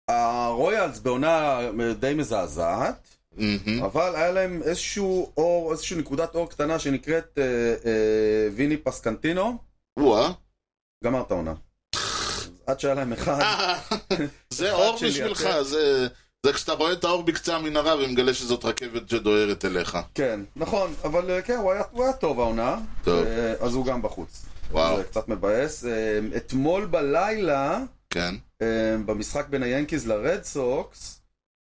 S3: הרויאלס בעונה אה, די מזעזעת.
S1: מהמם.
S3: אבל היה להם איזשהו אור, איזושהי נקודת אור קטנה שנקראת אה, אה, ויני פסקנטינו,
S1: וואה.
S3: גמר את העונה. עד שהיה להם אחד,
S1: אה, זה אור
S3: שלי, כן.
S1: בשבילך,
S3: יפה.
S1: זה... זה כשאתה רואה את האור בקצה המנהרה ומגלה שזאת רכבת שדוהרת אליך.
S3: כן, נכון, אבל אה, כן, הוא היה, הוא היה טוב העונה,
S1: טוב.
S3: אה, אז הוא גם בחוץ.
S1: וואו,
S3: זה קצת מבאס. אה, אתמול בלילה,
S1: כן.
S3: אה, במשחק בין היאנקיז לרד סוקס,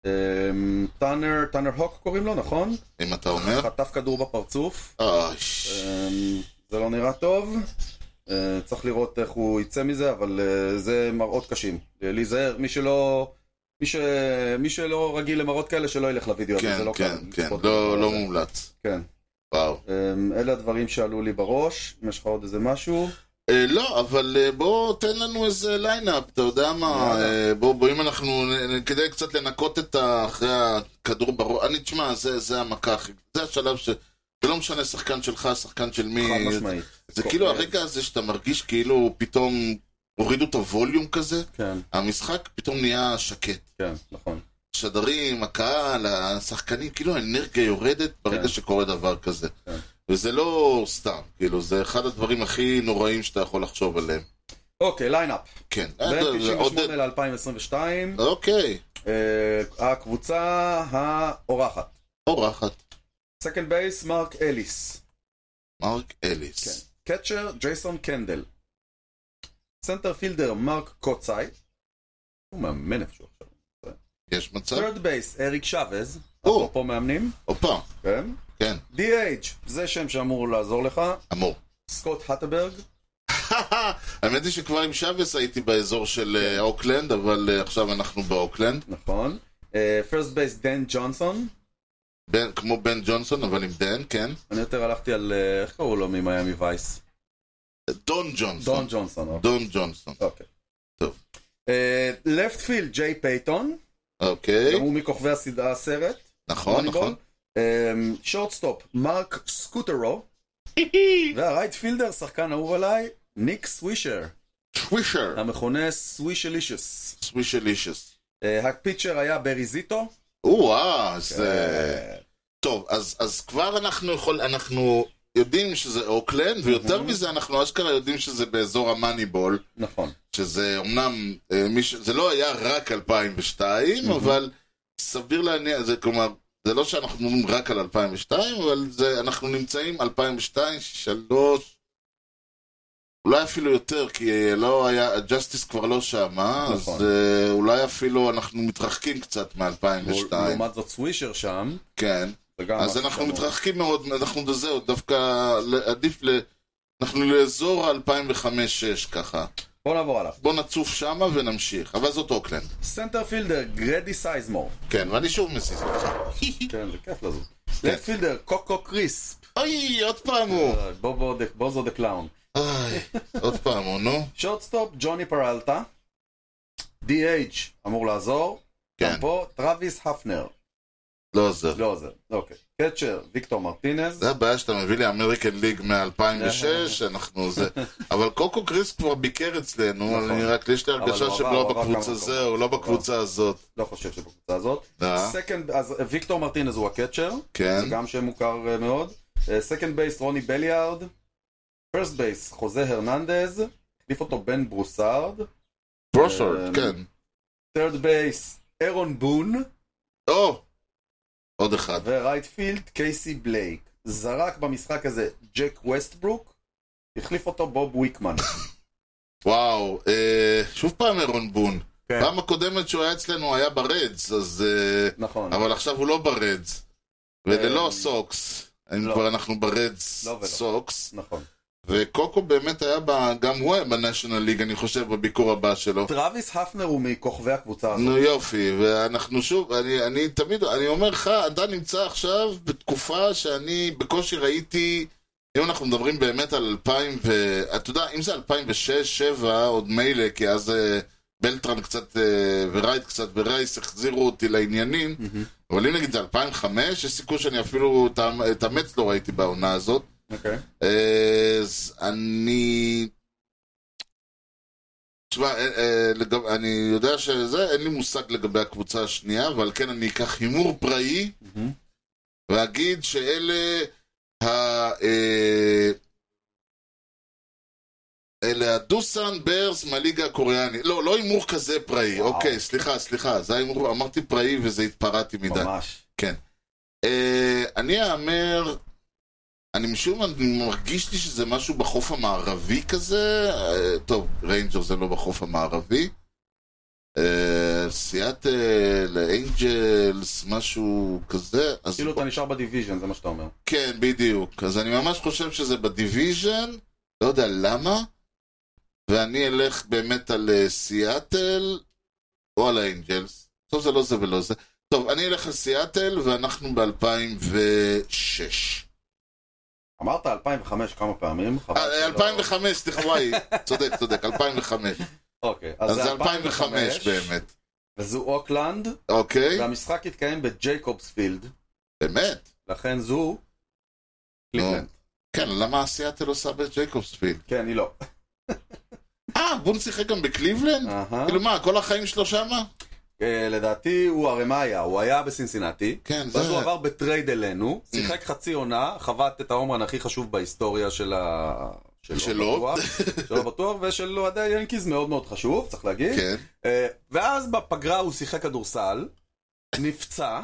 S3: אה, טאנר, טאנר הוק קוראים לו, נכון?
S1: אם אתה אומר.
S3: חטף כדור בפרצוף,
S1: אוי,
S3: אה, זה לא נראה טוב. אה, צריך לראות איך הוא יצא מזה, אבל אה, זה מראות קשים. אה, להיזהר, מי שלא... מי, ש... מי שלא רגיל למראות כאלה, שלא ילך לוידאו הזה,
S1: כן,
S3: זה לא
S1: כן,
S3: קל.
S1: כן,
S3: לצפות
S1: לא
S3: בדבר
S1: לא
S3: הזה.
S1: מומלץ.
S3: כן.
S1: וואו.
S3: אה, אלה הדברים שעלו לי בראש, אם יש לך עוד איזה משהו.
S1: אה, לא, אבל אה, בוא תן לנו איזה ליינאפ, אתה יודע מה,
S3: יאללה.
S1: אה, בוא, בוא, אם אנחנו, נ- נ- כדי קצת לנקות את ה... אחרי הכדור בראש, אני, תשמע, זה, זה המכה הכי, זה השלב ש... ולא משנה שחקן שלך, שחקן של מי,
S3: חד משמעית. אה.
S1: זה
S3: כל-
S1: כאילו הרגע הזה שאתה מרגיש כאילו פתאום הורידו את הווליום כזה,
S3: כן,
S1: המשחק פתאום נהיה שקט.
S3: כן, נכון.
S1: השדרים, הקהל, השחקנים, כאילו האנרגיה יורדת ברגע
S3: כן.
S1: שקורה דבר כזה.
S3: כן.
S1: וזה לא סתם, כאילו, זה אחד הדברים הכי נוראים שאתה יכול לחשוב עליהם.
S3: אוקיי, ליינאפ.
S1: כן. אה,
S3: בין
S1: זה- עוד-
S3: 98 ל-2022,
S1: אוקיי,
S3: אה, הקבוצה האורחת.
S1: אורחת,
S3: סקנד בייס, מרק אליס.
S1: מרק
S3: כן.
S1: אליס.
S3: קצ'ר, ג'ייסון קנדל. סנטר פילדר, מרק קוצאי. הוא מאמן איפשהו עכשיו.
S1: יש מצב?
S3: third base, אריק שווז.
S1: או.
S3: אפרופו מאמנים.
S1: הופה,
S3: כן.
S1: כן,
S3: DH, זה שם שאמור לעזור לך.
S1: אמור.
S3: סקוט הטברג.
S1: האמת היא שכבר עם שווס הייתי באזור של אה, אוקלנד, אבל אה, עכשיו אנחנו באוקלנד.
S3: נכון. אה, first base, דן ג'ונסון.
S1: בן- כמו בן ג'ונסון, אבל עם דן, כן.
S3: אני יותר הלכתי על, אה, איך קראו לו ממיאמי וייס?
S1: דון
S3: דון
S1: ג'ונסון.
S3: ג'ונסון. אוקיי.
S1: דון ג'ונסון,
S3: אוקיי.
S1: טוב.
S3: לפט פילד, ג'יי פייתון.
S1: אוקיי.
S3: גם הוא מכוכבי הסד- הסרט.
S1: נכון,
S3: מוניבול.
S1: נכון.
S3: אמ, שורטסטופ, מרק סקוטרו. והרייט פילדר, שחקן אהוב עליי, ניק סווישר,
S1: שווישר.
S3: המכונה סווישלישוס.
S1: סווישלישס.
S3: אה, הפיצ'ר היה ברי זיטו.
S1: או-אה, זה...
S3: אה,
S1: אה, טוב, אז, אז כבר אנחנו יכול... אנחנו יודעים שזה אוקלנד,
S3: Mhm.
S1: ויותר מזה אנחנו אשכרה יודעים שזה באזור המאניבול,
S3: נכון.
S1: שזה אמנם... אה, מיש... זה לא היה רק 2002, אבל סביר להניח... זה כלומר... זה לא שאנחנו מדברים רק על 2002, אבל זה, אנחנו נמצאים 2002, 2003, אולי אפילו יותר, כי אה, לא היה, ג'סטיס כבר לא שמה,
S3: נכון.
S1: אז אה, אולי אפילו אנחנו מתרחקים קצת מ-2002.
S3: לעומת זאת סווישר שם.
S1: כן.
S3: זה גם
S1: אז
S3: משהו
S1: אנחנו
S3: שאמור-
S1: מתרחקים מאוד, אנחנו זהו, דווקא ל- עדיף ל... אנחנו לאזור ה-2005-2006 ככה.
S3: בוא נעבור הלאה.
S1: בוא נצוף שמה ונמשיך. אבל זאת אוקלנד.
S3: סנטר פילדר, גרדי סייזמור.
S1: כן, ואני שוב מזיז אותך.
S3: כן, זה כיף לזוז. לפט פילדר, קוקו קריספ.
S1: אוי, עוד פעם הוא.
S3: אה, בובו דה- בוזו דה קלאון.
S1: אוי, עוד פעם הוא, נו.
S3: שורטסטופ, ג'וני פרלטה. DH אמור לעזור.
S1: כן,
S3: גם פה, טרוויס הפנר.
S1: לא עוזר.
S3: לא עוזר, אוקיי. קצ'ר, ויקטור מרטינז.
S1: זה הבעיה שאתה מביא לי אמריקן ליג מ-2006, אנחנו זה. אבל קוקו קריס כבר ביקר אצלנו,
S3: נכון.
S1: אני רק, יש לי
S3: אבל
S1: הרגשה
S3: הוא
S1: שהם
S3: עבר,
S1: לא
S3: הוא עבר
S1: בקבוצה
S3: כמה
S1: זה,
S3: מקומות.
S1: הוא לא בקבוצה הזאת.
S3: לא חושב שבקבוצה הזאת.
S1: אה,
S3: סקנד, אז ויקטור מרטינז הוא הקצ'ר.
S1: כן,
S3: זה גם שם מוכר אה, מאוד. סקנד בייס, רוני בליארד. פרסט בייס, חוזה הרננדז. החליף אותו בן ברוסארד. אה,
S1: פרושרד, כן.
S3: third base, אירון בון,
S1: או! עוד אחד.
S3: ורייט פילד, קייסי בלייק. זרק במשחק הזה ג'ק ווסטברוק, החליף אותו בוב וויקמן.
S1: וואו, אה, שוב פעם אירון בון.
S3: כן.
S1: פעם הקודמת שהוא היה אצלנו הוא היה ברדס, אז... אה,
S3: נכון.
S1: אבל עכשיו הוא לא ברדס.
S3: אה,
S1: וללא סוקס. אם
S3: לא.
S1: כבר אנחנו ברדס
S3: לא ולא.
S1: סוקס.
S3: נכון.
S1: וקוקו באמת היה ב- גם הוא היה בניישונל ליג, אני חושב, בביקור הבא שלו.
S3: טרוויס הפנר הוא מכוכבי הקבוצה הזאת.
S1: נו יופי, ואנחנו שוב, אני, אני תמיד, אני אומר לך, אתה נמצא עכשיו בתקופה שאני בקושי ראיתי, אם אנחנו מדברים באמת על 2000 ו... אתה יודע, אם זה 2006-2007, עוד מילא, כי אז אה, בלטרן קצת אה, ורייט קצת ורייס החזירו אותי לעניינים,
S3: מהמם.
S1: אבל אם נגיד זה 2005, יש סיכוי שאני אפילו את ה- את המץ לא ראיתי בעונה הזאת. אה,
S3: אוקיי.
S1: Mm-hmm. אז אני... תשמע, אה, אה, לגב- אני יודע שזה, אין לי מושג לגבי הקבוצה השנייה, אבל כן אני אקח הימור פראי
S3: מהמם.
S1: ואגיד שאלה ה... אה, אלה הדוסן ברס מהליגה הקוריאנית. לא, לא הימור כזה פראי.
S3: וואו.
S1: אוקיי, סליחה, סליחה. זה ההימור, אמרתי פראי וזה התפרעתי מדי.
S3: ממש.
S1: אה, אני אאמר, אני משום מה אני מרגיש לי שזה משהו בחוף המערבי כזה. אה, טוב, ריינג'ר זה לא בחוף המערבי. אה, סיאטל, אינג'לס, משהו כזה. אז
S3: כאילו אתה נשאר בדיוויז'ן, זה מה שאתה אומר.
S1: כן, בדיוק. אז אני ממש חושב שזה בדיוויז'ן, לא יודע למה. ואני אלך באמת על אה, סיאטל או על האנג'לס. טוב, זה לא זה ולא זה. טוב, אני אלך על סיאטל, ואנחנו אה, ב-2006.
S3: אמרת 2005 כמה פעמים,
S1: אה,
S3: חבל שלא-
S1: 2005, סליחה, וואי, צודק, צודק, 2005.
S3: אוקיי,
S1: אז זה 2005 באמת.
S3: וזו אוקלנד,
S1: אוקיי?
S3: והמשחק התקיים בג'ייקובספילד,
S1: באמת.
S3: לכן זו קליבלנד.
S1: כן, למה סיאטל עושה בג'ייקובספילד?
S3: כן, היא לא.
S1: אה, בום שיחק גם בקליבלנד?
S3: אהה.
S1: כאילו מה, כל החיים שלו שמה?
S3: אה, לדעתי הוא הרי מה היה, הוא היה בסינסינטי,
S1: כן, זה... Mm.
S3: ואז הוא עבר בטרייד אלינו, שיחק חצי עונה, חבט את ההומרן הכי חשוב בהיסטוריה של ה...
S1: שלו.
S3: בטוח, שלו בטוח, ושל אוהדי היאנקיז מאוד מאוד חשוב, צריך להגיד.
S1: כן.
S3: אה, ואז בפגרה הוא שיחק כדורסל, נפצע,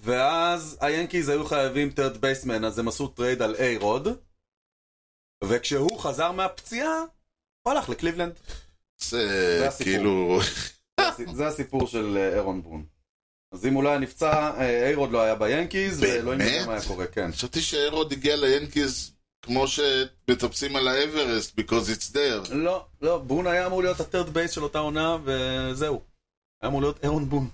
S3: ואז היאנקיז היו חייבים טרד בייסמן, אז הם עשו טרייד על איירוד, וכשהוא חזר מהפציעה, הוא הלך לקליבלנד.
S1: זה
S3: זה הסיפור.
S1: כאילו...
S3: זה הסיפור של אה, אירון ברון. אז אם הוא לא היה נפצע, אה, איירוד לא היה ביאנקיז, ואלוהים יודע
S1: באמת?
S3: מה היה קורה, כן.
S1: חשבתי שהרוד הגיע ליאנקיז כמו שמטפסים על האברסט, because it's there.
S3: לא, לא, בון היה אמור להיות הטרד בייס של אותה עונה, וזהו. היה אמור להיות אירון בון.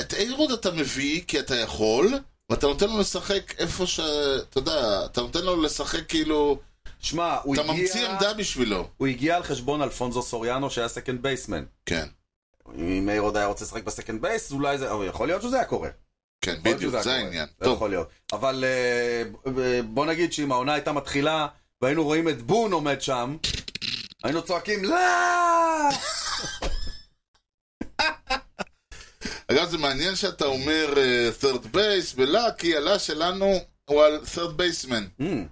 S1: את איירוד אתה מביא כי אתה יכול, ואתה נותן לו לשחק איפה ש... אתה יודע, אתה נותן לו לשחק כאילו...
S3: שמע, הוא
S1: אתה
S3: הגיע...
S1: ממציא עמדה בשבילו.
S3: הוא הגיע על חשבון אלפונזו סוריאנו, שהיה סקנד בייסמן.
S1: כן,
S3: אם מאיר עוד היה רוצה לשחק בסקנד בייס, אולי זה... אבל יכול להיות שזה היה קורה. יכול
S1: כן,
S3: להיות
S1: בדיוק,
S3: שזה
S1: זה
S3: היה קורה.
S1: העניין.
S3: זה נכון.
S1: טוב,
S3: יכול להיות. אבל אה, ב- ב- בוא נגיד שאם העונה הייתה מתחילה, והיינו רואים את בון עומד שם, היינו צועקים לא!
S1: אגב, זה מעניין שאתה אומר אה, third base, ולא, כי הלה שלנו הוא על third baseman,
S3: אמ,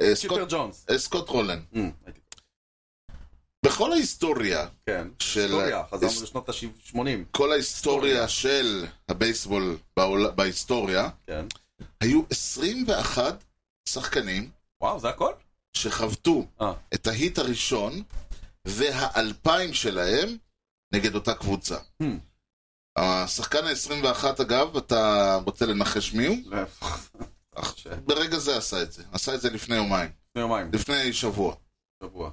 S1: אה,
S3: צ'יפר
S1: סקוט-
S3: ג'ונס.
S1: אה, סקוט רולן.
S3: אמ, הייתי-
S1: בכל ההיסטוריה
S3: כן.
S1: של...
S3: היסטוריה,
S1: היס-
S3: חזרנו לשנות ה-80.
S1: כל ההיסטוריה של הבייסבול בעול... בהיסטוריה,
S3: כן.
S1: היו 21 שחקנים
S3: וואו, זה הכל?
S1: שחבטו
S3: אה.
S1: את ההיט הראשון והאלפיים שלהם נגד אותה קבוצה.
S3: Hmm.
S1: השחקן ה-21 אגב, אתה רוצה לנחש מי הוא?
S3: לא. ש-
S1: ברגע זה עשה את זה, עשה את זה לפני יומיים,
S3: לפני יומיים,
S1: לפני שבוע.
S3: שבוע.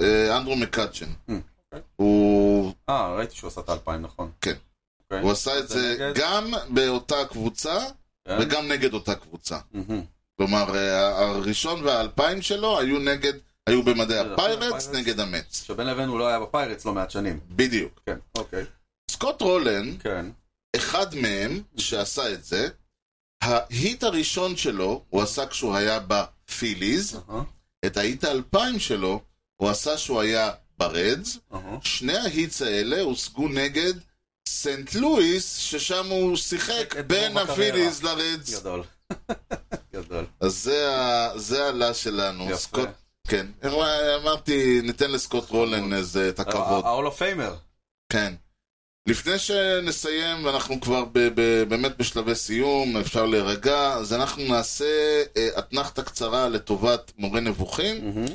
S1: אה, אנדרו מקאצ'ן.
S3: Hmm.
S1: הוא,
S3: אה, ראיתי שהוא עשה את האלפיים, נכון.
S1: כן.
S3: אוקיי.
S1: הוא עשה את זה
S3: נגד?
S1: גם באותה קבוצה
S3: כן.
S1: וגם נגד אותה קבוצה.
S3: מהמם.
S1: כלומר, אה, הראשון והאלפיים שלו היו נגד, היו במדי
S3: בסדר,
S1: הפיירטס
S3: הפיירטס.
S1: נגד המץ.
S3: שבין לבין הוא לא היה בפיירטס לא מעט שנים.
S1: בדיוק.
S3: כן, אוקיי.
S1: סקוט רולן,
S3: כן.
S1: אחד מהם שעשה את זה, ההיט הראשון שלו הוא עשה כשהוא היה בפיליז,
S3: אהה,
S1: את ההיט האלפיים שלו הוא עשה כשהוא היה ברדס,
S3: אהה.
S1: שני ההיטס האלה הושגו נגד סנט לואיס, ששם הוא שיחק
S3: את רוב
S1: בין
S3: הקריירה.
S1: הפיליז לרדס.
S3: גדול. גדול.
S1: אז זה ה- זה הלה שלנו.
S3: יפה.
S1: סקוט כן, אמרתי, ניתן לסקוט רולן איזה, את הכבוד,
S3: ה-all of famer.
S1: כן. לפני שנסיים, ואנחנו כבר ב- ב- באמת בשלבי סיום, אפשר להירגע, אז אנחנו נעשה אה, אתנחתה קצרה לטובת מורה נבוכים,
S3: מהמם,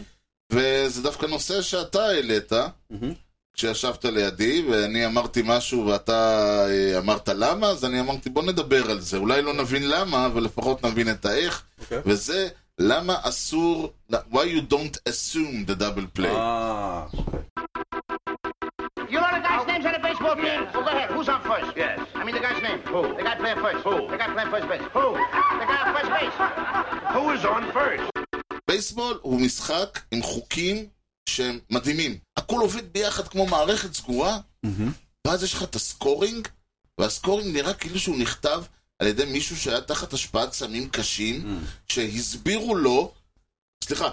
S1: וזה דווקא נושא שאתה העלית,
S3: מהמם.
S1: כשישבת לידי, ואני אמרתי משהו ואתה אה, אמרת למה, אז אני אמרתי בוא נדבר על זה. אולי לא נבין למה, אבל לפחות נבין את האיך,
S3: אוקיי.
S1: וזה למה אסור, why you don't assume the double play.
S3: אה, אוקיי.
S4: You know the guy's names on the baseball team? Well, go ahead. Who's on first? Yes. I mean the guy's name. Who? The guy playing first. Who? The guy playing first base. Who? The guy on first base. Who is on first?
S1: בייסבול הוא משחק עם חוקים שהם מדהימים. הכל עובד ביחד כמו מערכת סגורה, ואז יש לך את הסקורינג, והסקורינג נראה כאילו שהוא נכתב על ידי מישהו שהיה תחת השפעת סמים קשים, שהסבירו לו, סליחה,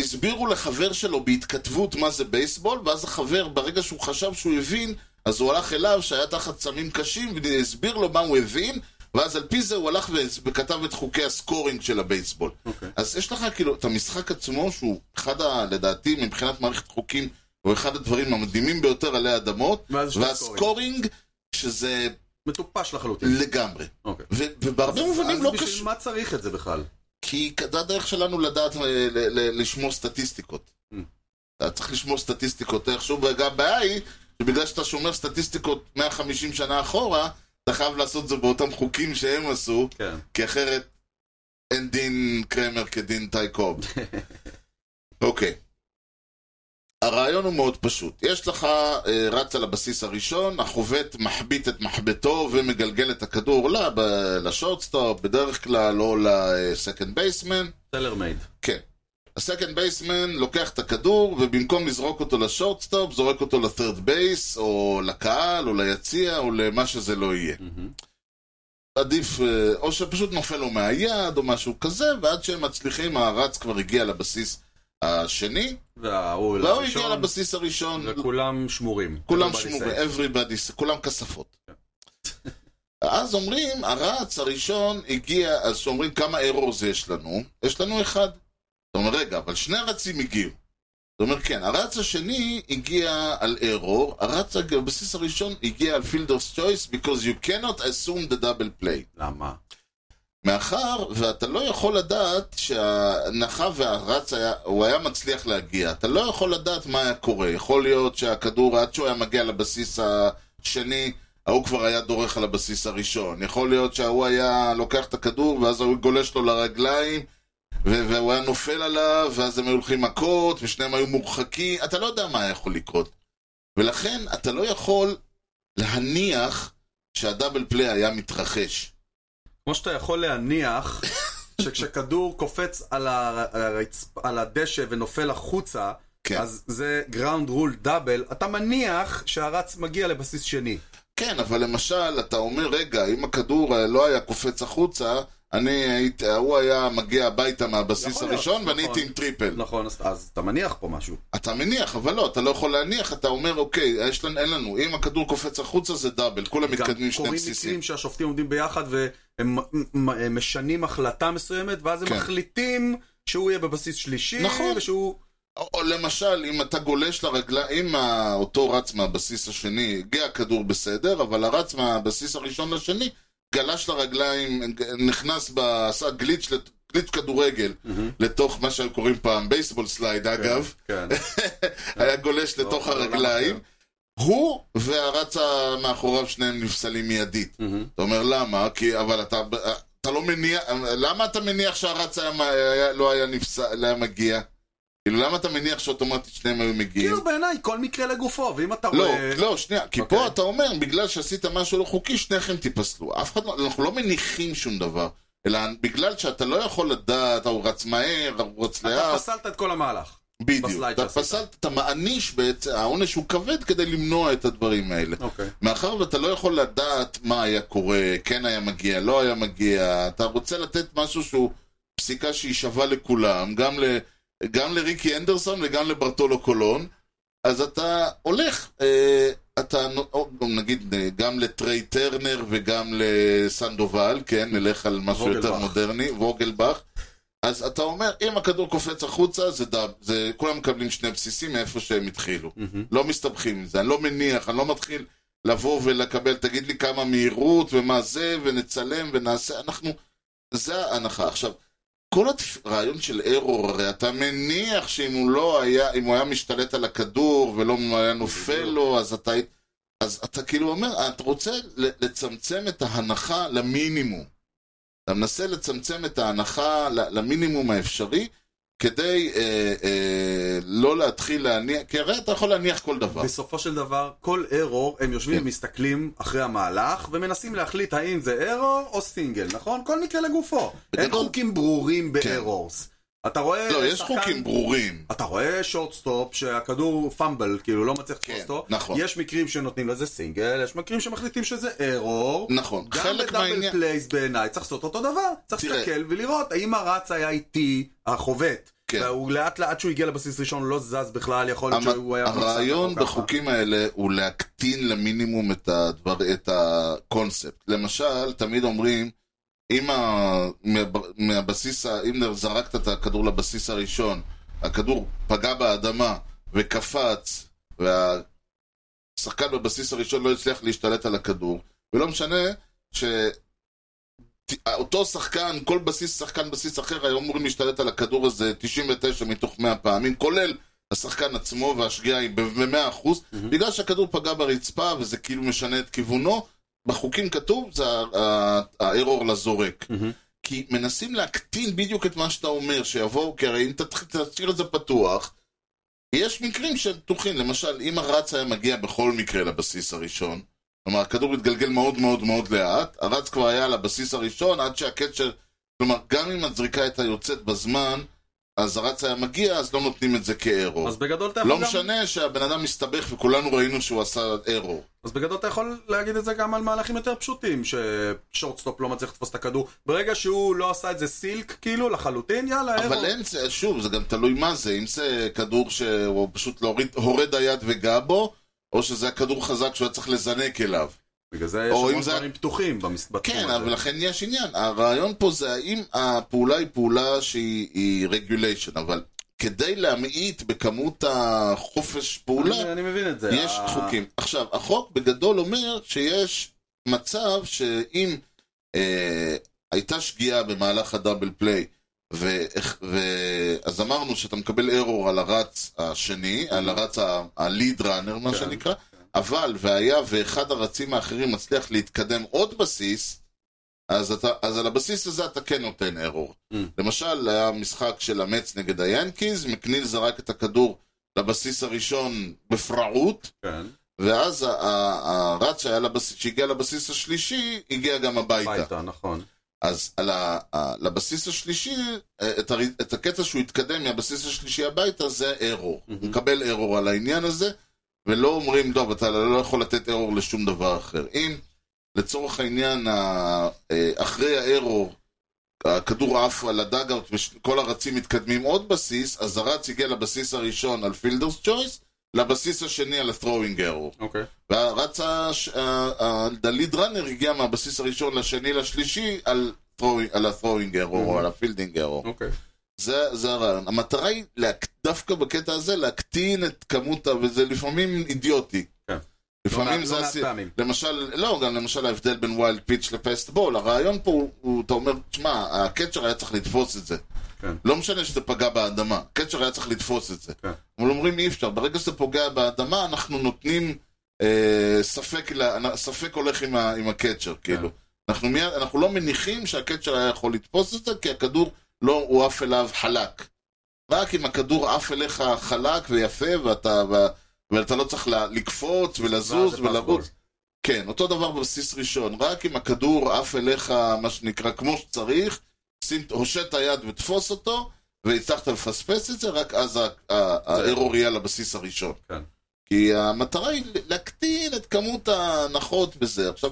S1: הסבירו לחבר שלו בהתכתבות מה זה בייסבול, ואז החבר, ברגע שהוא חשב שהוא הבין, אז הוא הלך אליו שהיה תחת סמים קשים, והסביר לו מה הוא הבין, ואז על פי זה הוא הלך וכתב את חוקי הסקורינג של הבייסבול.
S3: אוקיי.
S1: אז יש לך כאילו את המשחק עצמו, שהוא אחד, ה, לדעתי, מבחינת מערכת חוקים, הוא אחד הדברים המדהימים ביותר עלי אדמות,
S3: ואז יש לך סקורינג.
S1: והסקורינג, שזה
S3: מטופש לחלוטין.
S1: לגמרי.
S3: אוקיי.
S1: ו- ובהרבה מובנים לא
S3: אז בשביל
S1: קשור,
S3: מה צריך את זה בכלל?
S1: כי זה הדרך שלנו לדעת, אה, ל- ל- ל- לשמור סטטיסטיקות.
S3: Mm.
S1: אתה צריך לשמור סטטיסטיקות איכשהו, וגם הבעיה היא, שבגלל שאתה שומר סטטיסטיקות 150 שנה אחורה, אתה חייב לעשות את זה באותם חוקים שהם עשו,
S3: כן.
S1: כי אחרת אין דין קרמר כדין טי קוב. אוקיי. הרעיון הוא מאוד פשוט. יש לך אה, רץ על הבסיס הראשון, החובט מחבית את מחבטו ומגלגל את הכדור לה, ב- לשורטסטופ, בדרך כלל, לא או לסקנד בייסמן.
S3: טלר מייד.
S1: כן. הסקנד בייסמן לוקח את הכדור, ובמקום לזרוק אותו לשורטסטופ, זורק אותו לת'רד בייס, או לקהל, או ליציע, או למה שזה לא יהיה.
S3: Mm-hmm.
S1: עדיף, אה, או שפשוט נופל לו מהיד, או משהו כזה, ועד שהם מצליחים, הרץ כבר הגיע לבסיס השני,
S3: וההוא
S1: והוא לא הגיע
S3: הראשון,
S1: לבסיס הראשון,
S3: וכולם שמורים.
S1: כולם
S3: Everybody
S1: שמורים,
S3: safe.
S1: everybody, כולם כספות. אז אומרים, הרץ הראשון הגיע, אז שאומרים כמה errors יש לנו, יש לנו אחד. אתה אומר, רגע, אבל שני הרצים הגיעו. אתה אומר, כן, הרץ השני הגיע על error, הרץ הבסיס הראשון הגיע על fielder's choice, because you cannot assume the double play.
S3: למה?
S1: מאחר ואתה לא יכול לדעת שההנחה והרץ היה, הוא היה מצליח להגיע, אתה לא יכול לדעת מה היה קורה. יכול להיות שהכדור, עד שהוא היה מגיע לבסיס השני, ההוא כבר היה דורך על הבסיס הראשון. יכול להיות שההוא היה לוקח את הכדור, ואז ההוא גולש לו לרגליים, ו- והוא היה נופל עליו, ואז הם היו הולכים מכות, ושניהם היו מורחקים, אתה לא יודע מה היה יכול לקרות. ולכן אתה לא יכול להניח שהדאבל פליי היה מתרחש.
S3: כמו שאתה יכול להניח שכשכדור קופץ על, הר... על, הרצפ... על הדשא ונופל החוצה,
S1: כן.
S3: אז זה גראונד רול דאבל, אתה מניח שהרץ מגיע לבסיס שני.
S1: כן, אבל למשל, אתה אומר, רגע, אם הכדור אה, לא היה קופץ החוצה, אני הייתי, ההוא היה מגיע הביתה מהבסיס
S3: יכול להיות,
S1: הראשון, ואני
S3: נכון.
S1: הייתי עם טריפל.
S3: נכון, אז, אז אתה מניח פה משהו.
S1: אתה מניח, אבל לא, אתה לא יכול להניח, אתה אומר, אוקיי, יש לנו, אין לנו, אם הכדור קופץ החוצה זה דאבל, כולם מתקדמים שני
S3: קורים
S1: בסיסים.
S3: מקרים שהשופטים עומדים ביחד והם מ- מ- הם משנים החלטה מסוימת, ואז הם
S1: כן.
S3: מחליטים שהוא יהיה בבסיס שלישי,
S1: נכון.
S3: ושהוא...
S1: או, או למשל, אם אתה גולש לרגליים, אם ה- אותו רץ מהבסיס השני, הגיע הכדור בסדר, אבל הרץ מהבסיס הראשון לשני, גלש לרגליים, ג- נכנס, ב- עשה גליץ', לת- גליץ' כדורגל, לתוך מה שהיו קוראים פעם בייסבול סלייד, אגב.
S3: כן.
S1: היה גולש לתוך
S3: לא, לא,
S1: הרגליים.
S3: לא,
S1: הוא והרץ מאחוריו שניהם נפסלים מיידית.
S3: מהמם.
S1: אתה אומר למה? כי אבל אתה, אתה לא מניח, למה אתה מניח שהרץ היה, היה, לא היה נפסל, היה מגיע? כאילו למה אתה מניח שאוטומטית שניהם היו מגיעים?
S3: כאילו בעיניי, כל מקרה לגופו, ואם אתה
S1: לא,
S3: רואה...
S1: לא, שנייה, כי
S3: כאילו, אוקיי.
S1: פה אתה אומר, בגלל שעשית משהו לא חוקי, שניכם תיפסלו. אף אחד לא, אנחנו לא מניחים שום דבר. אלא בגלל שאתה לא יכול לדעת, הוא רץ מהר, הוא רץ לאט.
S3: אתה פסלת את כל המהלך.
S1: בדיוק,
S3: בסלייד
S1: אתה
S3: שעשית.
S1: פסלת, אתה מעניש בעצם, העונש הוא כבד כדי למנוע את הדברים האלה.
S3: אוקיי.
S1: מאחר ואתה לא יכול לדעת מה היה קורה, כן היה מגיע, לא היה מגיע, אתה רוצה לתת משהו שהוא פסיקה שהיא שווה לכולם, גם, ל, גם לריקי אנדרסון וגם לברטולו קולון, אז אתה הולך, אה, אתה נו- או, נגיד אה, גם לטריי טרנר וגם לסנדובל, כן, נלך על משהו
S3: ווגלבך.
S1: יותר מודרני, ווגלבך. אז אתה אומר, אם הכדור קופץ החוצה, זה דאב, זה, כולם מקבלים שני בסיסים מאיפה שהם התחילו.
S3: מהמם.
S1: לא מסתבכים עם זה, אני לא מניח, אני לא מתחיל לבוא ולקבל, תגיד לי כמה מהירות ומה זה, ונצלם ונעשה, אנחנו... זה ההנחה. עכשיו, כל הרעיון של ארור, הרי אתה מניח שאם הוא לא היה, אם הוא היה משתלט על הכדור ולא היה נופל
S3: בדיוק.
S1: לו, אז אתה... היית- אז אתה כאילו אומר, אתה רוצה ל- לצמצם את ההנחה למינימום. אתה מנסה לצמצם את ההנחה ל- למינימום האפשרי, כדי אה, אה, לא להתחיל להניח, כי הרי אתה יכול להניח כל דבר.
S3: בסופו של דבר, כל ארור, הם יושבים
S1: לא. כן.
S3: ומסתכלים אחרי המהלך, ומנסים להחליט האם זה ארור או סינגל, נכון? כל מקרה לגופו. אין
S1: בגדול-
S3: חוקים ברורים
S1: כן.
S3: בארורס. אתה רואה...
S1: לא, יש
S3: שחקן-
S1: חוקים ברורים.
S3: אתה רואה שורטסטופ שהכדור פאמבל, כאילו לא מצליח לתפוס
S1: כן,
S3: אותו.
S1: נכון.
S3: יש מקרים שנותנים לזה סינגל, יש מקרים שמחליטים שזה ארור.
S1: נכון,
S3: גם
S1: חלק
S3: בדאבל
S1: מהעניין...
S3: פלייס בעיניי צריך לעשות אותו דבר. צריך
S1: תראה.
S3: להסתכל ולראות האם הרץ היה איטי, החובט.
S1: כן.
S3: והוא לאט לאט שהוא הגיע לבסיס ראשון הוא לא זז בכלל, יכול להיות
S1: המ-
S3: שהוא היה... לא מוצא
S1: הרעיון
S3: אותו ככה.
S1: בחוקים האלה הוא להקטין למינימום את, הדבר, את הקונספט. למשל, תמיד אומרים, אם ה... מה... מהבסיס, ה- אם זרקת את הכדור לבסיס הראשון, הכדור פגע באדמה וקפץ, והשחקן בבסיס הראשון לא הצליח להשתלט על הכדור, ולא משנה ש... ת- אותו שחקן, כל בסיס, שחקן בסיס אחר, היו אמורים להשתלט על הכדור הזה 99 מתוך 100 פעמים, כולל השחקן עצמו והשגיאה היא ב-100%, בגלל שהכדור פגע ברצפה וזה כאילו משנה את כיוונו, בחוקים כתוב, זה ה- ה- האירור לזורק.
S3: מהמם.
S1: כי מנסים להקטין בדיוק את מה שאתה אומר, שיבואו, כי הרי אם תתח- תשאיר את זה פתוח, יש מקרים שהם פתוחים. למשל, אם הרץ היה מגיע בכל מקרה לבסיס הראשון, כלומר, הכדור התגלגל מאוד מאוד מאוד לאט, הרץ כבר היה לבסיס הראשון עד שהקצ'ר... כלומר, גם אם הזריקה הייתה יוצאת בזמן, אז הרץ היה מגיע, אז לא נותנים את זה כאירור.
S3: אז בגדול אתה יכול
S1: לא
S3: גם...
S1: משנה שהבן אדם מסתבך וכולנו ראינו שהוא עשה אירור.
S3: אז בגדול אתה יכול להגיד את זה גם על מהלכים יותר פשוטים, ששורטסטופ לא מצליח לתפוס את הכדור. ברגע שהוא לא עשה את זה סילק, כאילו, לחלוטין, יאללה, אירו.
S1: אבל אין, זה- שוב, זה גם תלוי מה זה, אם זה כדור שהוא פשוט לא הוריד- הורד היד וגע בו, או שזה היה כדור חזק שהוא היה צריך לזנק אליו.
S3: בגלל זה יש
S1: או
S3: המון
S1: אם זה-
S3: דברים פתוחים במס- בתחום
S1: כן,
S3: הזה.
S1: אבל לכן יש עניין. הרעיון פה זה האם הפעולה היא פעולה שהיא היא regulation, אבל כדי להמעיט בכמות החופש פעולה,
S3: אני- אני מבין את זה.
S1: יש
S3: ה-
S1: חוקים. עכשיו, החוק בגדול אומר שיש מצב שאם אה, הייתה שגיאה במהלך הדאבל פליי, ו, ו, אז אמרנו שאתה מקבל ארור על הרץ השני, על הרץ ה- הליד ראנר, מה
S3: כן,
S1: שנקרא, אבל והיה ואחד הרצים האחרים מצליח להתקדם עוד בסיס, אז, אתה, אז על הבסיס הזה אתה כן נותן ארור.
S3: Mm.
S1: למשל, היה משחק של המץ נגד היאנקיז, מקניל זרק את הכדור לבסיס הראשון בפראות,
S3: כן,
S1: ואז ה- ה- הרץ שהיה לבסיס, שהגיע לבסיס השלישי, הגיע גם הביתה.
S3: הביתה, נכון.
S1: אז על ה, ה, לבסיס השלישי, אה, את, הר, את הקטע שהוא התקדם מהבסיס השלישי הביתה, זה ארור.
S3: Mhm.
S1: הוא מקבל ארור על העניין הזה, ולא אומרים, טוב, אתה לא יכול לתת ארור לשום דבר אחר. אם לצורך העניין, ה- אה, אחרי הארור, הכדור עף על הדאגאוט וכל הרצים מתקדמים עוד בסיס, אז הרץ הגיע לבסיס הראשון על פילדרס צ'וייס, לבסיס השני על ה-throwing arrow.
S3: אוקיי.
S1: והרץ הש- ה- ה- הדליד ראנר הגיע מהבסיס הראשון לשני לשלישי על throwing- על ה-throwing error או על ה-fielding error.
S3: אוקיי.
S1: זה זה הרעיון. המטרה היא להק- דווקא בקטע הזה להקטין את כמות, ה- וזה לפעמים אידיוטי.
S3: כן. לא
S1: לפעמים
S3: מעט-
S1: זה...
S3: לא מעט
S1: הסי-
S3: פעמים.
S1: למשל, לא, גם למשל ההבדל בין ווילד פיץ' לפסט בול, הרעיון פה הוא- הוא, אתה אומר, תשמע, הקצ'ר היה צריך לתפוס את זה.
S3: כן.
S1: לא משנה שזה פגע באדמה, הקצ'ר היה צריך לתפוס את זה.
S3: כן.
S1: אבל אומרים אי אפשר, ברגע שזה פוגע באדמה, אנחנו נותנים אה, ספק, ל- ספק הולך עם, ה- עם הקצ'ר,
S3: כן.
S1: כאילו. אנחנו, מיד, אנחנו לא מניחים שהקצ'ר היה יכול לתפוס את זה, כי הכדור לא הוא עף אליו חלק. רק אם הכדור עף אליך חלק ויפה, ואתה, ו- ואתה לא צריך ל- לקפוץ ולזוז
S3: ואז זה
S1: ולרוץ.
S3: פסבול.
S1: כן, אותו דבר בבסיס ראשון, רק אם הכדור עף אליך, מה שנקרא, כמו שצריך, שים, הושט היד ותפוס אותו, והצלחת לפספס את זה, רק אז ה- ה- האירור יהיה על הבסיס הראשון.
S3: כן.
S1: כי המטרה היא להקטין את כמות ההנחות בזה. עכשיו,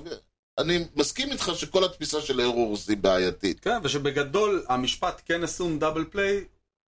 S1: אני מסכים איתך שכל התפיסה של האירור היא בעייתית.
S3: כן, ושבגדול המשפט כן אסום דאבל פליי,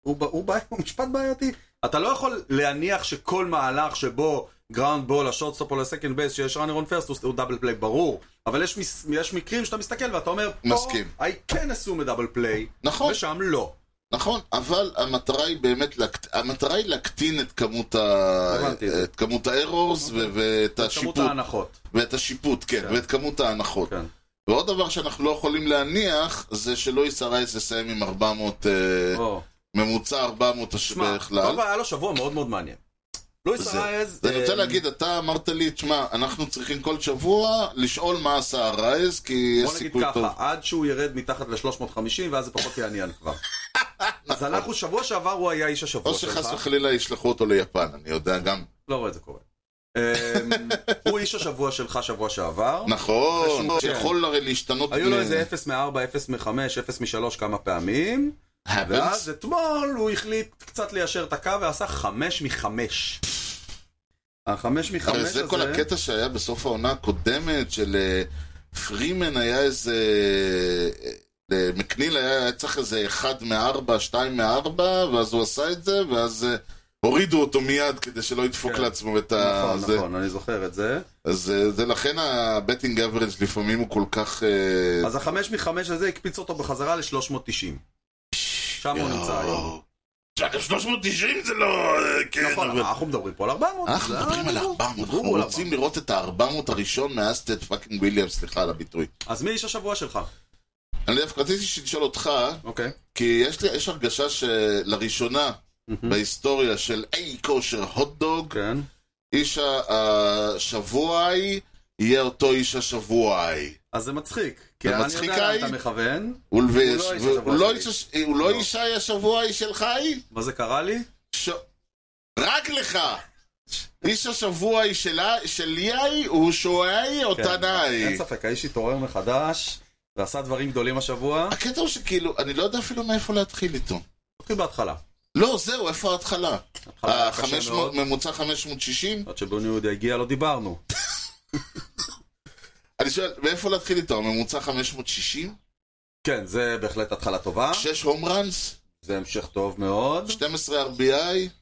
S3: הוא ב- הוא בעי- הוא משפט בעייתי. אתה לא יכול להניח שכל מהלך שבו גראונד בול, השורטסטופ או לסקנד בייס, שיש ראנר און פרסט, הוא דאבל פליי, ברור. אבל יש מס- יש מקרים שאתה מסתכל ואתה אומר, פה,
S1: מסכים.
S3: I can assume a double play,
S1: נכון.
S3: ושם לא.
S1: נכון, אבל המטרה היא באמת, להקט... המטרה היא להקטין את כמות, ה...
S3: הבנתי את זה.
S1: את כמות האירורס ו... ואת
S3: כמות
S1: השיפוט,
S3: ההנחות.
S1: ואת השיפוט, כן,
S3: כן.
S1: ואת כמות ההנחות.
S3: כן.
S1: ועוד דבר שאנחנו לא יכולים להניח, זה שלואיס הרייס יסיים עם 400, אה,
S3: או.
S1: ממוצע 400 הש-
S3: שמע,
S1: בכלל.
S3: קודם כל היה לו שבוע מאוד מאוד מעניין. לואיס
S1: זה-
S3: הרייז...
S1: אז אני רוצה
S3: אה,
S1: להגיד, אתה אמרת לי, תשמע, אנחנו צריכים כל שבוע לשאול מה עשה הרייז, כי יש
S3: בוא נגיד
S1: סיכוי
S3: ככה,
S1: טוב.
S3: עד שהוא ירד מתחת ל-350, ואז זה פחות יעניין כבר. אז אנחנו, שבוע שעבר הוא היה איש השבוע
S1: או
S3: שלך.
S1: שחס וחלילה ישלחו אותו ליפן, אני יודע גם.
S3: לא רואה את זה קורה. אמ, הוא איש השבוע שלך שבוע שעבר.
S1: נכון,
S3: אחרי שהוא-
S1: שיכול הרי להשתנות.
S3: היו
S1: מ-
S3: לו איזה 0 מ-4, 0 מ-5, 0 מ-3 כמה פעמים.
S1: happens.
S3: ואז אתמול הוא החליט קצת ליישר את הקו ועשה 5 מ-5. החמש מחמש
S1: הרי
S3: הזה...
S1: זה כל הקטע שהיה בסוף העונה הקודמת של אה, פרימן היה איזה... אה, מקניל היה היה צריך איזה אחד מארבע, שתיים מארבע, ואז הוא עשה את זה, ואז אה, הורידו אותו מיד כדי שלא ידפוק
S3: כן.
S1: לעצמו את ה...
S3: נכון,
S1: זה.
S3: נכון, אני זוכר את זה.
S1: אז אה, זה לכן הבטינג אברג' לפעמים הוא כל כך... אה,
S3: אז החמש מחמש הזה הקפיץ אותו בחזרה ל-390. שם הוא נמצא היום.
S1: יואו. שאגב, 390 זה לא... אה, כן,
S3: נכון,
S1: אבל...
S3: אנחנו מדברים פה על 400.
S1: אנחנו
S3: זה
S1: מדברים על
S3: הדיבור.
S1: 400, אנחנו
S3: דיבור על
S1: רוצים
S3: 400.
S1: לראות את ה-400 הראשון מאז טד פאקינג וויליאם, סליחה על הביטוי.
S3: אז מי איש השבוע שלך?
S1: אני דווקא רציתי לשאול אותך,
S3: אוקיי.
S1: כי יש לי, יש הרגשה שלראשונה בהיסטוריה של אי כושר הוט דוג,
S3: כן.
S1: איש ה- השבוע ההיא יהיה אותו איש השבוע ההיא.
S3: אז זה מצחיק. כי
S1: זה
S3: אני
S1: מצחיק,
S3: יודע לאן
S1: אי?
S3: אתה מכוון,
S1: ולבש-
S3: הוא לא איש
S1: והוא
S3: השבוע
S1: לא
S3: שלי.
S1: איש הש- הוא לא
S3: לא.
S1: איש ההיא השבוע ההיא שלך ההיא?
S3: מה זה קרה לי?
S1: ש... רק לך! איש השבוע היא שלה, שלי ההיא, הוא שועי אותה
S3: כן, אין
S1: נאי.
S3: ספק, האיש התעורר מחדש, ועשה דברים גדולים השבוע,
S1: הקטע הוא שכאילו, אני לא יודע אפילו מאיפה להתחיל איתו.
S3: נתחיל אוקיי, בהתחלה.
S1: לא, זהו, איפה ההתחלה?
S3: ההתחלה
S1: ה-
S3: היה קשה
S1: 500
S3: מאוד.
S1: ממוצע 560?
S3: עד שבוני יהודה הגיע לא דיברנו.
S1: אני שואל, מאיפה להתחיל איתו? הממוצע 560?
S3: כן, זה בהחלט התחלה טובה,
S1: 6 הום ראנס?
S3: זה המשך טוב מאוד.
S1: 12 RBI?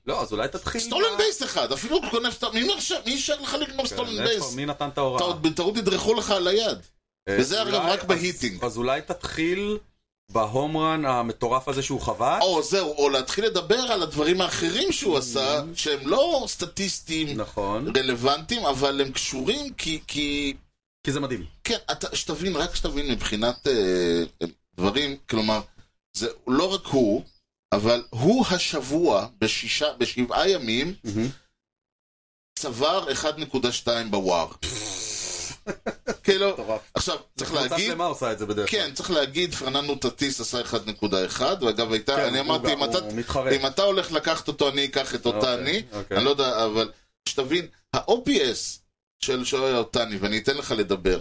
S3: לא, אז אולי תתחיל...
S1: סטולן בייס אחד, אפילו גונב סטולן, מי מרשה- מי אישר לך לגנוב
S3: כן,
S1: סטולן
S3: איפה-
S1: בייס?
S3: מי נתן את ההוראה?
S1: אתה- בטעות ידרכו לך על היד.
S3: אה,
S1: וזה אגב
S3: אולי-
S1: רק
S3: אז-
S1: בהיטינג.
S3: אז אולי תתחיל בהומרן המטורף הזה שהוא חבט.
S1: או זהו, או להתחיל לדבר על הדברים האחרים
S3: אה.
S1: שהוא עשה, שהם לא סטטיסטיים
S3: נכון.
S1: רלוונטיים, אבל הם קשורים כי... כי...
S3: כי זה מדהים.
S1: כן, אתה, שתבין, רק שתבין מבחינת אה, אה, דברים, כלומר, זה לא רק הוא, אבל הוא השבוע, בשישה, בשבעה ימים, צבר 1.2 בוואר. כאילו,
S3: מטורף.
S1: עכשיו, צריך
S3: קבוצה
S1: להגיד,
S3: שלמה עושה את זה בדרך כלל.
S1: כן, צריך להגיד, פרננדו טטיס עשה 1.1, ואגב, הייתה,
S3: כן,
S1: אני
S3: הוא
S1: אמרתי,
S3: גם-
S1: אם אתה,
S3: הוא מתחרה.
S1: אם אתה הולך לקחת אותו, אני אקח את אותה
S3: אוקיי,
S1: אני,
S3: אוקיי.
S1: אני לא יודע, אבל שתבין, ה-OPS של שועי אותני, ואני אתן לך לדבר,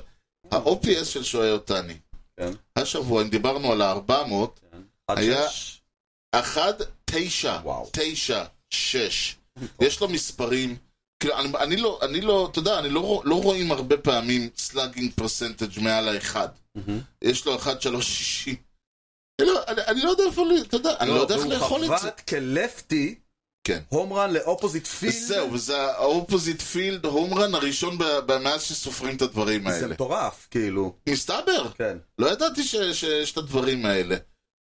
S1: ה-OPS של שועי אותני,
S3: כן.
S1: השבוע, אם דיברנו על ה-400,
S3: עד
S1: היה-
S3: שש.
S1: 1, 9,
S3: וואו.
S1: 9, 6, יש לו מספרים, כאילו, אני, אני לא, אני לא, אתה יודע, אני לא, רוא- לא רואים הרבה פעמים סלאגינג פרסנטג' מעל האחד.
S3: מהמם.
S1: יש לו 1, 3, 60. אני לא, אני, אני לא יודע איפה, ל- אתה יודע, אני לא, יודע איך לאכול את
S3: והוא
S1: זה.
S3: חבט כלפטי,
S1: כן.
S3: הומרן לאופוזיט פילד.
S1: זהו, וזה האופוזיט פילד הומרן הראשון ב- ב- מאז שסופרים את הדברים
S3: זה
S1: האלה.
S3: מטורף, כאילו.
S1: מסתבר,
S3: כן.
S1: לא ידעתי ש- שיש את הדברים האלה.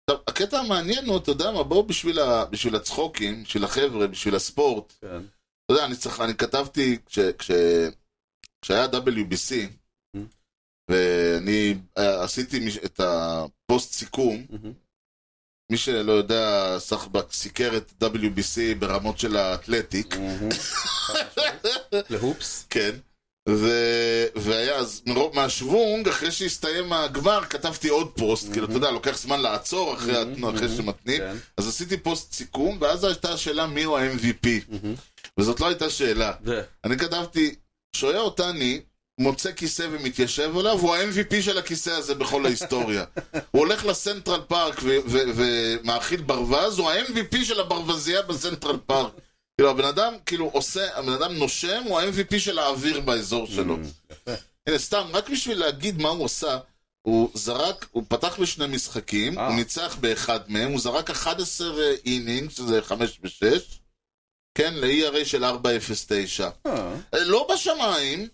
S1: עכשיו, הקטע המעניין הוא, אתה יודע מה, בואו בשביל, ה- בשביל הצחוקים, בשביל החבר'ה, בשביל הספורט.
S3: כן.
S1: אתה יודע, אני, צריך, אני כתבתי, כש, כש, כשהיה WBC,
S3: Mm.
S1: ואני אה, עשיתי מש- את הפוסט סיכום,
S3: מהמם.
S1: מי שלא יודע, סחבק סיקר את WBC ברמות של האתלטיק.
S3: מהמם. להופס.
S1: כן. ו... והיה אז, מרוב מהשוונג, אחרי שהסתיים הגמר, כתבתי עוד פוסט, כאילו, אתה יודע, לוקח זמן לעצור אחרי,
S3: Mhm,
S1: mm-hmm, אחרי
S3: mhm,
S1: שמתנים.
S3: כן.
S1: אז עשיתי פוסט סיכום, ואז הייתה השאלה מיהו ה-MVP.
S3: מהמם.
S1: וזאת לא הייתה שאלה.
S3: זה.
S1: אני כתבתי, שויה אותני, מוצא כיסא ומתיישב עליו, הוא ה-MVP של הכיסא הזה בכל ההיסטוריה. הוא הולך לסנטרל פארק ו- ו- ומאכיל ברווז, הוא ה-MVP של הברווזייה בסנטרל פארק. כאילו, הבן אדם, כאילו, עושה, הבן אדם נושם, הוא ה-MVP של האוויר באזור שלו. הנה, סתם, רק בשביל להגיד מה הוא עשה, הוא זרק, הוא פתח בשני משחקים,
S3: אה.
S1: הוא ניצח באחד מהם, הוא זרק 11 אינינג, שזה 5 ו-6, כן, ל-ERA של 4.09.
S3: אה,
S1: אה, לא בשמיים,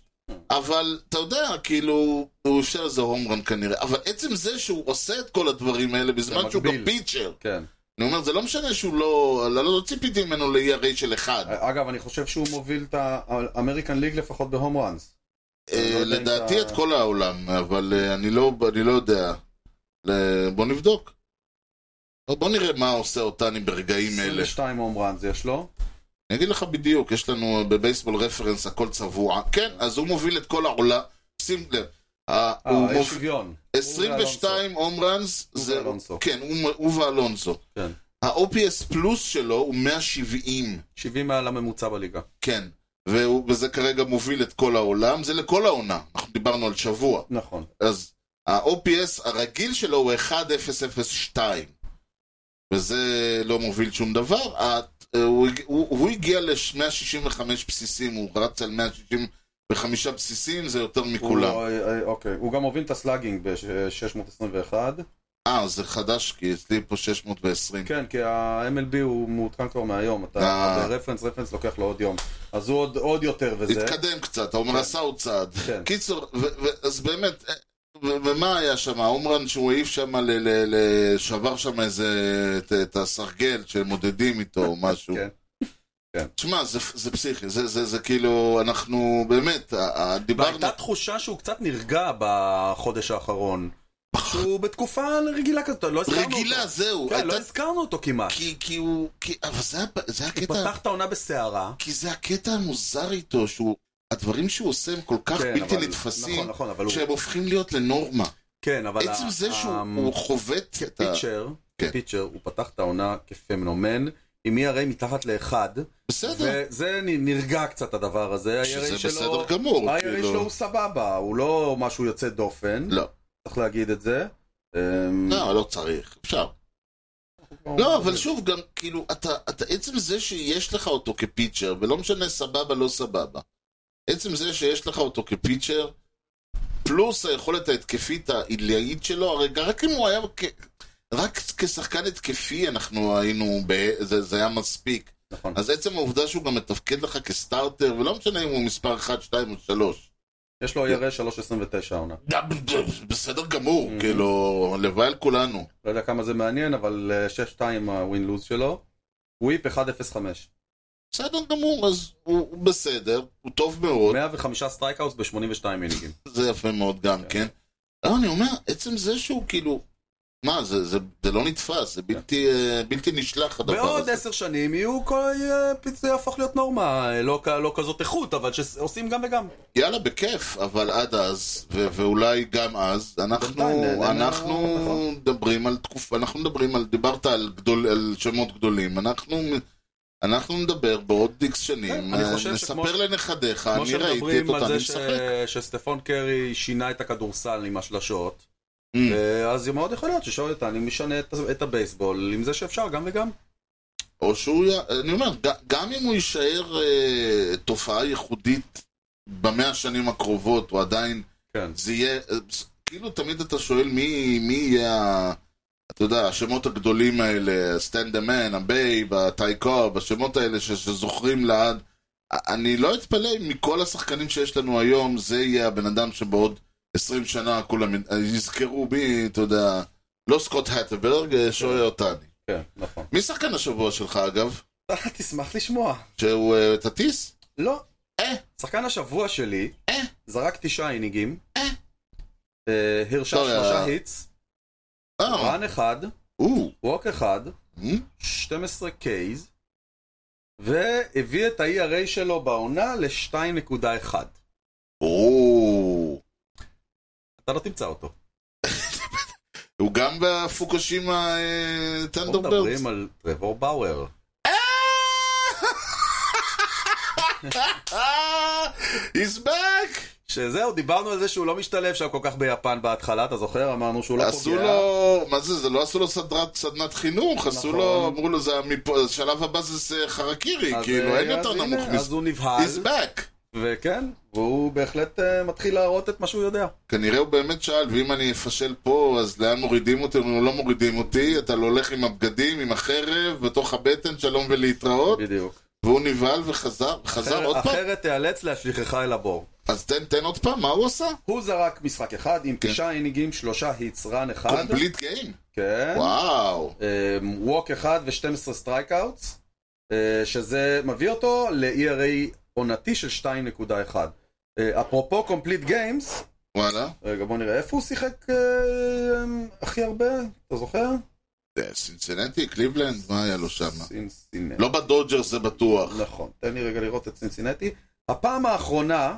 S1: אבל אתה יודע, כאילו, הוא אפשר איזה הומרן כנראה. אבל עצם זה שהוא עושה את כל הדברים האלה בזמן שהוא
S3: במקביל.
S1: גם פיצ'ר.
S3: כן.
S1: אני אומר, זה לא משנה שהוא לא... לא, לא ציפיתי ממנו ל-ERA של אחד.
S3: אגב, אני חושב שהוא מוביל את האמריקן ליג לפחות בהום ראנס.
S1: אה,
S3: לא יודע אם
S1: לדעתי
S3: אתה-
S1: את כל העולם, אבל אה, אני לא אני לא יודע. אה, בוא נבדוק. בוא נראה מה עושה אותני ברגעים אלה.
S3: 22 הום ראנס יש לו.
S1: אני אגיד לך בדיוק, יש לנו אה, בבייסבול רפרנס הכל צבוע. כן, אז הוא מוביל את כל העולם. שים לב. ה-
S3: אה,
S1: הוא
S3: יש
S1: מוב-
S3: שוויון.
S1: 22 הום ראנס,
S3: הוא
S1: זה...
S3: ואלונסו.
S1: כן, הוא- הוא ואלונסו.
S3: כן.
S1: ה-OPS פלוס שלו הוא 170,
S3: 70 מעל הממוצע בליגה.
S1: כן. והוא, וזה כרגע מוביל את כל העולם, זה לכל העונה, אנחנו דיברנו על שבוע.
S3: נכון.
S1: אז ה-OPS הרגיל שלו הוא 1002, וזה לא מוביל שום דבר. ה- הוא, הוא, הוא הגיע ל-165 בסיסים, הוא רץ על 165 בסיסים, זה יותר מכולם.
S3: הוא- אה, אה, אוקיי. הוא גם מוביל את הסלאגינג ב-621.
S1: אה, זה חדש, כי אצלי פה 620.
S3: כן, כי ה-MLB הוא מעודכן כבר מהיום. אתה
S1: אה.
S3: ברפרנס, רפרנס לוקח לו עוד יום. אז הוא עוד- עוד יותר וזה.
S1: התקדם קצת, העומר
S3: כן.
S1: עשה עוד צעד.
S3: כן.
S1: קיצור, ו- ו- אז באמת, אה, ו- ומה היה שם? העומרן שהוא העיף שם, ל- ל- ל- שבר שם איזה, את- את הסרגל שמודדים איתו או משהו.
S3: כן.
S1: תשמע, זה, זה פסיכי, זה, זה, זה כאילו, אנחנו באמת, ה- ה- דיברנו,
S3: והייתה תחושה שהוא קצת נרגע בחודש האחרון. שהוא בתקופה רגילה כזאת, לא הזכרנו אותו.
S1: רגילה, זהו,
S3: כן,
S1: הייתה,
S3: לא הזכרנו אותו כמעט.
S1: כי, כי הוא, כי, אבל זה, הב- זה
S3: הוא
S1: הקטע,
S3: פתח את העונה בסערה.
S1: כי זה הקטע המוזר איתו, שהוא, הדברים שהוא עושה הם כל כך
S3: כן,
S1: בלתי
S3: אבל-
S1: נתפסים,
S3: נכון, נכון, אבל הוא-
S1: שהם הופכים להיות לנורמה.
S3: כן, אבל...
S1: עצם
S3: ה-
S1: זה שהוא
S3: ה-
S1: הוא חובט את ה...
S3: כפיצ'ר,
S1: כן.
S3: כפיצ'ר, הוא פתח את העונה כפמנומן, עם ERA מתחת לאחד,
S1: בסדר,
S3: וזה נ- נרגע קצת הדבר הזה,
S1: שזה
S3: ה-ERA שלו...
S1: בסדר גמור.
S3: ה-ERA
S1: כאילו.
S3: שלו הוא סבבה, הוא לא משהו יוצא דופן,
S1: לא,
S3: צריך להגיד את זה. אמ,
S1: לא, לא צריך, אפשר. לא, אבל שוב, גם, כאילו, אתה, אתה, עצם זה שיש לך אותו כפיצ'ר, ולא משנה סבבה, לא סבבה, עצם זה שיש לך אותו כפיצ'ר, פלוס היכולת ההתקפית העילאית שלו, הרי רק אם הוא היה, כ, רק כשחקן התקפי אנחנו היינו, ב, זה, זה היה מספיק.
S3: נכון.
S1: אז עצם העובדה שהוא גם מתפקד לך כסטארטר, ולא משנה אם הוא מספר 1, 2 או 3.
S3: יש לו ERA 3.29 העונה.
S1: בסדר גמור, כאילו, לוואי על כולנו.
S3: לא יודע כמה זה מעניין, אבל אה, 6-2 הווין-לוז שלו. וויפ 1.05.
S1: בסדר גמור, אז הוא הוא בסדר, הוא טוב מאוד.
S3: 105 סטרייקאוס ב-82 מינינגים.
S1: זה יפה מאוד גם כן. לא, אני אומר, עצם זה שהוא כאילו... מה, זה, זה, זה לא נתפס, זה בלתי, אה, בלתי נשלח הדבר
S3: כן. בעוד
S1: הזה.
S3: עשר שנים יהיו, כל- יהיה- זה יהפוך להיות נורמה, אה, לא כ- לא כזאת איכות, אבל שעושים גם וגם.
S1: יאללה, בכיף, אבל עד אז, ו- ואולי גם אז,
S3: בינתיים
S1: אנחנו,
S3: נהנה נכון.
S1: אנחנו
S3: מהפתחה.
S1: מדברים על תקופה, אנחנו מדברים על, דיברת על, גדול, על שמות גדולים, אנחנו, אנחנו נדבר בעוד איקס שנים,
S3: כן, אני
S1: אה,
S3: חושב
S1: נספר
S3: שכמו-
S1: לנכדיך,
S3: כמו
S1: אני ראיתי את
S3: שמדברים על
S1: אותם
S3: זה ש-
S1: משחק.
S3: שסטפון קרי שינה את הכדורסל עם השלשות,
S1: Mm.
S3: אה, אז מאוד יכול להיות ששורטני משנה את- את הבייסבול עם זה שאפשר גם וגם.
S1: או שהוא, י- אני אומר, ג- גם אם הוא יישאר אה, תופעה ייחודית במאה השנים הקרובות, הוא עדיין,
S3: כן.
S1: זה יהיה, אה, ס- כאילו תמיד אתה שואל מי, מי יהיה, ה- אתה יודע, השמות הגדולים האלה, סטנד אמן, הבייב, הטייקוב, השמות האלה ש, שזוכרים לעד. א- אני לא אתפלא אם מכל השחקנים שיש לנו היום, זה יהיה הבן אדם שבעוד 20 שנה כולם י- יזכרו בי, אתה יודע, לא סקוט האטברג, אה, שויה אותני.
S3: כן, נכון.
S1: מי שחקן השבוע שלך אגב?
S3: אה, תשמח לשמוע.
S1: שהוא אה, תטיס?
S3: לא.
S1: אה.
S3: שחקן השבוע שלי
S1: אה.
S3: זרק תשעה אינינגים.
S1: אה.
S3: אה, הרשה
S1: טוב,
S3: שלושה
S1: אה.
S3: היטס,
S1: אה,
S3: רן אחד,
S1: או,
S3: ווק אחד,
S1: מ?
S3: 12 קייז, והביא את ה-ERA שלו בעונה ל-2.1.
S1: או.
S3: אתה לא תמצא אותו.
S1: הוא גם בפוקושימה אה,
S3: אנחנו
S1: טנדרברדס?
S3: מדברים על טרוור באואר.
S1: אה, he's back!
S3: שזהו, דיברנו על זה שהוא לא משתלב שם כל כך ביפן בהתחלה, אתה זוכר? אמרנו שהוא לא פוגע.
S1: עשו לו, מה זה, זה לא עשו לו סדרת, סדנת חינוך, עשו
S3: נכון.
S1: לו, אמרו לו, זה מפה, השלב הבא זה- זה אה, חרקירי,
S3: אז,
S1: כאילו,
S3: אה,
S1: אין יותר
S3: אז הנה,
S1: נמוך
S3: אז
S1: מזה.
S3: הוא נבהל,
S1: he's back!
S3: וכן, והוא בהחלט אה, מתחיל להראות את מה שהוא יודע.
S1: כנראה הוא באמת שאל, ואם אני אפשל פה, אז לאן מורידים אותי? אמרו לו, לא מורידים אותי, אתה לא הולך עם הבגדים, עם החרב, בתוך הבטן, שלום ולהתראות.
S3: בדיוק.
S1: והוא נבהל וחזר, חזר עוד פעם?
S3: אחרת תיאלץ להשליכך אל הבור.
S1: אז תן, תן עוד פעם, מה הוא עשה?
S3: הוא זרק משחק אחד עם
S1: כן.
S3: תשעה אינינגים, שלושה היטס, רן אחד.
S1: קומפליט גיים.
S3: כן.
S1: וואו.
S3: אה, ווק אחד ו-12 סטרייקאוטס, אה, שזה מביא אותו ל-ERA עונתי של 2.1. אה, אפרופו קומפליט גיימס,
S1: וואלה.
S3: רגע בוא נראה, איפה הוא שיחק אה, הכי הרבה? אתה זוכר?
S1: זה סינצינטי, קליבלנד, מה היה לו שם?
S3: סינסינטי.
S1: לא בדודג'רס זה בטוח.
S3: נכון, תן לי רגע לראות את סינסינטי. הפעם האחרונה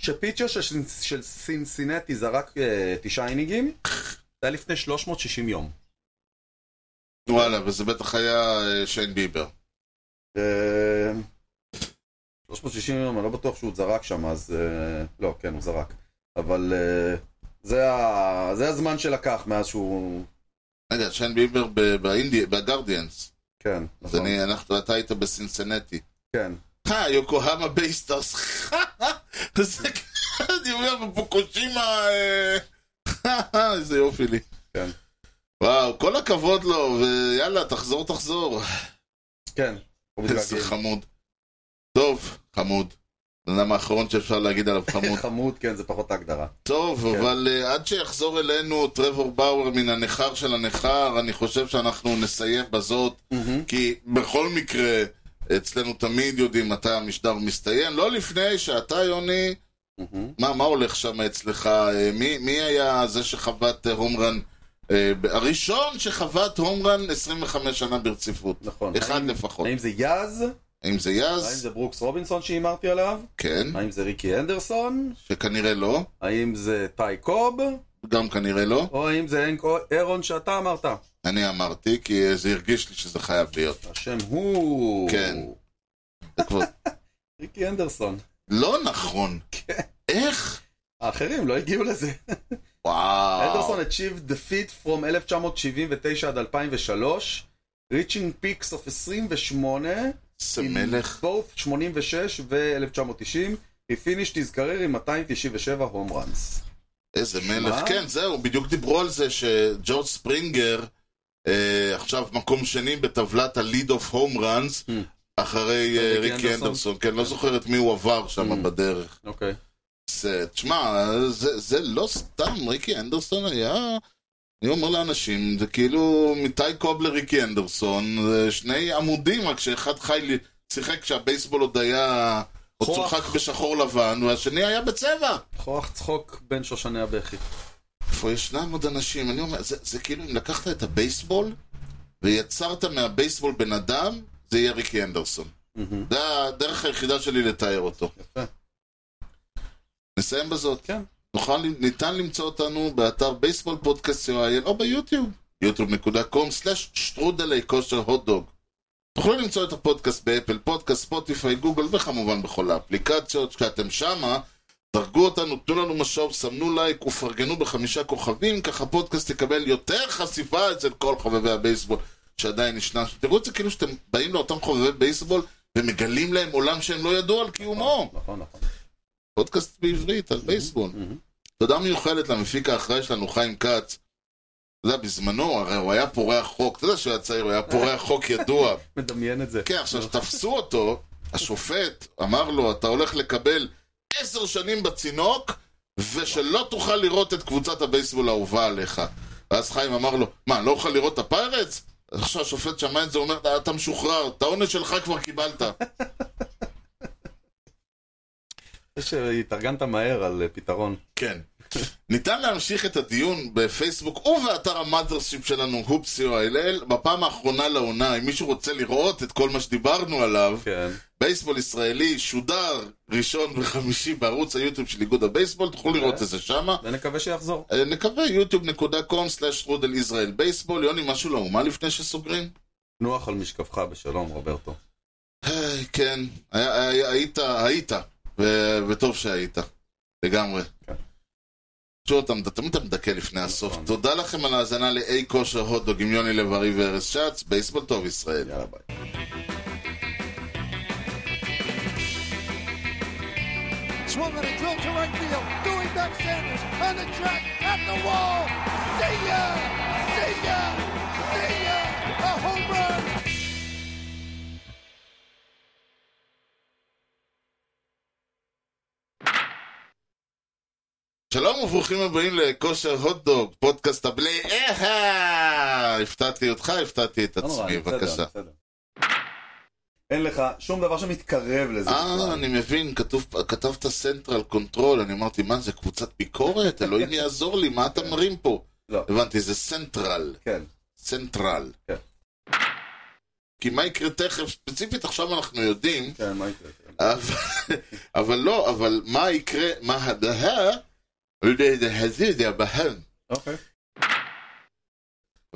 S3: שפיצ'ר של, סינ- של סינסינטי זרק אה, תשעה אינינגים, זה היה לפני 360 יום. נכון.
S1: וואלה, וזה בטח היה אה, שיין ביבר.
S3: אה, 360 יום, אני לא בטוח שהוא זרק שם, אז... אה, לא, כן, הוא זרק. אבל אה, זה, ה... זה הזמן שלקח מאז שהוא...
S1: רגע, שיין ביבר ב- באינדי- בגרדיאנס.
S3: כן,
S1: אז
S3: נכון.
S1: אני, אנחנו, אתה היית בסינסינטי.
S3: כן.
S1: אה, יוקוהמה בייסטרס. זה ככה, אני אומר, בפוקושימה... אה, איזה יופי לי.
S3: כן.
S1: וואו, כל הכבוד לו, ויאללה, תחזור, תחזור.
S3: כן. הוא
S1: איזה
S3: מתגעגע.
S1: חמוד. טוב, חמוד. בן אדם האחרון שאפשר להגיד עליו חמוד.
S3: חמוד, כן, זה פחות ההגדרה.
S1: טוב,
S3: כן.
S1: אבל אה, עד שיחזור אלינו טרוור באואר מן הנכר של הנכר, אני חושב שאנחנו נסיים בזאת, כי בכל מקרה, אצלנו תמיד יודעים מתי המשדר מסתיים. לא לפני שאתה, יוני,
S3: מהמם.
S1: מה, מה הולך שם אצלך? אה, מי, מי היה זה שחבט אה, הומרן? אה, ב- הראשון שחבט הומרן 25 שנה ברציפות.
S3: נכון.
S1: אחד
S3: האם-
S1: לפחות.
S3: האם זה יז
S1: האם זה
S3: האם
S1: יאז?
S3: זה ברוקס רובינסון שהימרתי עליו?
S1: כן,
S3: האם זה ריקי אנדרסון?
S1: שכנראה לא,
S3: האם זה טי קוב?
S1: גם כנראה לא.
S3: או האם זה הנק אירון שאתה אמרת?
S1: אני אמרתי, כי אה, זה הרגיש לי שזה חייב להיות.
S3: השם הוא...
S1: כן. זה כבר...
S3: ריקי אנדרסון.
S1: לא נכון.
S3: כן.
S1: איך?
S3: האחרים לא הגיעו לזה.
S1: וואו.
S3: אנדרסון achieved the feat from 1979 עד 2003, reaching peaks of 28,
S1: איזה
S3: in
S1: מלך.
S3: both 86 ו-1990, he finished his career עם 297 הום ראנס.
S1: איזה מלך.
S3: שמע?
S1: כן, זהו, בדיוק דיברו על זה שג'ורג' ספרינגר אה, עכשיו מקום שני בטבלת הליד אוף הום ראנס
S3: Hmm.
S1: אחרי אה,
S3: ריקי
S1: ריקי
S3: אנדרסון?
S1: אנדרסון. כן, לא זוכר את מי הוא עבר שם
S3: Hmm.
S1: בדרך.
S3: אוקיי.
S1: זה- תשמע, זה, זה לא סתם, ריקי אנדרסון היה... אני אומר לאנשים, זה כאילו מתי קוב לריקי אנדרסון, זה שני עמודים, רק שאחד חי, ל- שיחק כשהבייסבול עוד היה... עוד
S3: כוח.
S1: צוחק בשחור לבן, והשני היה בצבע.
S3: כוח צחוק בין שושני הבכי.
S1: איפה ישנם עוד אנשים, אני אומר, זה, זה כאילו אם לקחת את הבייסבול ויצרת מהבייסבול בן אדם, זה יהיה ריקי אנדרסון.
S3: מהמם.
S1: זה הדרך היחידה שלי לתאר אותו.
S3: יפה.
S1: נסיים בזאת.
S3: כן.
S1: נוכל, ניתן למצוא אותנו באתר בייסבול פודקאסט co.il או ביוטיוב, yוטיוב.com/שטרודלי כושר הוטדוג. תוכלו למצוא את הפודקאסט באפל, פודקאסט, ספוטיפיי, גוגל וכמובן בכל האפליקציות. כשאתם שמה, דרגו אותנו, תנו לנו משוב, סמנו לייק ופרגנו בחמישה כוכבים, ככה הפודקאסט יקבל יותר חשיפה אצל כל חובבי הבייסבול שעדיין ישנם. תראו את זה כאילו שאתם באים לאותם חובבי בייסבול ומגלים להם עולם שהם לא ידעו על קיומו.
S3: נכון, נכון.
S1: פודקאסט בעברית על בייסבול.
S3: מהמם.
S1: תודה מיוחדת למפיק האחראי שלנו, חיים כץ. אתה יודע, בזמנו, הרי הוא היה פורח חוק, אתה יודע שהוא היה צעיר, הוא היה פורח חוק ידוע.
S3: מדמיין את זה.
S1: כן, עכשיו, כשתפסו אותו, השופט אמר לו, אתה הולך לקבל עשר שנים בצינוק, ושלא תוכל לראות את קבוצת הבייסבול האהובה עליך. ואז חיים אמר לו, מה, לא אוכל לראות את הפיירטס? עכשיו השופט שמע את זה, אומר, אתה משוחרר, את העונש שלך כבר קיבלת.
S3: זה שהתארגנת מהר על אה, פתרון.
S1: כן. ניתן להמשיך את הדיון בפייסבוק ובאתר המאדרשיפ שלנו, הופסיו אל בפעם האחרונה לעונה, אם מישהו רוצה לראות את כל מה שדיברנו עליו,
S3: כן.
S1: בייסבול ישראלי שודר ראשון וחמישי בערוץ היוטיוב של איגוד הבייסבול, תוכלו לראות את זה שמה.
S3: ונקווה שיחזור.
S1: אה, נקווה yוטיוב.com/רודל ישראל בייסבול, יוני משהו לאומה לפני שסוגרים?
S3: נוח על משכבך בשלום, רוברטו.
S1: היי, כן, היה- היה- היית, היית, ו- וטוב שהיית, לגמרי.
S3: כן.
S1: שוב, אתה מד- תמיד אתה מדכא לפני הסוף.
S3: נכון.
S1: תודה לכם על ההאזנה לאי כושר הוטדוג עם יוני לב-ארי וארז שץ, בייסבול טוב ישראל.
S3: יאללה ביי.
S2: Swung and a drill to right field. Doing back Sanders on the track at the wall. See ya! See ya! See ya! A home run!
S1: שלום וברוכים הבאים לכושר הוטדוג, פודקאסט הבלי אהה! הפתעתי אותך, הפתעתי את
S3: לא נורא,
S1: עצמי,
S3: בסדר,
S1: בבקשה.
S3: בסדר. אין לך שום דבר שמתקרב לזה. בכלל.
S1: אה, אני מבין, כתוב, כתבת סנטרל קונטרול, אני אמרתי, מה זה, קבוצת ביקורת? אלוהים יעזור לי, מה אתה מרים פה?
S3: לא.
S1: הבנתי, זה סנטרל.
S3: כן.
S1: סנטרל.
S3: כן.
S1: כי מה יקרה תכף, ספציפית עכשיו אנחנו יודעים,
S3: כן, מה יקרה?
S1: אבל, אבל לא, אבל מה יקרה, מה הדהה,
S3: אוקיי.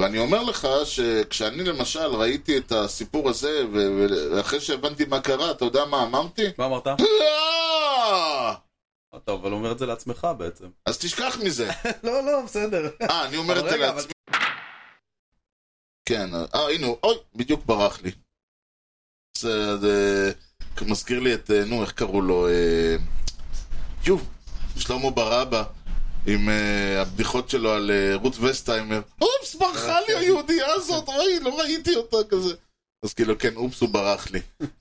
S1: ואני אומר לך שכשאני למשל ראיתי את הסיפור הזה, ו- ואחרי שהבנתי מה קרה, אתה יודע מה אמרתי?
S3: מה אמרת?
S1: לא!
S3: אתה אבל אומר את זה לעצמך בעצם.
S1: אז תשכח מזה.
S3: לא, לא, בסדר.
S1: אה, אני אומר את
S3: אבל
S1: זה
S3: רגע, אבל-
S1: לעצמי. כן, אה, הנה הוא, אוי, בדיוק ברח לי. זה זה- מזכיר לי את, אה, נו, איך קראו לו? אה, יו, שלמה ברבא, עם אה, הבדיחות שלו על אה, רות וסטהיימר. אופס,
S3: אה,
S1: ברחה לי היהודייה הזאת, אוי, לא ראיתי אותה כזה. אז כאילו, כן, אופס, כן, הוא ברח לי.